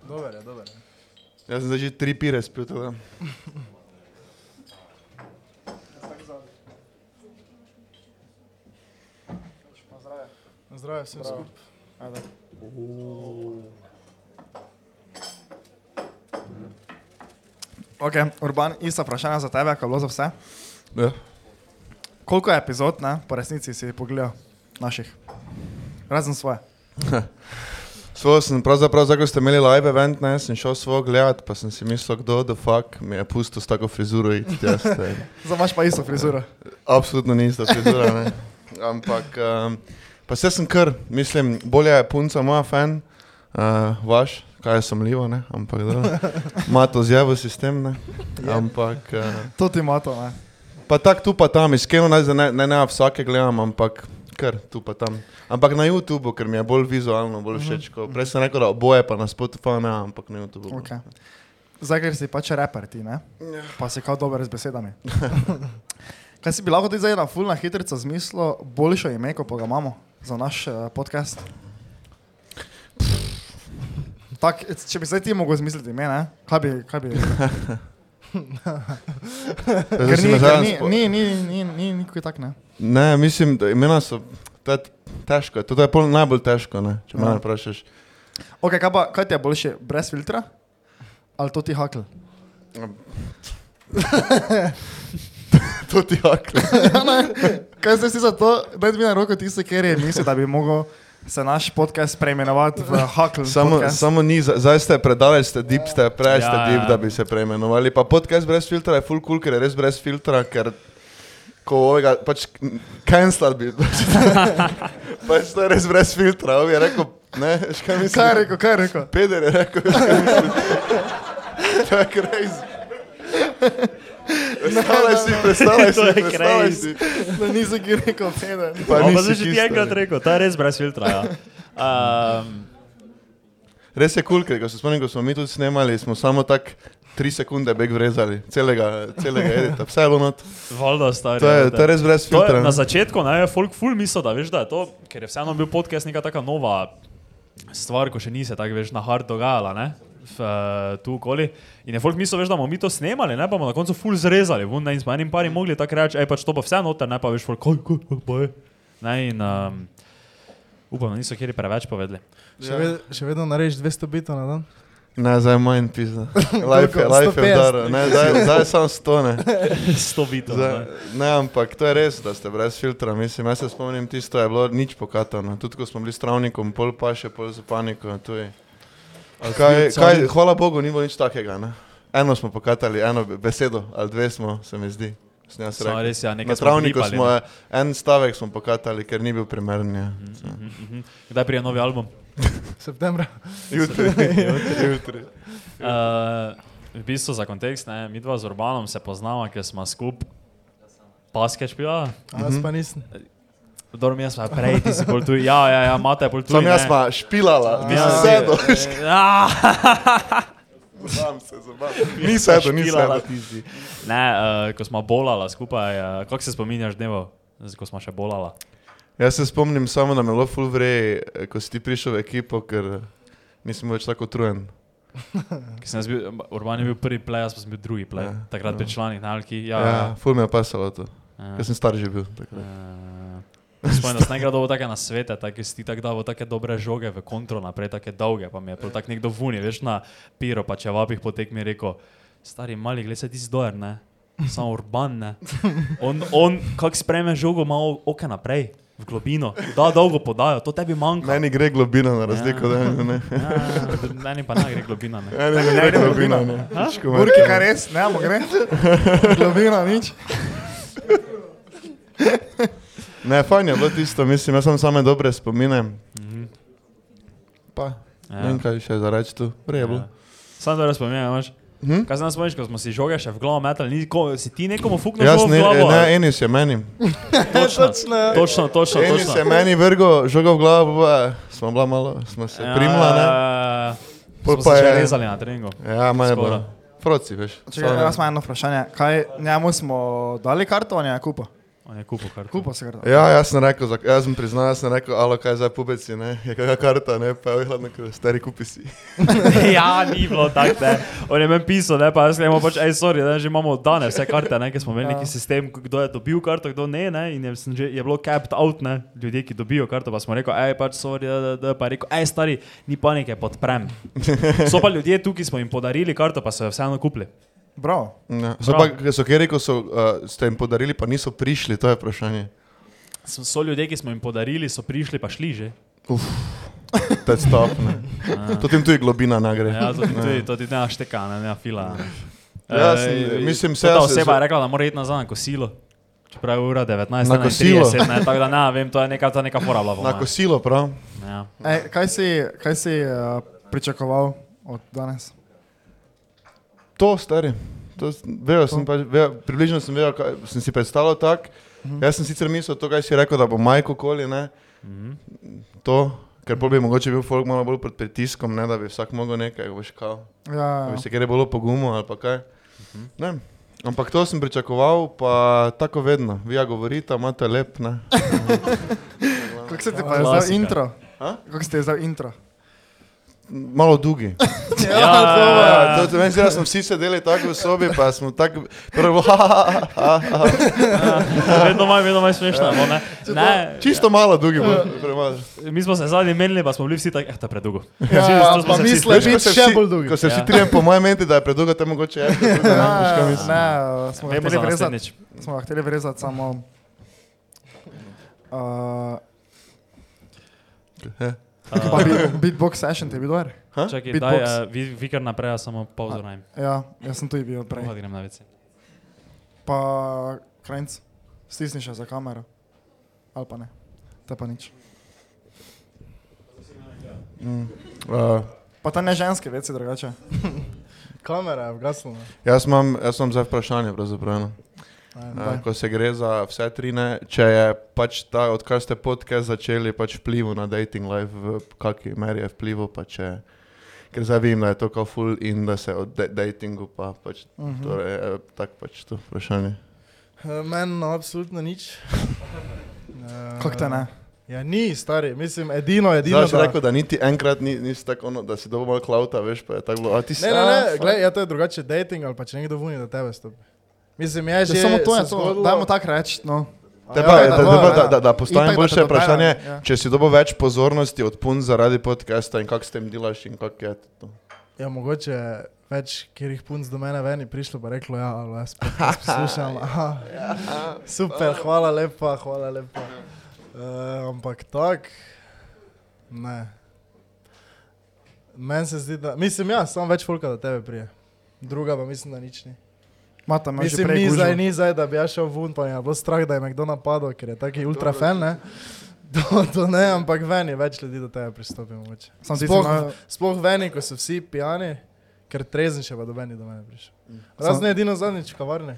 Speaker 3: Dober je, dober je.
Speaker 9: Jaz sem zdaj že tri pire spil. tako da.
Speaker 3: Zdravo, vsem skupaj.
Speaker 4: Ok, Urban, ista vprašanja za tebe, kot je bilo za vse.
Speaker 9: Ja.
Speaker 4: Koliko je epizod, ne, po resnici si pogledal naših? Razen svoje.
Speaker 9: Svojo sem pravzaprav, zdaj, ko ste imeli live event, ne, sem šel svojo gledat, pa sem si mislil, kdo the fuck mi je pustil s tako frizuro iti tja. stari.
Speaker 4: Za imaš pa isto frizuro.
Speaker 9: Absolutno ni ista frizura, ne. Ampak, um, pa se sem kar, mislim, bolje je punca moja fan, uh, vaš, kaj sem livo, ne, ampak da, ima to zjavo sistem, ne. Ampak, uh,
Speaker 4: To ti ima to, ne.
Speaker 9: pa tak tu pa tam, iskreno naj zdaj ne, ne, ne vsake gledam, ampak kar tu pa tam. Ampak na YouTubu, ker mi je bolj vizualno, bolj
Speaker 4: Mhm.
Speaker 9: všeč, ko prej sem rekel, da oboje pa na Spotify ne, ampak na YouTubu. bolj.
Speaker 4: Okay. Zdaj, ker si pač reper ti, ne?
Speaker 9: Ja.
Speaker 4: Pa si kot dober z besedami. Kaj si bi lahko ti zdaj na full na hitrico zmislil boljšo ime, kot pa ga imamo za naš uh, podcast? Tak, eh, če bi zdaj ti mogel zmisliti ime, ne? Kaj bi, kaj bi?
Speaker 9: Zdaj
Speaker 4: Ker
Speaker 9: si
Speaker 4: ni,
Speaker 9: me
Speaker 4: ker
Speaker 9: zadnjič
Speaker 4: ni,
Speaker 9: spo-
Speaker 4: ni, ni, ni, ni, nikoli tak, ne?
Speaker 9: Ne, mislim, da imena so to je težko, to je pol najbolj težko, ne, če me
Speaker 4: Ja.
Speaker 9: ne vprašaš.
Speaker 4: Ok, kaj, pa, kaj ti je boljše, brez filtra? Ali to ti hakl?
Speaker 9: To ti hakne.
Speaker 4: Kaj ste si za to, da bi na roko tiste, ker je mislil, da bi mogel se naš podcast preimenovati v hakl?
Speaker 9: Samo,
Speaker 4: podcast?
Speaker 9: samo ni, za- zdaj ste predaleč, ste deep, ste preveč
Speaker 2: Ja,
Speaker 9: ja, deep,
Speaker 2: ja.
Speaker 9: da bi se preimenovali. Pa podcast brez filtra je full cool, ker je res brez filtra, ker ko ovega, pač cancel bi. pač to je res brez filtra, ovi je rekel, ne, veš kaj mislim.
Speaker 4: Kaj je rekel, kaj je rekel?
Speaker 9: Peder je rekel, veš kaj mislim. to je crazy. Predstavljaj si, predstavljaj si,
Speaker 2: To je
Speaker 9: predstavljaj
Speaker 2: crazy.
Speaker 9: si.
Speaker 4: Da nisem ki rekel, Fede.
Speaker 9: Pa
Speaker 2: Pa
Speaker 9: nisi
Speaker 2: zdaj že ti
Speaker 9: čisto,
Speaker 2: enkrat
Speaker 9: ne.
Speaker 2: rekel, to je res brez filtra. Ja. Um,
Speaker 9: Res je kul, cool, ker ko se spomnim, ko smo mi tudi snemali, smo samo tako tri sekunde beg vrezali, celega, celega edita, vse je bilo not.
Speaker 2: Valjda, stari.
Speaker 9: To je,
Speaker 2: veste.
Speaker 9: to je res brez
Speaker 2: To je,
Speaker 9: filtra.
Speaker 2: na začetku ne, je folk ful mislil, da, veš, da je to, ker je vseeno bil podcast neka taka nova stvar, ko še ni se tako veš na hard dogajala, ne? V, eh, tu okoli. In je folk mislil, veš, da bomo mi to snemali, ne pa bomo na koncu ful zrezali, vun, ne, in smo enim parim mogli tako reči, ej pač to bo vse noter, ne pa veš, folk, kaj, kaj, kaj, boj. Ne, in um, upam, da niso kjeri preveč povedali.
Speaker 3: Še,
Speaker 4: Ja.
Speaker 3: ved, še vedno narediš 200 bitov na dan.
Speaker 9: Ne, zdaj je manj pizda. Life je,
Speaker 3: Koliko?
Speaker 9: life
Speaker 3: 150.
Speaker 9: je udar, ne, zdaj, zdaj je samo stone.
Speaker 2: 100 bitov.
Speaker 9: Zdaj,
Speaker 2: ne.
Speaker 9: ne, ampak to je res, da ste brez filtra. Mislim, jaz se spomnim, tisto je bilo nič pokatano. Tudi ko smo bili s travnikom, pol pa še pol za paniko. tuji. Kaj, kaj, hvala Bogu, ni bilo nič takega. Ne? Eno smo pokatali, eno be- besedo ali dve smo, se mi zdi. Sem jaz
Speaker 2: Samo
Speaker 9: rekel.
Speaker 2: res, ja, nekaj
Speaker 9: Na
Speaker 2: smo
Speaker 9: travniku
Speaker 2: hripali,
Speaker 9: smo
Speaker 2: ne.
Speaker 9: eh, en stavek smo pokatali, ker ni bil primeren. Ja.
Speaker 2: Mhm, mhm. Kdaj prije novi album?
Speaker 3: Septembra.
Speaker 9: Jutri, jutri.
Speaker 2: Uh, v bistvu za kontekst, ne, mi dva z Urbanom se poznava, ker smo skupaj basket špila.
Speaker 3: A
Speaker 4: Mhm.
Speaker 3: jaz pa nisem.
Speaker 2: Dormi jaz pa prej, ti si bolj tu. Ja, ja, ja, mata je bolj tu.
Speaker 9: Sam jaz sva špilala, nisem sedel.
Speaker 2: Ja,
Speaker 9: Zabam se, zabam. Ni sedel, ni
Speaker 2: špilala
Speaker 9: sedel.
Speaker 2: ti si. Ne, uh, ko smo bolala skupaj, uh, kako se spominjaš dnevov, z- ko smo še bolala?
Speaker 9: Jaz se spomnim samo, da me lo ful vre, eh, ko si ti prišel v ekipo, ker eh, nisem več tako utrujen.
Speaker 2: Ker sem jaz Bil, Urban je bil prvi play, jaz pa sem bil drugi play.
Speaker 9: Ja,
Speaker 2: Ja, Takrat ja. pri članih nalki. Ja, ja.
Speaker 9: Ja, ful mi je pasalo to.
Speaker 2: ja.
Speaker 9: Jaz sem star že bil. takrat.
Speaker 2: Eh, Spomnim, da sem enkrat dobil take nasvete, tako si ti tako dal take dobre žoge v kontrol naprej, take dolge, pa mi je prav tako nekdo vuni, veš na piro, pa če vabih potek mi je rekel, stari mali, gled se ti zdojer, ne, samo urban, ne. On, on kak spreme žogo, ima o- oke naprej, v globino, da dolgo podajo, to tebi manjka.
Speaker 9: Meni gre globina na razliko, da ne. ne.
Speaker 2: Ja, meni pa ne gre globina, ne.
Speaker 9: Meni Ja, ne gre globina, ne. Nič komentarja.
Speaker 4: Burki, kaj res, ne, ampak gre. Globina, nič.
Speaker 9: Ne, fajn je bilo tisto, mislim, jaz sem same dobre spomine. Pa, ne
Speaker 2: Ja.
Speaker 9: vem kaj še za reči tu. Vre je bilo.
Speaker 2: Ja. Sam dobro spominjam, imaš.
Speaker 9: Hm?
Speaker 2: Kaj se nas spomniš, ko smo si žoge še v glavo metali, ni, ko, si ti nekomu fuknil Ja.
Speaker 9: Jaz
Speaker 2: žogo v
Speaker 9: ne,
Speaker 2: glavo?
Speaker 9: ne, Enis je meni.
Speaker 2: točno, točno, točno,
Speaker 9: Enis
Speaker 2: točno.
Speaker 9: je meni vrgo, žogo v glavo, pa smo bila malo, smo
Speaker 2: Ja,
Speaker 9: se primla, ne. Pol
Speaker 2: Pol pa
Speaker 9: pa
Speaker 2: je
Speaker 9: je-
Speaker 2: rezali na treningu.
Speaker 9: Ja, manj je
Speaker 2: Skoro.
Speaker 9: bilo. Proci, veš.
Speaker 4: Čekaj,
Speaker 9: Samo-
Speaker 4: jaz imam eno vprašanje. Kaj, njemu smo dali karto, on je kupil.
Speaker 2: On je kupil karto.
Speaker 4: Kupo se gre.
Speaker 9: Ja, jaz sem rekel, zak- jaz sem priznal, jaz sem rekel, alo, kaj zdaj pubeci, ne, je kakšna karta, ne, pa je hladno, ker stari kupi si.
Speaker 2: ja, ni bilo tako. ne. On je meni pisal, ne, pa jaz gremo pač, hej, sorry, ne, že imamo danes vse karte, ne, ker smo imeli neki sistem, kdo je dobil karto, kdo ne, ne, in je, sem že, je bilo capped out, ne, ljudje, ki dobijo karto, pa smo rekli, hej, pač, sorry, da, da, da, pa je rekel, hej, stari, ni panike, podprem. So pa ljudje tu, ki smo jim podarili karto, pa so jo vseeno kupili.
Speaker 4: Bravo.
Speaker 9: Ja. So pa, ker so kjer rekel, so, uh, ste jim podarili, pa niso prišli, to je vprašanje.
Speaker 2: So, so ljudje, ki smo jim podarili, so prišli, pa šli že.
Speaker 9: To je stop, ne. To tem tudi globina nagre.
Speaker 2: Ja, to ti tudi, to ti ne našteka, ne, ne, fila. Ne.
Speaker 9: Ja,
Speaker 2: Eh,
Speaker 9: sem- mislim, vse
Speaker 2: Ta
Speaker 9: se-
Speaker 2: oseba je rekla, da mora iti nazaj na kosilo. Čeprav je ura 19,
Speaker 9: Na kosilo?
Speaker 2: 31, ne, tako da ne ja, vem, to je neka, to je neka fora bila. po
Speaker 9: Na
Speaker 2: moje.
Speaker 9: kosilo, prav.
Speaker 2: Ja.
Speaker 4: Ej, kaj si, kaj si uh, pričakoval od danes?
Speaker 9: To, stari. To, s- vejo, sem pač- vejo, približno sem, vejo, kaj, sem si predstavljal tako. Mhm. Jaz sem sicer mislil, to, kaj si rekel, da bo Majko koli. Ne, mhm. To, ker pol bi mogoče bil folk malo bolj pod pritiskom, ne, da bi vsak mogel nekaj, boš kao.
Speaker 4: Ja,
Speaker 9: Da bi se kjer je bilo pogumno ali pa kaj.
Speaker 2: Mhm.
Speaker 9: Ne. Ampak to sem pričakoval, pa tako vedno. Vi ja govorite, imate lep. Ne.
Speaker 4: kako se ti pa je zdaj
Speaker 2: Klasika.
Speaker 4: intro?
Speaker 9: A?
Speaker 4: Kako se ti je zdaj intro?
Speaker 9: Malo dolgi.
Speaker 2: Ja,
Speaker 9: Ja, to, to, meni se zdi, da smo vsi sedeli tako v sobi, pa smo tako prvo, ha, ha, ha, ha, ha.
Speaker 2: Ja. Vedno manj, vedno manj smešno. bo, Ne. Ne,
Speaker 9: čisto malo dolgi. bo, premalo.
Speaker 2: mi smo se zadnji menili, pa smo bili vsi tako, eh, to je predugo.
Speaker 4: Ja,
Speaker 2: to smo
Speaker 4: pa
Speaker 2: se vsi
Speaker 4: misle
Speaker 9: Veš, ko
Speaker 4: biti
Speaker 9: se
Speaker 4: še
Speaker 9: vsi-
Speaker 4: bolj dolgi.
Speaker 9: Ko se vsi
Speaker 2: Ja.
Speaker 9: trije po mojem menti, da je predolgo, te mogoče je. predolgo, ne, veš, kaj mislim.
Speaker 4: Ne, eh, smo ga
Speaker 2: Vemo
Speaker 4: hteli
Speaker 2: za
Speaker 4: vrezati.
Speaker 2: naslednjič.
Speaker 4: Smo ga hteli vrezati samo. Uh,
Speaker 9: Eh,
Speaker 4: pa beat- beatbox session ti je bil dober?
Speaker 2: Uh, Čakaj,
Speaker 4: Beatbox.
Speaker 2: daj, eh, vi, vi kar naprej, jaz samo pauzo naj.
Speaker 4: Ja, jaz sem tu bil prej.
Speaker 2: Prav, grem na vece.
Speaker 4: Pa krajnc, stisni še za kamero. Ali pa ne, te pa nič.
Speaker 9: eh,
Speaker 4: Pa ta ne ženske, veci drugače.
Speaker 3: Kamera je ugasnila.
Speaker 9: Jaz imam, jaz imam zdaj vprašanje, pravzaprav. no. Eh, Ko se gre za vse tri, ne, če je pač ta, odkar ste podcast začeli, pač vplivu na dating life, v kakšni meri je vplivu, pa če, ker zdaj vem, da je to kao full in da se o da- datingu pa pač,
Speaker 4: Mhm.
Speaker 9: torej, eh, tako pač to vprašanje.
Speaker 3: Eh, Meni no, absolutno nič. Eh,
Speaker 4: Kako te ne?
Speaker 3: Ja, ni, stari. Mislim, edino, edino.
Speaker 9: Zdaj si rekel, da niti enkrat ni, nisi tako ono, da si dobil malo klauta, veš, pa je tako bilo, a ti si.
Speaker 3: Ne, ne, ne,
Speaker 9: a,
Speaker 3: gled, ja, to je drugače dating ali pa če nekdo vuni, da tebe stopi. Mislim, je
Speaker 4: Že
Speaker 3: že.
Speaker 4: Ja, samo to je
Speaker 3: se
Speaker 4: to,
Speaker 3: zgodilo-
Speaker 4: dajmo tako reči. No.
Speaker 9: Te
Speaker 3: Ja,
Speaker 9: pa,
Speaker 3: ja,
Speaker 9: ja, da,
Speaker 3: tako,
Speaker 9: da,
Speaker 3: ja.
Speaker 9: da, da, da
Speaker 4: Itak,
Speaker 9: postavim
Speaker 4: da
Speaker 9: boljše
Speaker 4: te
Speaker 9: vprašanje,
Speaker 4: dodajo, ja.
Speaker 9: če si dobil več pozornosti od pun zaradi podcasta in kako s tem delaš in kako je to.
Speaker 3: Ja, mogoče je več kjerih punc do mene ven je prišlo pa reklo, ja, ali jaz podcast poslušam. Aha, super, hvala lepa, hvala lepa. Uh, ampak tak, ne. Meni se zdi, da, mislim, ja, samo več folka do tebe prije. Druga pa mislim, da nič ni.
Speaker 4: Mata, imaš že
Speaker 3: Mislim,
Speaker 4: prej
Speaker 3: ni
Speaker 4: gužvo.
Speaker 3: zdaj, ni zdaj, da bi ja šel ven, pa mi je bilo strah, da je me kdo napadel, ker je taki ultra fan, ne. To, to ne, ampak ven je več ljudi do tebe pristopi. mogoče.
Speaker 4: Samo ti si
Speaker 3: Sploh,
Speaker 4: malo-
Speaker 3: sploh ven, ko so vsi pijani, ker trezen še pa dobeni do mene prišel. Razne edino zadnjič kavarne.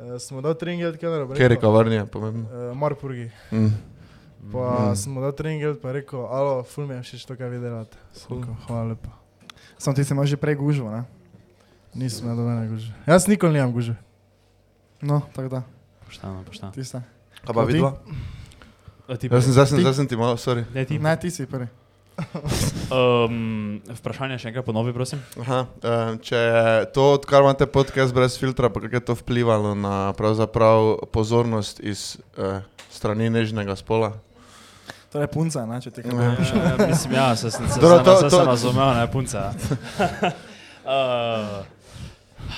Speaker 3: Uh, smo dal tringel, kamero. pa
Speaker 9: Ker je
Speaker 3: rekel,
Speaker 9: kavarnija pomembno.
Speaker 3: eh, Marpurgi.
Speaker 9: Mm.
Speaker 3: Pa mm. smo dal tringel, pa je rekel, alo, ful mi je všeč to, kaj vi delate. Sluko, hvala lepa.
Speaker 4: Samo ti si imaš že prej gužvo, ne?
Speaker 3: Nisem imel dobene guže. Jaz nikoli nimam guže.
Speaker 4: No, tako da,
Speaker 2: Pošteno, pošteno.
Speaker 4: tiste.
Speaker 9: A pa
Speaker 4: Ti?
Speaker 9: vidva?
Speaker 2: A ti
Speaker 9: Jaz sem, zdaj sem,
Speaker 4: Ti?
Speaker 9: zdaj sem ti malo, sorry.
Speaker 2: Ne, ti.
Speaker 4: Ne, ti si prvi.
Speaker 2: Um, vprašanje še enkrat ponovi, prosim.
Speaker 9: Aha, em, če je to, odkar imate podcast brez filtra, pa kako je to vplivalo na pravzaprav pozornost iz eh, strani nežnega spola?
Speaker 4: Torej punca, ne, če ti kaj
Speaker 9: Ja.
Speaker 4: povem.
Speaker 2: Ja, mislim, ja, se sem se,
Speaker 9: Dobro,
Speaker 2: se,
Speaker 9: to-
Speaker 2: se,
Speaker 9: to-
Speaker 2: se razumel, ne, ja. punca. uh,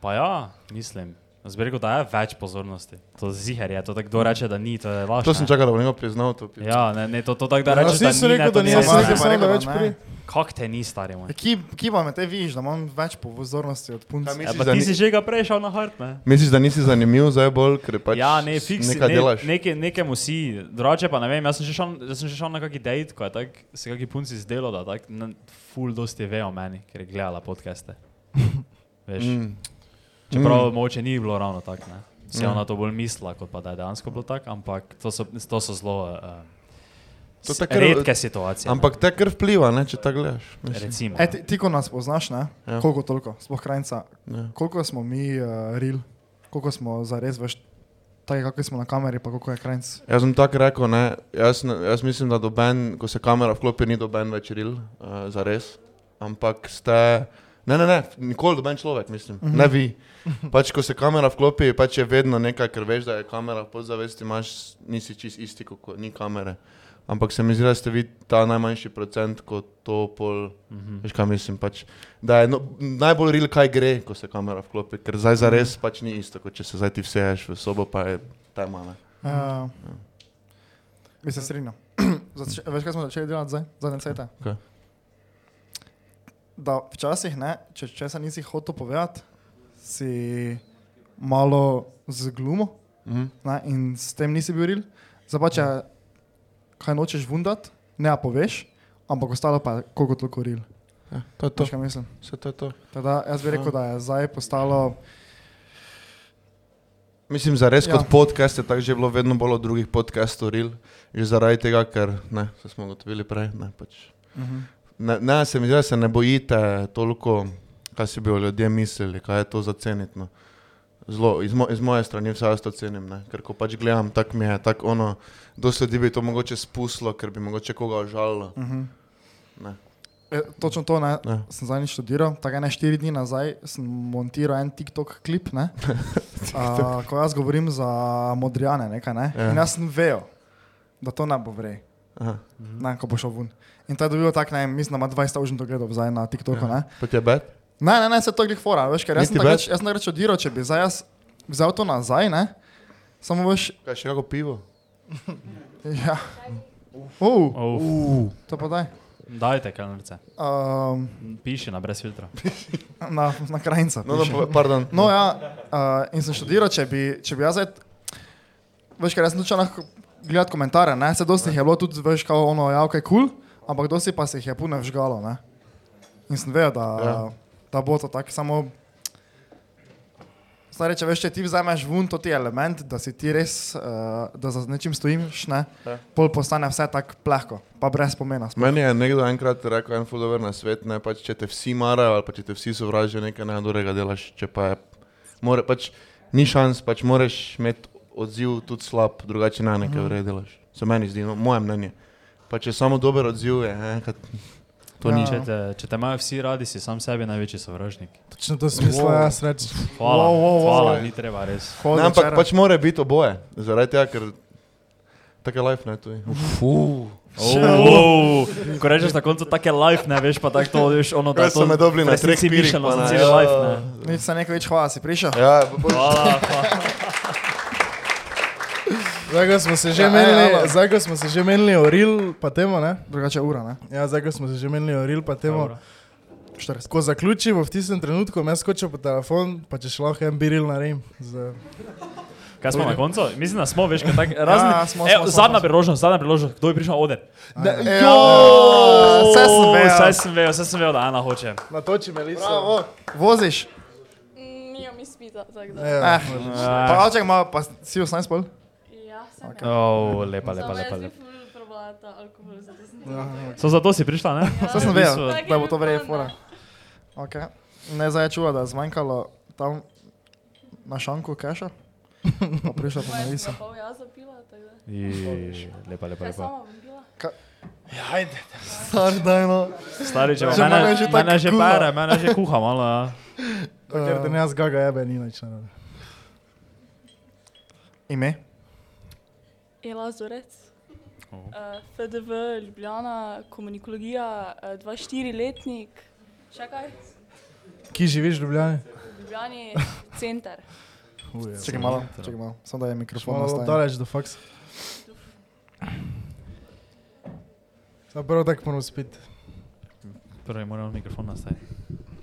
Speaker 2: pa ja, mislim. Jaz bi rekel, da je več pozornosti. To ziher je, to tako kdo reče, da ni, to je laž.
Speaker 9: To sem
Speaker 2: ne.
Speaker 9: čakal, da bo nekdo priznal to.
Speaker 2: Ja, ne, ne, to, to tako da
Speaker 3: Ja,
Speaker 2: rečeš,
Speaker 3: jaz nisem
Speaker 2: da ni, ne,
Speaker 3: rekel,
Speaker 2: to
Speaker 3: da ni,
Speaker 2: ni
Speaker 3: jaz sem
Speaker 2: res.
Speaker 3: rekel,
Speaker 4: pa
Speaker 3: samo, da
Speaker 4: rekel,
Speaker 3: več
Speaker 4: da ne.
Speaker 3: pri.
Speaker 2: Kak te ni, stari moj?
Speaker 4: Ki, ki vam te viš, da imam več pozornosti od punce.
Speaker 9: Kaj
Speaker 2: Ja,
Speaker 9: misliš,
Speaker 2: pa
Speaker 9: da
Speaker 2: ti
Speaker 9: ni-
Speaker 2: si že ga prešel na hart, ne?
Speaker 9: Misliš, da nisi zanimiv zdaj bolj, ker pač
Speaker 2: ja, ne, fiks,
Speaker 9: nekaj
Speaker 2: ne,
Speaker 9: delaš?
Speaker 2: Neke, nekemu si, drugače pa ne vem, jaz sem že šel, jaz sem že šel na kaki dejt, ko je tak, se kaki punci zdelo, da tak, na, ful dosti ve o meni, ker je gledala podcaste. Veš, mm.
Speaker 9: Mm.
Speaker 2: čeprav mm. mogoče ni bilo ravno tako, ne. Se je
Speaker 9: Ja.
Speaker 2: ona to bolj mislila, kot pa da je dejansko bilo tako, ampak to so, to so zelo uh,
Speaker 9: To
Speaker 2: s-
Speaker 9: tako-
Speaker 2: redke situacije. ne.
Speaker 9: Ampak te kar vpliva, ne, če tako gledaš. Mislim,
Speaker 2: recimo. no.
Speaker 4: E, ti, ti, ko nas poznaš, ne?
Speaker 9: Ja.
Speaker 4: Ja. Koliko toliko, sploh krajca,
Speaker 9: ja.
Speaker 4: eh, koliko smo mi uh, real, koliko smo zares veš Tako kako smo na kameri, pa kako je krajc.
Speaker 9: Jaz sem tako rekel, ne, jaz, ne- jaz mislim, da doben, ko se kamera vklopi, ni doben več ril, uh, za res. Ampak ste, ne, ne, ne, nikoli doben človek, mislim,
Speaker 2: Mhm.
Speaker 9: mm -hmm. ne vi. Pač, ko se kamera vklopi, pač je vedno nekaj, ker veš, da je kamera v podzavesti, imaš, nisi čist isti, kot ni kamere. Ampak se mi zdi, da ste vi ta najmanjši procent, kot to pol.
Speaker 2: Mhm.
Speaker 9: Veš, kaj mislim, pač, da je no, najbolj real, kaj gre, ko se kamera vklopi, ker zdaj za res pač ni isto, kot če se zdaj ti vseješ v sobo, pa je tema. Ne? Ja.
Speaker 3: Ehm,
Speaker 4: Uh, bi se strinjal. Zač- Veš, kaj smo začeli delati zdaj, zadnje cajt?
Speaker 9: Kaj?
Speaker 4: Da včasih, ne, če česa nisi hotel povedati, si malo zglumo
Speaker 9: Mhm.
Speaker 4: ne, in s tem nisi bil ril. Zdaj pa
Speaker 9: Ja.
Speaker 4: če kaj nočeš vundat, ne ja poveš, ampak ostalo pa je koliko toliko ril.
Speaker 9: Ja, to je to.
Speaker 4: Veš, kaj mislim?
Speaker 9: Vse to je to.
Speaker 4: Teda, jaz bi rekel, da je zdaj postalo.
Speaker 9: Mislim, za res
Speaker 4: Ja.
Speaker 9: ja. kot podcast je tako že bilo vedno bolj od drugih podcastov, reel, že zaradi tega, ker ne, se smo gotovili prej. Ne, pač. ne, ne, se mi zdi, da se ne bojite toliko, kaj si bi o ljudje mislili, kaj je to za ceniti. No. Zelo, iz, mo iz moje strani vse jaz to cenim, ne? ker ko pač gledam, tako mi je, tako ono, dosti ljudi bi to mogoče spustilo, ker bi mogoče koga ožalilo.
Speaker 4: Uh -huh.
Speaker 9: mhm. Ne.
Speaker 4: E, točno to ne,
Speaker 9: Ne.
Speaker 4: sem zadnjič študiral, tako ene štiri dni nazaj sem montiral en TikTok klip, ne, a, ko jaz govorim za modrijane, nekaj, ne,
Speaker 9: Ja.
Speaker 4: in jaz sem vejo, da to ne bo vrej,
Speaker 9: Aha,
Speaker 4: ne, ko bo šel ven. In ta je dobil tak, ne, mislim, da ima 20 ur dogledov zdaj na TikToku, ne.
Speaker 9: pa ti je bed?
Speaker 4: Ne, ne, ne, se to je glih fora, veš, ker jaz sem
Speaker 9: Niti
Speaker 4: takrat
Speaker 9: več?
Speaker 4: jaz sem takrat študiral, če bi zdaj jaz vzel to nazaj, ne, samo veš,
Speaker 9: Kaj še kako pivo?
Speaker 4: ja, uh,
Speaker 2: Uf,
Speaker 4: to pa daj,
Speaker 2: dajte kalorice.
Speaker 4: um,
Speaker 2: Piši na brez filtra.
Speaker 4: na, na krajnca.
Speaker 9: No, no,
Speaker 4: piše.
Speaker 9: pa- pardon.
Speaker 4: No, ja, uh, in sem študiral, če bi, če bi jaz zdaj, veš, ker jaz nočem lahko gledati komentarje, ne, se dosti jih je bilo tudi, veš, kao ono, ja, ok, kul, cool, ampak dosti pa se jih je puno vžgalo, ne. In sem vedel, da, ja.
Speaker 9: Ja.
Speaker 4: da bo to tako, samo, zdaj reče, veš, če ti vzameš vun, to ti je element, da si ti res, uh, da za nečim stojiš, ne,
Speaker 9: Ja.
Speaker 4: pol postane vse tako plehko, pa brez pomena. sploh.
Speaker 9: Meni je nekdo enkrat rekel, en fudover na svet, ne pač, če te vsi marajo ali pa če te vsi sovražijo, nekaj najhudega delaš, če pa je, more, pač, ni šans, pač moraš imeti odziv tudi slab, drugače ne nekaj
Speaker 4: Mhm.
Speaker 9: vrej delaš. Se meni zdi, no, moje mnenje. Pa če samo dober odziv je, ne, kad, to ja. ni.
Speaker 2: Če te, če te imajo vsi radi, si sam sebi največji sovražnik.
Speaker 3: Točno to sem mislil, jaz reč.
Speaker 2: Hvala,
Speaker 4: Wow, wow, wow.
Speaker 2: hvala, ni treba res.
Speaker 4: Pol
Speaker 9: Ne, ampak
Speaker 4: večera-
Speaker 9: pač mora biti oboje, zaradi tega, ker tako je life, ne, to je.
Speaker 2: Oh, ko rečeš na koncu, tako je life, ne veš pa tako to, veš ono, da
Speaker 9: Kaj so me dobili na treh pirih,
Speaker 2: mišljeno
Speaker 9: pa
Speaker 2: za
Speaker 9: na-
Speaker 2: cel
Speaker 9: ja.
Speaker 2: life, ne.
Speaker 4: Nič se nekaj več, hvala, si prišel.
Speaker 9: Ja, bolj,
Speaker 2: Hvala, hvala.
Speaker 3: Zdaj, ko smo se že
Speaker 4: Ja, ej,
Speaker 3: menili,
Speaker 4: alo.
Speaker 3: zdaj, ko smo se že menili o Ril, pa temo, ne?
Speaker 4: Drugače je ura, ne?
Speaker 3: Ja, zdaj, ko smo se že menili o Ril, pa temo.
Speaker 2: Dobro.
Speaker 4: 40.
Speaker 3: Ko zaključimo v tistem trenutku, me skočil po telefon, pa če šlo en biril na Rim. Z...
Speaker 2: Kaj smo na koncu? Mislim, da smo, veš, kaj tako razni.
Speaker 4: Ja, smo,
Speaker 2: E,
Speaker 4: smo, smo, smo.
Speaker 2: zadnja
Speaker 4: Ja,
Speaker 2: priložnost, zadnja priložnost, kdo je prišel ode?
Speaker 4: Vse Ja, sem
Speaker 2: Vse
Speaker 4: vedel.
Speaker 2: sem vedel, vse sem vedel, da Ana hoče.
Speaker 3: Natoči me listo.
Speaker 4: Bravo. Voziš?
Speaker 10: Nimam izpita, tako da.
Speaker 3: Ja.
Speaker 4: Eh, pa Alček ima, pa si 18 pol?
Speaker 10: Ja, sem okay.
Speaker 2: Oh, lepa, lepa, lepa. lepa.
Speaker 10: ful probala ta alkohol, zato sem
Speaker 2: So zato si prišla, ne?
Speaker 4: Vse Ja. sem
Speaker 2: V bistvu-
Speaker 4: vedel, da Ja, bo to verjetno fora. Okay. Ne zdaj je čuva, da je zmanjkalo tam na šanku keša. Pa prišel pa na viso.
Speaker 10: pol jaz zapila, tako da.
Speaker 2: Jej, Lepa, lepa,
Speaker 10: Kaj
Speaker 2: lepa.
Speaker 10: sama bom bila?
Speaker 4: Star, daj no.
Speaker 2: Stari, če
Speaker 4: Že mene
Speaker 2: imaš,
Speaker 4: že
Speaker 2: mene
Speaker 4: tako
Speaker 2: že
Speaker 4: kuha.
Speaker 2: pere, mene že kuha malo, ja.
Speaker 3: Ker te ne jaz gaga jebe, ni nič narobe.
Speaker 4: Ime?
Speaker 10: Ela Zorec. Uh, FDV, Ljubljana, komunikologija, uh, 24 letnik, še kaj?
Speaker 3: Ki živiš v Ljubljani?
Speaker 10: Ljubljani center.
Speaker 4: Čekaj malo, čekaj malo. Samo da je mikrofon
Speaker 3: Malo
Speaker 4: nastavljen.
Speaker 3: daleč do faksa. Zdaj prvo tako moramo spiti.
Speaker 2: Prvi moramo mikrofon nastaviti.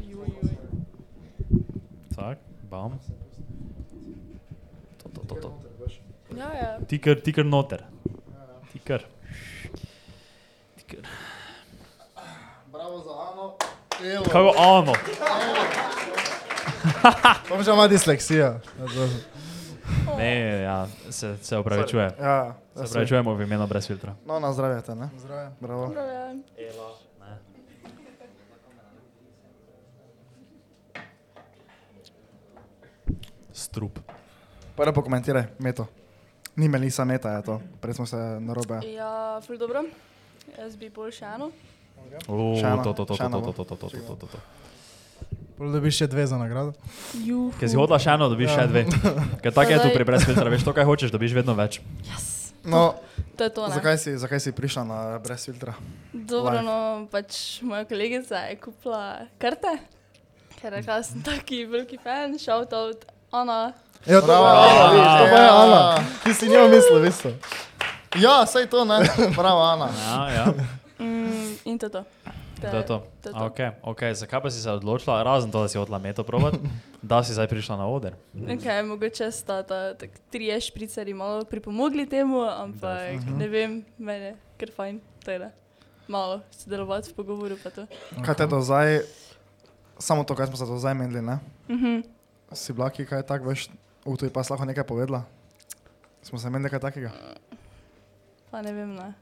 Speaker 10: Juj, juj.
Speaker 2: Tak, bam. To, to, to, to.
Speaker 10: Ja, ja.
Speaker 2: Tikr, tikr noter. Tikr. Tikr.
Speaker 4: Bravo za Ano.
Speaker 2: Kako ono?
Speaker 3: Tam že ima disleksija. Zato-
Speaker 2: Ne, ja, se, se opravičujem.
Speaker 4: Ja,
Speaker 2: Se opravičujemo v imenu brez filtra.
Speaker 4: no na zdravje te, ne? Zdravje. Bravo.
Speaker 10: Prav je.
Speaker 2: Strup.
Speaker 4: Prvo pokomentiraj, meto. Ni Melisa Meta, je to. Prej smo se narobe.
Speaker 7: Ja, ful dobro. Jaz bi bolj še eno.
Speaker 4: Ja.
Speaker 2: O,
Speaker 4: Še eno,
Speaker 2: to, to, to,
Speaker 4: še
Speaker 2: to,
Speaker 4: eno
Speaker 2: to,
Speaker 4: bo.
Speaker 2: to, to, to, to, to, to, to.
Speaker 3: Pol dobiš še dve za nagrado.
Speaker 7: Juhu.
Speaker 2: Ker si hodila še eno, dobiš
Speaker 4: Ja.
Speaker 2: še dve. Ker tako je tu
Speaker 7: Zdaj-
Speaker 2: pri brez filtra, veš to, kaj hočeš, dobiš vedno več.
Speaker 4: No,
Speaker 7: To je to, ne?
Speaker 4: zakaj si, zakaj si prišla na brez filtra?
Speaker 7: Dobro,
Speaker 4: Life.
Speaker 7: no, pač moja kolegica je kupila karte, ker je rekla, da sem taki veliki fan, shout out, ona.
Speaker 3: Ja, to pa je Ana, to pa je Ana. Ti si njo mislil, veste.
Speaker 4: Ja, sej to ne. Bravo, Ana.
Speaker 2: Ja, ja,
Speaker 7: Mm, in to je to.
Speaker 2: to je to.
Speaker 7: to je to.
Speaker 2: A, Okay, okay. Zakaj pa si se odločila, razen to, da si hodila meto provat, da si zdaj prišla na oder?
Speaker 7: Okay, mogoče sta ta tak trije špricari malo pripomogli temu, ampak ne vem, meni je kar fajn, teda. Malo sodelovati v pogovoru pa to.
Speaker 4: Kaj te do zdaj, samo to, kaj smo se do zdaj menili, ne? Si blaki, kaj tak, veš, v tuji pas lahko nekaj povedala? Smo se menili kaj takega?
Speaker 7: Pa ne vem, ne.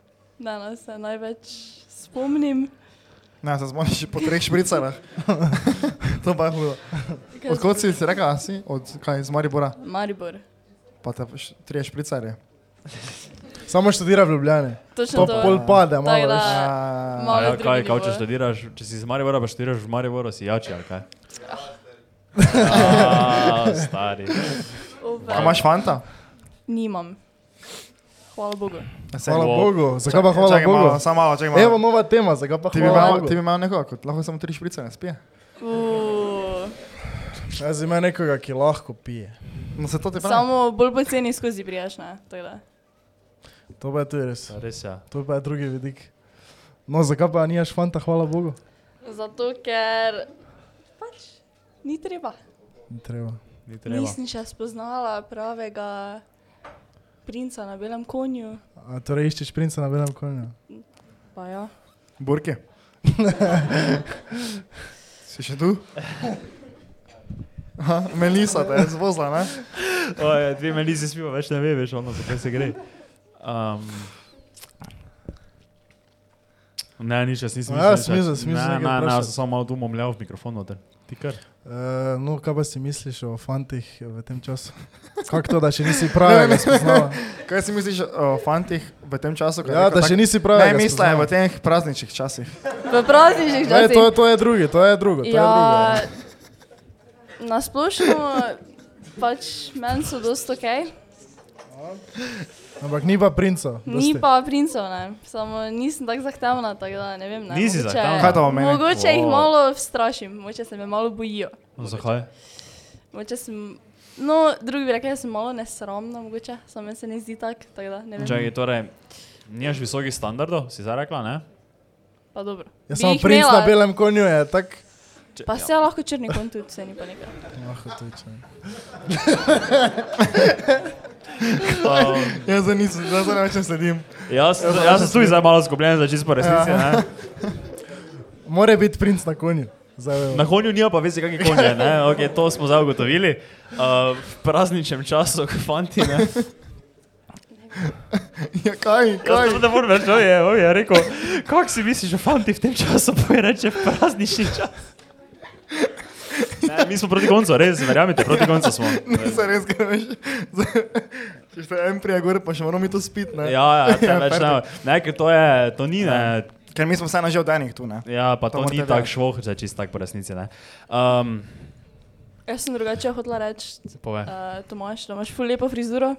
Speaker 7: Danes se največ spomnim.
Speaker 4: Ne, se zmoniš po treh špricarah. to pa je hudo.
Speaker 7: kaj
Speaker 4: Odkot si si rekla, si? Od kaj, iz Maribora?
Speaker 7: sem- Maribor.
Speaker 4: Pa te š- trije špricarje.
Speaker 3: Samo študira v Ljubljani.
Speaker 7: Točno
Speaker 3: To
Speaker 7: to.
Speaker 3: pol pade,
Speaker 7: Tako
Speaker 3: malo
Speaker 7: da-
Speaker 3: več.
Speaker 4: Ja.
Speaker 7: Malo
Speaker 2: A ja,
Speaker 7: drugi
Speaker 2: kaj, kaj,
Speaker 7: nivo.
Speaker 2: če študiraš, če si iz Maribora, pa študiraš v Mariboru, si jači, ali kaj?
Speaker 7: Ah,
Speaker 2: A, stari.
Speaker 7: Ove,
Speaker 4: A imaš fanta?
Speaker 7: Nimam. Hvala Bogu.
Speaker 4: Sej.
Speaker 3: Hvala
Speaker 2: Wow.
Speaker 3: Bogu, zakaj pa hvala
Speaker 4: Čakaj
Speaker 3: Bogu?
Speaker 4: malo, Samo malo, čakaj malo.
Speaker 3: Evo nova tema, zakaj pa
Speaker 4: Ti bi,
Speaker 3: hvala
Speaker 4: imel, ti
Speaker 3: Bogu?
Speaker 4: bi imel nekoga, kot lahko samo tri šprice ne spije.
Speaker 7: Uuu.
Speaker 3: Jaz imam Ja, nekoga, ki lahko pije.
Speaker 4: No se to ti pravi.
Speaker 7: Samo bolj poceni skozi prijaš, ne? Tako da.
Speaker 3: To pa je tudi res.
Speaker 2: Res je. Ja.
Speaker 3: To pa je drugi vidik. No, zakaj pa nijaš fanta, hvala Bogu?
Speaker 7: Zato, ker pač ni treba.
Speaker 3: Ni treba.
Speaker 2: Ni treba.
Speaker 7: Nisem še spoznala pravega princa na belem konju.
Speaker 3: A torej iščeš princa na belem konju?
Speaker 7: Pa ja.
Speaker 4: Burki. si še tu? Aha, Melisa te je zvozla, ne?
Speaker 2: Oje, dve meni si spiva, več ne ve, veš, ono, zakaj se gre. Um, ne, nič, jaz nisem.
Speaker 3: A ja,
Speaker 2: nič
Speaker 3: smisel,
Speaker 2: več.
Speaker 3: smisel
Speaker 2: Ne, ne,
Speaker 3: nekaj
Speaker 2: ne,
Speaker 3: vprašati.
Speaker 2: sem samo malo tu momljal v mikrofon noter. Ti kar.
Speaker 3: Uh, no, kaj pa si misliš o fantih v tem času? Kako to, da še nisi pravega spoznala?
Speaker 4: Kaj si misliš o fantih v tem času? ko je
Speaker 3: Ja,
Speaker 4: rekel
Speaker 3: da še
Speaker 4: tak-
Speaker 3: nisi
Speaker 4: Ne,
Speaker 3: pravega
Speaker 4: misla je v
Speaker 3: spoznala.
Speaker 4: teh prazničnih časih.
Speaker 7: V prazničnih
Speaker 3: Ne, to, je-
Speaker 7: časih.
Speaker 3: to je drugi, to je drugo. To je drugo.
Speaker 7: Ja, na splošno pač meni so dosto ok.
Speaker 3: Ampak ni pa princa.
Speaker 7: Ni
Speaker 3: dosti.
Speaker 7: pa princev, ne. samo nisem tako zahtevna, tako da ne vem. Ne.
Speaker 2: Nisi
Speaker 7: Mogoče-
Speaker 2: zahtevna?
Speaker 4: Kaj to pomeni?
Speaker 7: Mogoče jih
Speaker 2: O.
Speaker 7: malo strašim, mogoče se me malo bojijo.
Speaker 2: No, zakaj?
Speaker 7: Mogoče sem, no, drugi bi rekli, da sem malo nesramna, mogoče, samo meni se ne zdi tak, tako da ne vem.
Speaker 2: Čakaj, torej, nimaš visokih standardov, si zdaj rekla, ne?
Speaker 7: Pa dobro.
Speaker 3: Ja,
Speaker 7: Bi
Speaker 3: samo
Speaker 7: jih
Speaker 3: princ na
Speaker 7: imela,
Speaker 3: belem konju je tak.
Speaker 7: Pa se lahko črni kon tudi, se ni pa nekaj.
Speaker 3: Lahko to je.
Speaker 2: Um,
Speaker 4: Jaz zdaj nisem, jaz zdaj ne več ne sledim.
Speaker 2: jaz, jaz sem tudi zdaj malo zgubljen, zdaj čisto po resnici, ne?
Speaker 3: Mora biti princ na konju. Zdaj vemo.
Speaker 2: Na konju nima pa veze, kakšen konj je, ne? Okay, to smo zdaj ugotovili. Uh, v prazničnem času, fanti, ne?
Speaker 4: Ja, kaj,
Speaker 2: Jaz
Speaker 4: kaj?
Speaker 2: sem dobro veš, je, on je rekel, kako si misliš o fantih v tem času, pa je reče praznični čas. Ne, mi smo proti koncu, res, verjamete, proti koncu smo.
Speaker 4: Se res kaj veš. Zdaj- Če ste en prija gor, pa še moramo mi to spiti, ne?
Speaker 2: Ja, ja, te več ne. Ne, ker to je, to ni, ne.
Speaker 4: Ker mi smo vseeno že od enih tu, ne?
Speaker 2: Ja, pa to
Speaker 4: To morate
Speaker 2: ni tak
Speaker 4: vedeti.
Speaker 2: švoh, če čist tak po resnici, ne. Um,
Speaker 7: Jaz sem drugače hotela reči,
Speaker 2: pove.
Speaker 7: uh, Tomaš, da imaš ful lepo frizuro.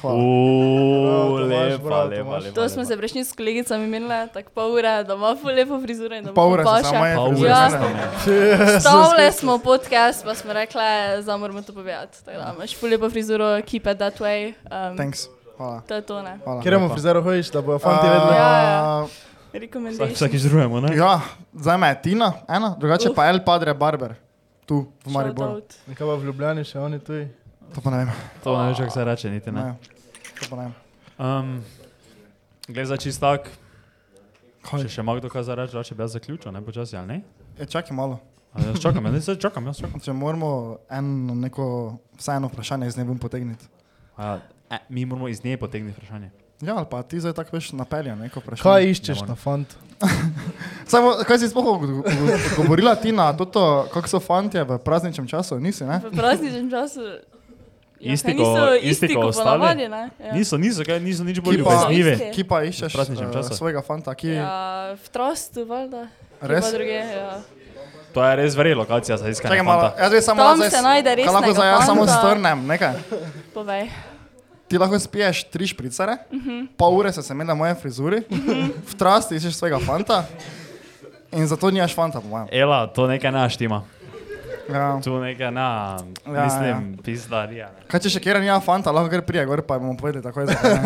Speaker 2: Uuu, lepa,
Speaker 3: bravo,
Speaker 2: lepa,
Speaker 3: Tomaš.
Speaker 2: lepa.
Speaker 7: To smo se prejšnji s kolegicami menile, tako pol ure, da ima ful lepo frizuro in da mu
Speaker 4: Pol
Speaker 7: ful
Speaker 4: ure se
Speaker 7: paše.
Speaker 4: samo je.
Speaker 2: Pa ure,
Speaker 7: Ja.
Speaker 2: ne, ne.
Speaker 7: Stavile smo podcast, pa smo rekle, da moramo to povedati. Tako da imaš ful lepo frizuro, keep it that way. Um,
Speaker 4: Thanks. Hvala.
Speaker 7: to je to, ne.
Speaker 4: Hvala.
Speaker 3: Kjer mu frizer hojiš, da bojo fanti vedeli.
Speaker 7: Ja,
Speaker 4: ja.
Speaker 2: Vsak-
Speaker 7: Rekomendation.
Speaker 2: Vsakič drugemu, ne?
Speaker 4: Ja, zdaj me je Tina, ena, drugače pa El Padre Barber, tu v Mariboru.
Speaker 7: Shoutout.
Speaker 3: Nekaj pa v Ljubljani še oni tuji.
Speaker 4: To pa ne vem.
Speaker 2: To ne veš, kako se reče, niti ne.
Speaker 4: Ne. To pa ne vem.
Speaker 2: Um, Glej za čist tak. Če še ima kdo kaj za reči, rače bi jaz zaključil, ne počasi, ali ne?
Speaker 4: E, čakaj malo.
Speaker 2: Ali jaz čakam, jaz zdaj čakam, jaz čakam.
Speaker 4: Če moramo eno neko vseeno vprašanje iz neba potegniti.
Speaker 2: A, e, mi moramo iz nje potegniti vprašanje.
Speaker 4: Ja, ali pa ti zdaj tako veš napelja neko vprašanje.
Speaker 3: Kaj iščeš na fantu?
Speaker 4: Samo, kaj si sploh odgo- odgo- odgovorila ti na to, kako so fantje v prazničnem času, nisi, ne?
Speaker 7: V prazničnem času Ja,
Speaker 2: Isti
Speaker 7: niso
Speaker 2: ko- isti
Speaker 7: isti
Speaker 2: ko
Speaker 7: ko
Speaker 2: ostali?
Speaker 7: ponavadi, ne? Ja.
Speaker 2: Niso, niso, kaj, niso nič bolj
Speaker 4: Ki
Speaker 7: pa-
Speaker 2: ljubeznivi.
Speaker 4: Ki pa iščeš
Speaker 2: V prazničnem
Speaker 4: eh,
Speaker 2: času.
Speaker 4: svojega fanta, ki ja.
Speaker 7: Ja, v trastu, valjda. Kje
Speaker 4: Res?
Speaker 7: pa Druge, ja.
Speaker 2: To je res vre lokacija za iskanje
Speaker 4: Čakaj malo,
Speaker 2: fanta.
Speaker 4: jaz zdaj samo
Speaker 7: Tam
Speaker 4: zdaj
Speaker 7: se
Speaker 4: s-
Speaker 7: najde
Speaker 4: kaj
Speaker 7: resnega
Speaker 4: Lahko zdaj jaz samo
Speaker 7: fanta.
Speaker 4: strnem, nekaj.
Speaker 7: Povej.
Speaker 4: Ti lahko spiješ tri špricare, uh
Speaker 7: Mhm.
Speaker 4: -huh. pol ure se seme na moje frizuri, uh -huh. v trasti iščeš svojega fanta in zato nimaš fanta, po mojem.
Speaker 2: Ela, to nekaj naštima.
Speaker 4: Ja.
Speaker 2: Tu nekaj na,
Speaker 4: Ja,
Speaker 2: mislim, pizdarija. ne.
Speaker 4: Kaj če še kjer nima fanta, lahko gre prije gor pa bomo povedali takoj. zakaj ne.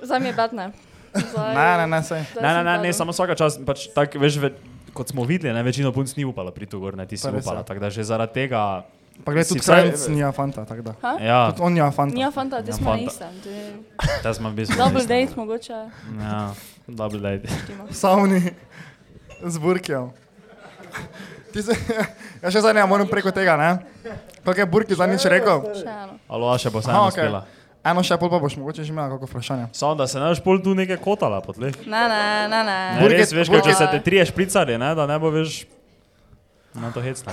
Speaker 7: Zdaj mi je bad, ne. Zdaj-
Speaker 4: Ne, ne, ne, sej.
Speaker 7: zdaj
Speaker 2: Ne, ne,
Speaker 7: sem
Speaker 2: ne,
Speaker 7: padla.
Speaker 2: ne, samo vsaka čas, pač tak, veš, ve, kot smo videli, ne, večino punc ni upala priti gor, ne, ti si
Speaker 4: Pa res ja. je.
Speaker 2: upala, tako da že zaradi tega,
Speaker 4: Pa gre
Speaker 2: Si
Speaker 4: tudi
Speaker 2: pravi-
Speaker 4: krajc, nima fanta, tako da.
Speaker 2: ja,
Speaker 4: Tudi on nima fanta.
Speaker 7: Nija fanta, ti
Speaker 2: Nija
Speaker 7: smo na
Speaker 2: fanta.
Speaker 7: istem. to je
Speaker 2: da smo v bistvu.
Speaker 7: Double
Speaker 2: isti.
Speaker 7: date mogoče.
Speaker 2: Ja, double date.
Speaker 4: Savni, z burkijo. Ti se, ja še zdaj ne morem preko tega, ne? Kako je burki zadnjič rekel?
Speaker 7: Še eno.
Speaker 2: Alo, a še bo
Speaker 4: Aha,
Speaker 2: sama
Speaker 4: okej.
Speaker 2: uspela.
Speaker 4: Eno še pol pa boš mogoče že imela kako vprašanje.
Speaker 2: Samo da se ne boš pol tu nekaj kotala po tleh.
Speaker 7: Ne, ne, ne, ne.
Speaker 2: Ne, res, veš, ker če
Speaker 7: burger-
Speaker 2: se te trije špricari, ne, da ne bo veš, na to hecna.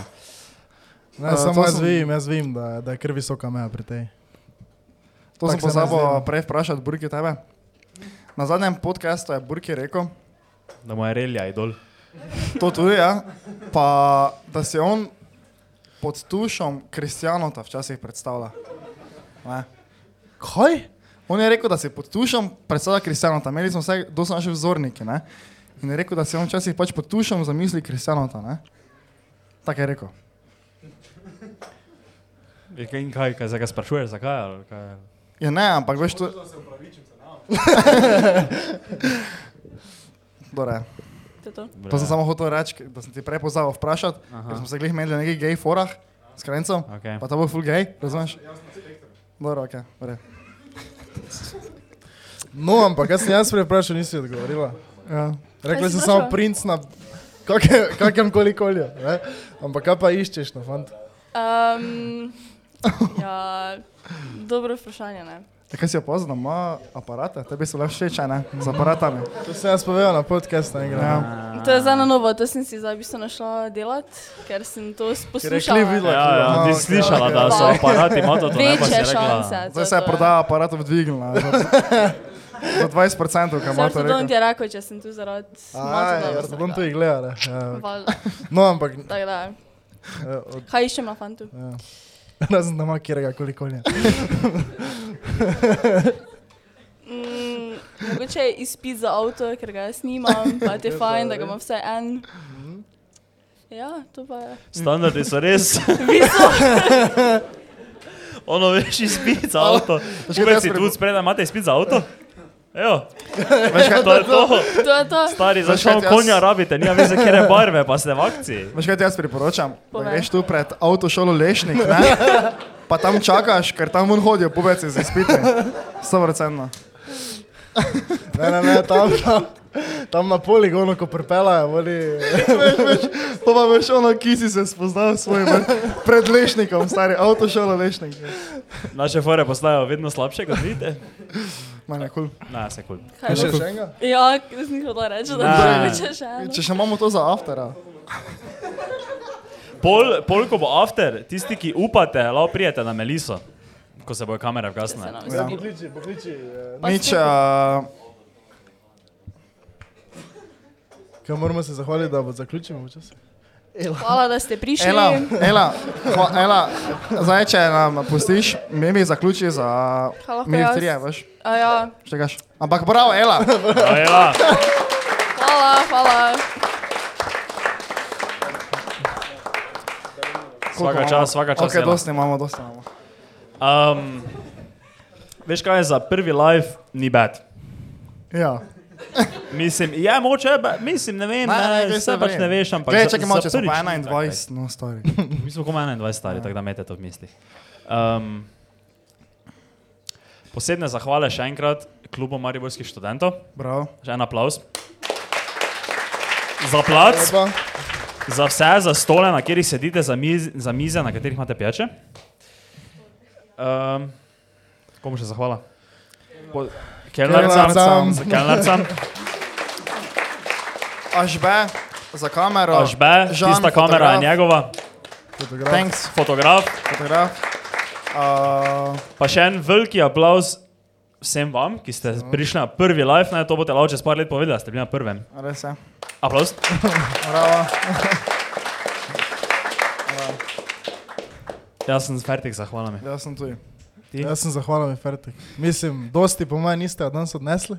Speaker 3: Ne,
Speaker 4: Eh,
Speaker 3: uh,
Speaker 4: to
Speaker 3: samo jaz
Speaker 4: sem-
Speaker 3: vem, jaz vem, da, da je kar visoka meja pri tej.
Speaker 4: To sem
Speaker 3: Tako se ne
Speaker 4: pozabil
Speaker 3: zdi. no.
Speaker 4: prej vprašati, burki tebe. Na zadnjem podkastu je burki rekel,
Speaker 2: Da mu je relja idol.
Speaker 4: to tudi, ja, pa da si on pod tušom kristijanota včasih predstavlja. Ne?
Speaker 3: Kaj?
Speaker 4: On je rekel, da si pod tušem predstavlja kristijanota. Imeli smo vse, kdo so naši vzorniki. Ne? In je rekel, da si on včasih pač pod tušem zamisli kristijanota. ne. Tako je rekel.
Speaker 2: Je kaj- In kaj, kaj, zdaj ga sprašuješ, zakaj? ali kaj?
Speaker 4: Ja, ne, ampak veš, to je. Dore,
Speaker 7: To je to.
Speaker 4: to sem samo hotel reči, ker- da sem ti prej pozabil vprašati,
Speaker 2: Ja. Aha.
Speaker 4: ker smo se glih imeli na nekih gej forah s krencem,
Speaker 2: Okej.
Speaker 4: pa ta bo full gej, razumeš? Dobro, ok, vre.
Speaker 3: No, ampak jaz sem jaz prej vprašal, nisi odgovorila.
Speaker 4: Ja.
Speaker 3: Rekla
Speaker 7: Kaj si
Speaker 3: si samo
Speaker 7: vprašala?
Speaker 3: princ na kakem, kakem koli kolju. ne. Ampak kaj pa iščeš na fant?
Speaker 7: Um, ja, dobro vprašanje, ne.
Speaker 4: Ja, Kaj si opazil, da ima aparate, tebi so le všeč, a ne, z aparatami.
Speaker 3: To sem jaz povedal na podkastu. Ja.
Speaker 4: Ja.
Speaker 7: To je zdaj na novo, to sem si zdaj v bistvu našla delati, ker sem to
Speaker 3: klip
Speaker 7: poslušala.
Speaker 3: videla.
Speaker 2: Ja, ja, ti si slišala, da so
Speaker 7: Wow.
Speaker 2: aparati, ima to, to ne pa si
Speaker 7: Večje šanse.
Speaker 2: rekla.
Speaker 4: Zdaj se je prodaja aparatov dvignila za, za 20%, kaj ima to
Speaker 7: Sartodont
Speaker 4: reči.
Speaker 7: je rekel, če sem tu zaradi
Speaker 3: Aj, jaz bom tudi gledal. ne. Ja.
Speaker 7: Valjda,
Speaker 3: No, ampak
Speaker 7: tako
Speaker 3: eh,
Speaker 7: da.
Speaker 3: od-
Speaker 7: Kaj iščem na fantu?
Speaker 3: razen da ima kjerega koli kolja.
Speaker 7: Mm, mogoče je izpit za avto, ker ga jaz nimam, pa ti je fajn, da ga imam vse en.
Speaker 4: Mhm.
Speaker 7: Ja, to pa je.
Speaker 2: Standardi so res. ono veš, izpit za avto. Škoda si tu spredaj, imate izpit za avto? Evo,
Speaker 4: Veš kaj,
Speaker 2: to je to.
Speaker 7: To je to.
Speaker 2: Stari,
Speaker 4: Veš
Speaker 2: začel
Speaker 4: kaj, jaz-
Speaker 2: konja rabite, nima veze, kje barve, pa ste v akciji.
Speaker 4: Veš kaj ti jaz priporočam? Da
Speaker 7: Povej.
Speaker 4: greš tu pred avtošolo Lešnik, ne? pa tam čakaš, ker tam ven hodijo pubeci z izpiti. 100%.
Speaker 3: Ne, ne, ne, tam, tam, tam na poligonu, ko pripelajo, voli.
Speaker 4: To pa veš ono, ki si se spoznal s svojim pred Lešnikom, stari avtošolo Lešnik.
Speaker 2: Naše fore postajajo vedno slabše, kot vidite.
Speaker 4: Mane, kul.
Speaker 2: Na, se kul.
Speaker 7: Kaj
Speaker 3: Še
Speaker 7: bo?
Speaker 3: še enega?
Speaker 7: Ja, jaz nisem hodila reči, da
Speaker 2: Ne.
Speaker 7: to rečeš eno.
Speaker 4: Če še imamo to za aftera.
Speaker 2: Pol, pol, ko bo after, tisti, ki upate, lahko prijete na Meliso, ko se bojo kamere
Speaker 7: Se
Speaker 2: vgasne.
Speaker 7: nam izogib.
Speaker 3: Pokliči, pokliči.
Speaker 7: Pa
Speaker 4: Nič,
Speaker 7: spet-
Speaker 4: uh,
Speaker 3: Kaj moramo se zahvaliti, da bo zaključimo včasih?
Speaker 7: Hvala, da ste prišli.
Speaker 4: Ela, Ela, hva, Ela, zdaj če nam pustiš, mi mi zaključi za
Speaker 7: Kaj lahko
Speaker 4: mi
Speaker 7: jaz?
Speaker 4: trije, veš,
Speaker 7: A ja,
Speaker 4: čekaš. Ampak bravo, Ela.
Speaker 2: Ajela.
Speaker 7: hvala, hvala.
Speaker 2: Svaka
Speaker 4: Koliko
Speaker 2: čast, svaka čast,
Speaker 4: Ok,
Speaker 2: Ela.
Speaker 4: dosti imamo, dosti imamo.
Speaker 2: Um, veš kaj je za prvi live, ni bad.
Speaker 4: Ja.
Speaker 2: Mislim, ja, moče, mislim, ne vem,
Speaker 4: Ne, ne,
Speaker 2: ne,
Speaker 4: glej,
Speaker 2: ne,
Speaker 4: saj
Speaker 2: vse pač
Speaker 4: vem.
Speaker 2: ne veš, ampak.
Speaker 4: Glej,
Speaker 2: za-
Speaker 4: čakaj malo,
Speaker 2: za
Speaker 4: če smo
Speaker 2: prvič
Speaker 4: pa
Speaker 2: ni tako,
Speaker 4: 21, no, stari.
Speaker 2: Mi smo komaj 21 stari, tako da imete to v mislih. Um, posebne zahvale še enkrat klubu Mariborskih študentov,
Speaker 4: Bravo.
Speaker 2: še en aplaus. Za plac,
Speaker 3: Lepa.
Speaker 2: za vse, za stole, na katerih sedite, za, miz, za mize, na katerih imate pijače. Um, komu še zahvala? Po- Kelnercam,
Speaker 4: Kelnercam.
Speaker 2: za kelnercam,
Speaker 4: Ažbe, za kamero.
Speaker 2: ažbe,
Speaker 4: Žan,
Speaker 2: tista kamera je
Speaker 4: fotograf.
Speaker 2: njegova,
Speaker 4: Fotograf. Thanks,
Speaker 2: fotograf,
Speaker 4: fotograf. Uh,
Speaker 2: Pa še en veliki aplauz vsem vam, ki ste prišli na prvi live, naj to boste lahko čez par let povedali, da ste bili na prvem.
Speaker 4: res je.
Speaker 2: Aplauz.
Speaker 4: Bravo.
Speaker 2: Jaz sem fertik, zahvala mi.
Speaker 4: Jaz sem tu.
Speaker 3: Jaz sem zahvalen, je fertik. Mislim, dosti po mojem niste od nas odnesli.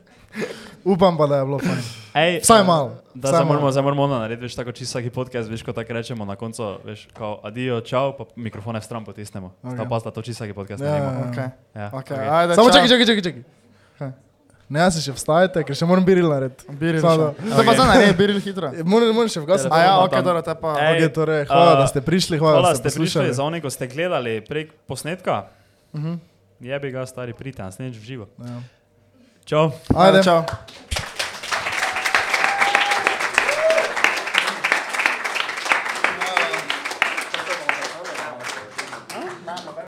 Speaker 3: Upam pa, da je bilo fajn.
Speaker 2: Ej,
Speaker 3: Vsaj malo.
Speaker 2: Da,
Speaker 3: vsaj
Speaker 2: zdaj moramo,
Speaker 3: malo.
Speaker 2: zdaj moramo ono narediti, veš, tako čisto vsaki podcast, veš, ko tako rečemo na koncu, veš, kao adijo, čau, pa mikrofone v stran potisnemo. Okay. Ta
Speaker 3: Ok.
Speaker 2: pa sta to čisto vsaki podcast
Speaker 3: Ja,
Speaker 2: naredimo.
Speaker 3: ja, ja.
Speaker 4: Okay.
Speaker 2: Ja,
Speaker 4: Okay,
Speaker 2: okej.
Speaker 4: okay. Ajde,
Speaker 3: Samo
Speaker 4: čao.
Speaker 3: čakaj, čakaj, čakaj. čakaj.
Speaker 4: Kaj?
Speaker 3: Ne, jaz se še vstajete, ker še moram biril narediti.
Speaker 4: Biril.
Speaker 3: Samo
Speaker 4: še.
Speaker 3: da-
Speaker 4: To pa zdaj ne, biril hitro.
Speaker 3: Moram moram še vgasiti.
Speaker 4: A ja,
Speaker 2: Telefon
Speaker 4: ok,
Speaker 2: tam.
Speaker 4: dobro, te pa.
Speaker 2: Ej,
Speaker 3: Ok, torej, hvala,
Speaker 2: a,
Speaker 3: da ste prišli, hvala,
Speaker 2: Hvala,
Speaker 3: da ste
Speaker 2: ste prišli
Speaker 3: poslušali. Mhm.
Speaker 2: za one, ko ste gledali prek posnetka. Uh -huh. Jebi ga, stari pridite, nas neč v živo.
Speaker 3: Ja.
Speaker 2: Čau.
Speaker 4: Ajde,
Speaker 3: Ajde.
Speaker 4: čau.